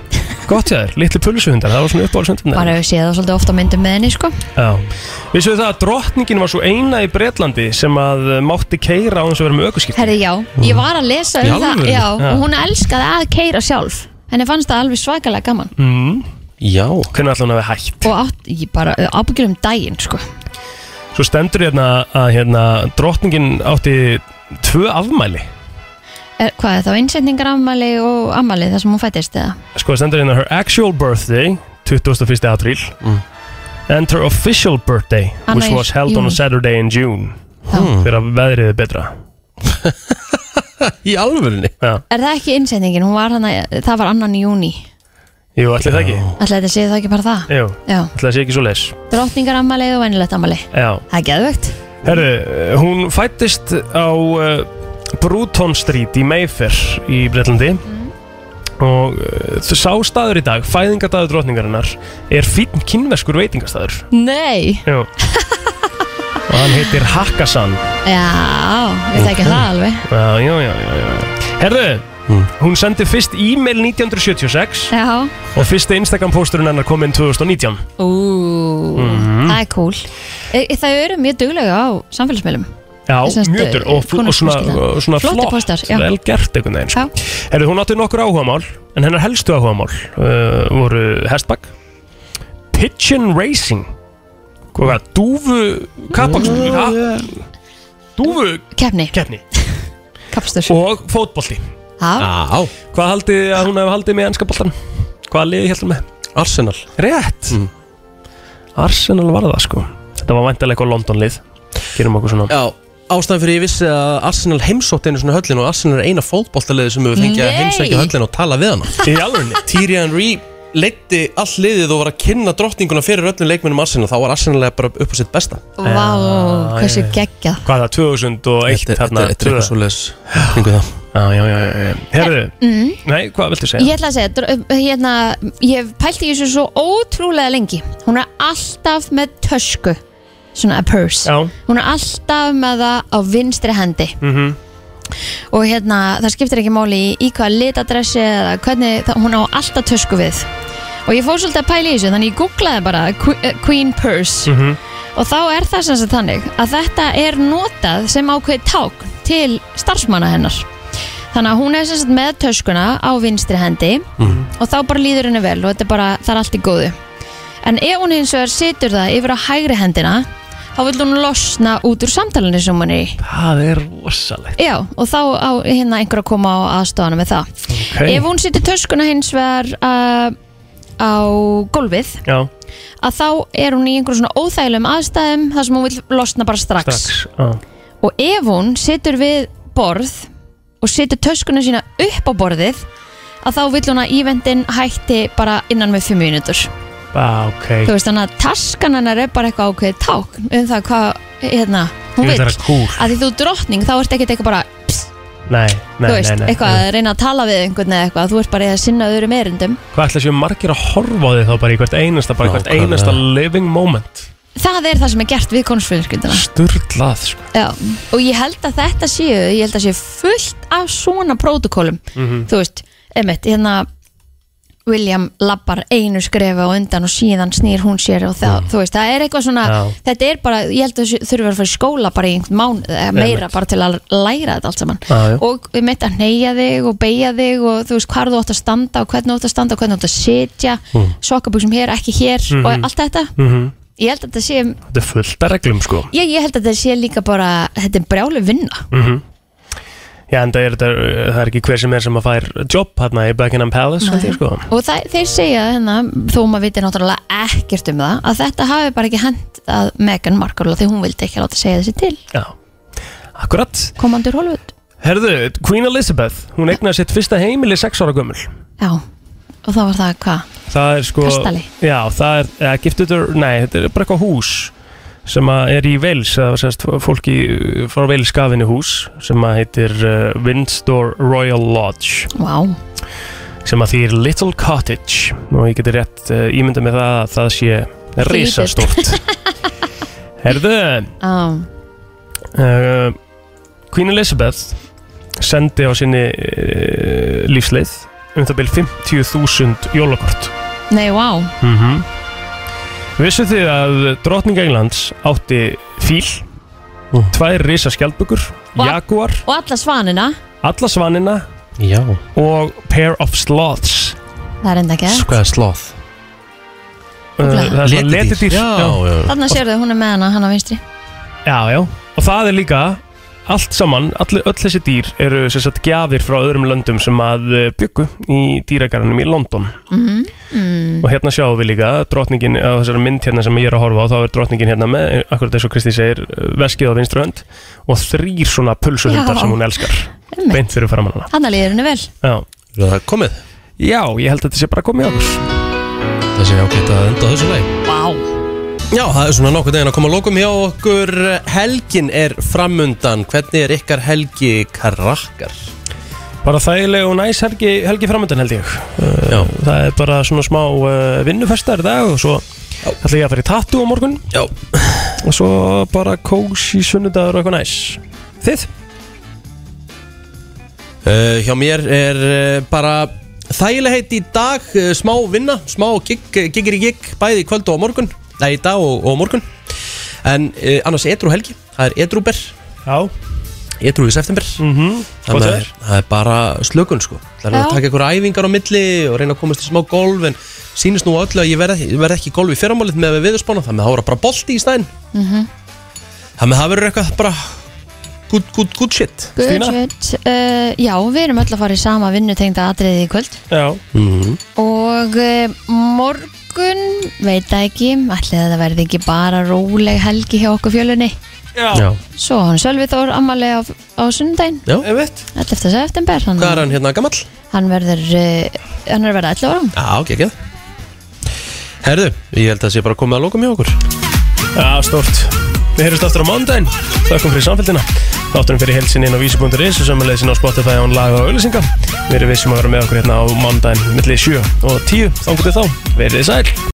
gott hjá þér, litli pulsuhundar, það var svona uppbólshundarnir
Bara hefur séð það svolítið ofta myndum með henni sko
Já, vissu það að drottningin var svo eina í Bretlandi sem að uh, mátti keira á þess að vera með ökuskipt
Herði já, ég var að lesa
Mm. Í
um það
alvöru?
Já,
Já.
og hún elskaði að keira sjálf Henni fannst það alveg svakalega gaman
mm.
Já
Hvernig ætla hún að við hætt?
Og átt, ég bara ábyggjur um daginn sko
Svo stendur hérna að hérna, drottningin átti tvö afmæli
Er, hvað er þá, innsetningar ammali og ammali þar sem hún fættist eða?
Sko stendur hérna her actual birthday 21. apríl and her official birthday which
Annar í
was held on a
júní.
Saturday in June fyrir að veðrið er betra
Í alvörinni?
Já,
Er það ekki innsetningin? Hún var hana, það var annan í júni.
jú, ætli það ekki
Ætli þetta sé það ekki bara það?
Jú,
Já.
ætli það sé ekki svo leis
Drottningar ammali og venjulegt ammali.
Já,
Það er geðvögt.
herru, eh, hún fættist á uh, Bruton Street í Mayfair í Breitlandi og uh, sá staður í dag, fæðingadagur drottningarinnar er fínn kynverskur veitingastaður
Nei.
Jú Og hann heitir Hakkasan
Já, við þekkjum það alveg.
Já, já, já, já, já. Herðu, hún sendi fyrst e-mail 1976
Já.
og fyrst Instagram pósturinn hennar kom inn 2019
Ú,
Mhm.
Mm-hmm. það er cool. E, e, það eru mjög duglega á samfélagsmiðlum.
Já,
Sem sagt,
mjög dyr og, fl-
konan
og svona,
fjölskyldan.
og svona
Flottir
flott
póstar, já.
vel gert einhvern veginn sko. Herðu, hún átti nokkur áhugamál en hennar helstu áhugamál uh, voru hestbakk Pigeon Racing Hvað, dúfu kappakstur
Já, já.
Dúfu
Kefni.
Kefni.
Kapstur.
Og fótbolti
Já.
Hvað haldið þið að hún hefði haldið með ennska boltan? Hvað liði heldur með?
Arsenal
Rétt Arsenal var það sko Þetta var væntalega eitthvað London lið Gerum okkur svona
Já, ástæðan fyrir ég vissi að Arsenal heimsótt einu svona höllin og Arsenal er eina fótboltaliði sem hefur fengið að
Nei.
heimsækja höllin og tala við hana
Í alveg
Thierry Henry leiddi all liðið og var að kynna drottninguna fyrir öllum leikmennum Arsenal þá var Arsenal bara upp á sitt besta
Vá, hversu
já, já.
geggjað.
Hvað er það, 2001
Þetta-
þarna,
þetta- þetta er eitthvað
2000?
svoleiðis kringu það
Já, já, já, já, já. Herðu
Mm.
Nei, hvað viltu
Ég
segja?
ætla að segja, dr- uh, hérna, ég hef pælt í þessu svo ótrúlega lengi Hún er alltaf með tösku Svona a purse
Já.
Hún er alltaf með það á vinstri hendi
Mhm.
Og hérna, það skiptir ekki máli í, í hvaða litadressi eða hvernig það, Hún á alltaf tösku við Og ég fór svolítið að pæla í þessu Þannig ég googlaði bara que- eh, Queen Purse
Mhm.
Og þá er það sem sagt þannig að þetta er notað sem ákveðið ták til starfsmanna hennar. Þannig að hún er sem sagt með töskuna á vinstri hendi og þá bara líður henni vel og þetta er bara, það er allt í góðu. En ef hún hins vegar situr það yfir á hægri hendina, þá vil hún losna út úr samtalinu sem hún er í.
Það er rosalegt
Já, og þá á hérna einhver að koma á aðstofana með það.
Ok.
Ef hún situr töskuna hins vegar uh, á gólfið,
Já,
að þá er hún í einhverjum svona óþægilegum aðstæðum þar sem hún vil losna bara strax.
strax Já,
Og ef hún situr við borð og situr töskuna sína upp á borðið að þá vil hún að ívendin hætti bara innan með 5 mínútur.
Bá, ok
Þú veist þannig að taskan hennar er bara eitthvað ákveðið tákn um það hvað, hérna, hún
Ég vil
vil.
vera kúl.
Að því þú ert drottning þá ert ekkert eitthvað bara, pss,
Nei, nei,
þú veist,
nei, nei.
eitthvað að reyna að tala við einhvern eða eitthvað, þú ert bara í að sinna öðrum erindum.
Hvað ætla séu margir að horfa á þig þá bara í hvert einasta, bara í hvert
Nákvæmlega.
einasta living moment
Það er það sem er gert við konstfjölskylduna.
Sturlað, sko
Já, og ég held að þetta séu ég held að séu fullt af svona prótokólum
Mhm.
þú veist, einmitt, hérna William lappar einu skrefi á undan og síðan snýr hún sér og það, þú veist, það er eitthvað svona
Mm. Já.
þetta er bara, ég held að þessu þurfi að fara í skóla bara í einhvern mánu, eða meira
Einmitt.
bara til að læra þetta allt saman
Já, já.
og einmitt að neyja þig og beigja þig og þú veist, hvar þú átt að standa og hvernig þú átt að standa og hvernig þú átt að sitja mm. sokkabuxum hér, ekki hér
Mhm.
og allt þetta,
Mhm.
ég held að þetta sé
Þetta er fullt af reglum, sko
ég, ég held að þetta sé líka bara þetta er brjálu vinna
Mhm. Já, en það er, það, er, það er ekki hver sem er sem að fær jobb hérna í Buckingham Palace, held ég, sko
Og það, þeir segja hérna, þó maður viti náttúrulega ekkert um það, að þetta hafi bara ekki hent að Meghan Markle því hún vildi ekki láta segja þessi til.
Já, akkurat
Komandur Hollywood.
Herðu, Queen Elizabeth, hún egnaði sitt fyrsta heimili 6 ára gömul
Já, og það var það hvað?
Það er sko
Kastali.
Já, það er, eða giftutur, nei, þetta er bara eitthvað hús sem að er í Wales það var sérst fólki frá Wales gafinni hús sem að heitir uh, Windsor Royal Lodge
Vá.
sem að þýr Little Cottage og ég geti rétt uh, ímyndað með það að það sé risastórt Herðu
Já.
uh, Queen Elizabeth sendi á sinni uh, lífsleið um það byrjum 50.000 jólakort
Nei, vá.
mm
Mhm.
-hmm. Vissu þið að drotning Englands átti fíl
Mm.
tvær risa skjaldbökur
Og-
jaguar,
Og alla svanina,
alla svanina
Já
og pair of sloths
það er enda ekki það.
Hvað er Sko, sloth?
Uh, það er
Letidýr.
svona letidýr
Já, já, já.
Þannig að sérðu hún er með hana, hann á vinstri.
Já, já, og það er líka allt saman, all, öll þessi dýr eru sem sagt gjafir frá öðrum löndum sem að eh, bjuggu í dýragarðinum í London
Mhm. Mm.
og hérna sjáum við líka drottningin á þessari mynd hérna sem ég er að horfa á þá er drottningin hérna með, akkurat eins og Kristi segir veskið á vinstru hönd og þrýr svona pulsuhundar
Já.
sem hún elskar
Einmitt.
beint fyrir framan hana
Hanna líður henni vel
Já. Það er komið Já, ég held að þetta sé bara komið á okkur
Það sé ágætt að enda á þessu leið
Vá
Já, það er svona nokkuð deginn að koma að lókum hjá okkur Helgin er framundan Hvernig er ykkar helgi krakkar?
Bara þægileg og næs helgi, helgi framöndan held ég Uh,
Já.
Það er bara svona smá uh, vinnufestar í dag og svo ætla ég að fara í tattu á morgun
Já.
Og svo bara kósi sunnudagur og eitthvað næs Þið?
Uh, hjá mér er uh, bara þægilegheit í dag, uh, smá vinna, smá gig, gigir í gig, bæði í kvöld og á morgun, nei í dag og, og á morgun. En uh, annars edru helgi, það er edruber.
Já.
Edru í september. Mm -hmm.
Mhm. gott
Þannig að
veður.
er- það er bara slökun sko. Það er
Já.
að taka ykkur æfingar á milli og reyna að komast í smá golf en sýnist nú á öllu að ég verð, ég verð ekki í golf í fyrramálið með að við viðspána, þannig að það voru bara bolti í stæðin.
Mhm.
Þannig að það verður eitthvað bara good, good, good shit.
Good shit. Uh, Já, við erum öll að fara í sama vinnutengda atriði í kvöld
Já.
Mm
Og uh, morgun, veit það ekki, ætli að það verði ekki bara róleg helgi hjá okkur fjölunni
Já.
Svo á hann Sölvi Þór ammali á, á sundaginn
Já, ef veit
11. september hann,
Hvað er hann hérna gamall?
hann verður, uh, hann er að verða 11 ára
Já, ekki ekki Herðu, ég held að það sé bara komið að loka mjög okkur
Já, stórt. Við heyrjumst aftur á mánudaginn. Þakkum fyrir samfélgina. Þátturum fyrir helsin inn á vísi.is og samanlegin á Spotify án laga og auðlýsinga. Við erum vissum að vera með okkur hérna á mánudaginn millir 7 og 10. Þangur til þá. Verið þið sæl.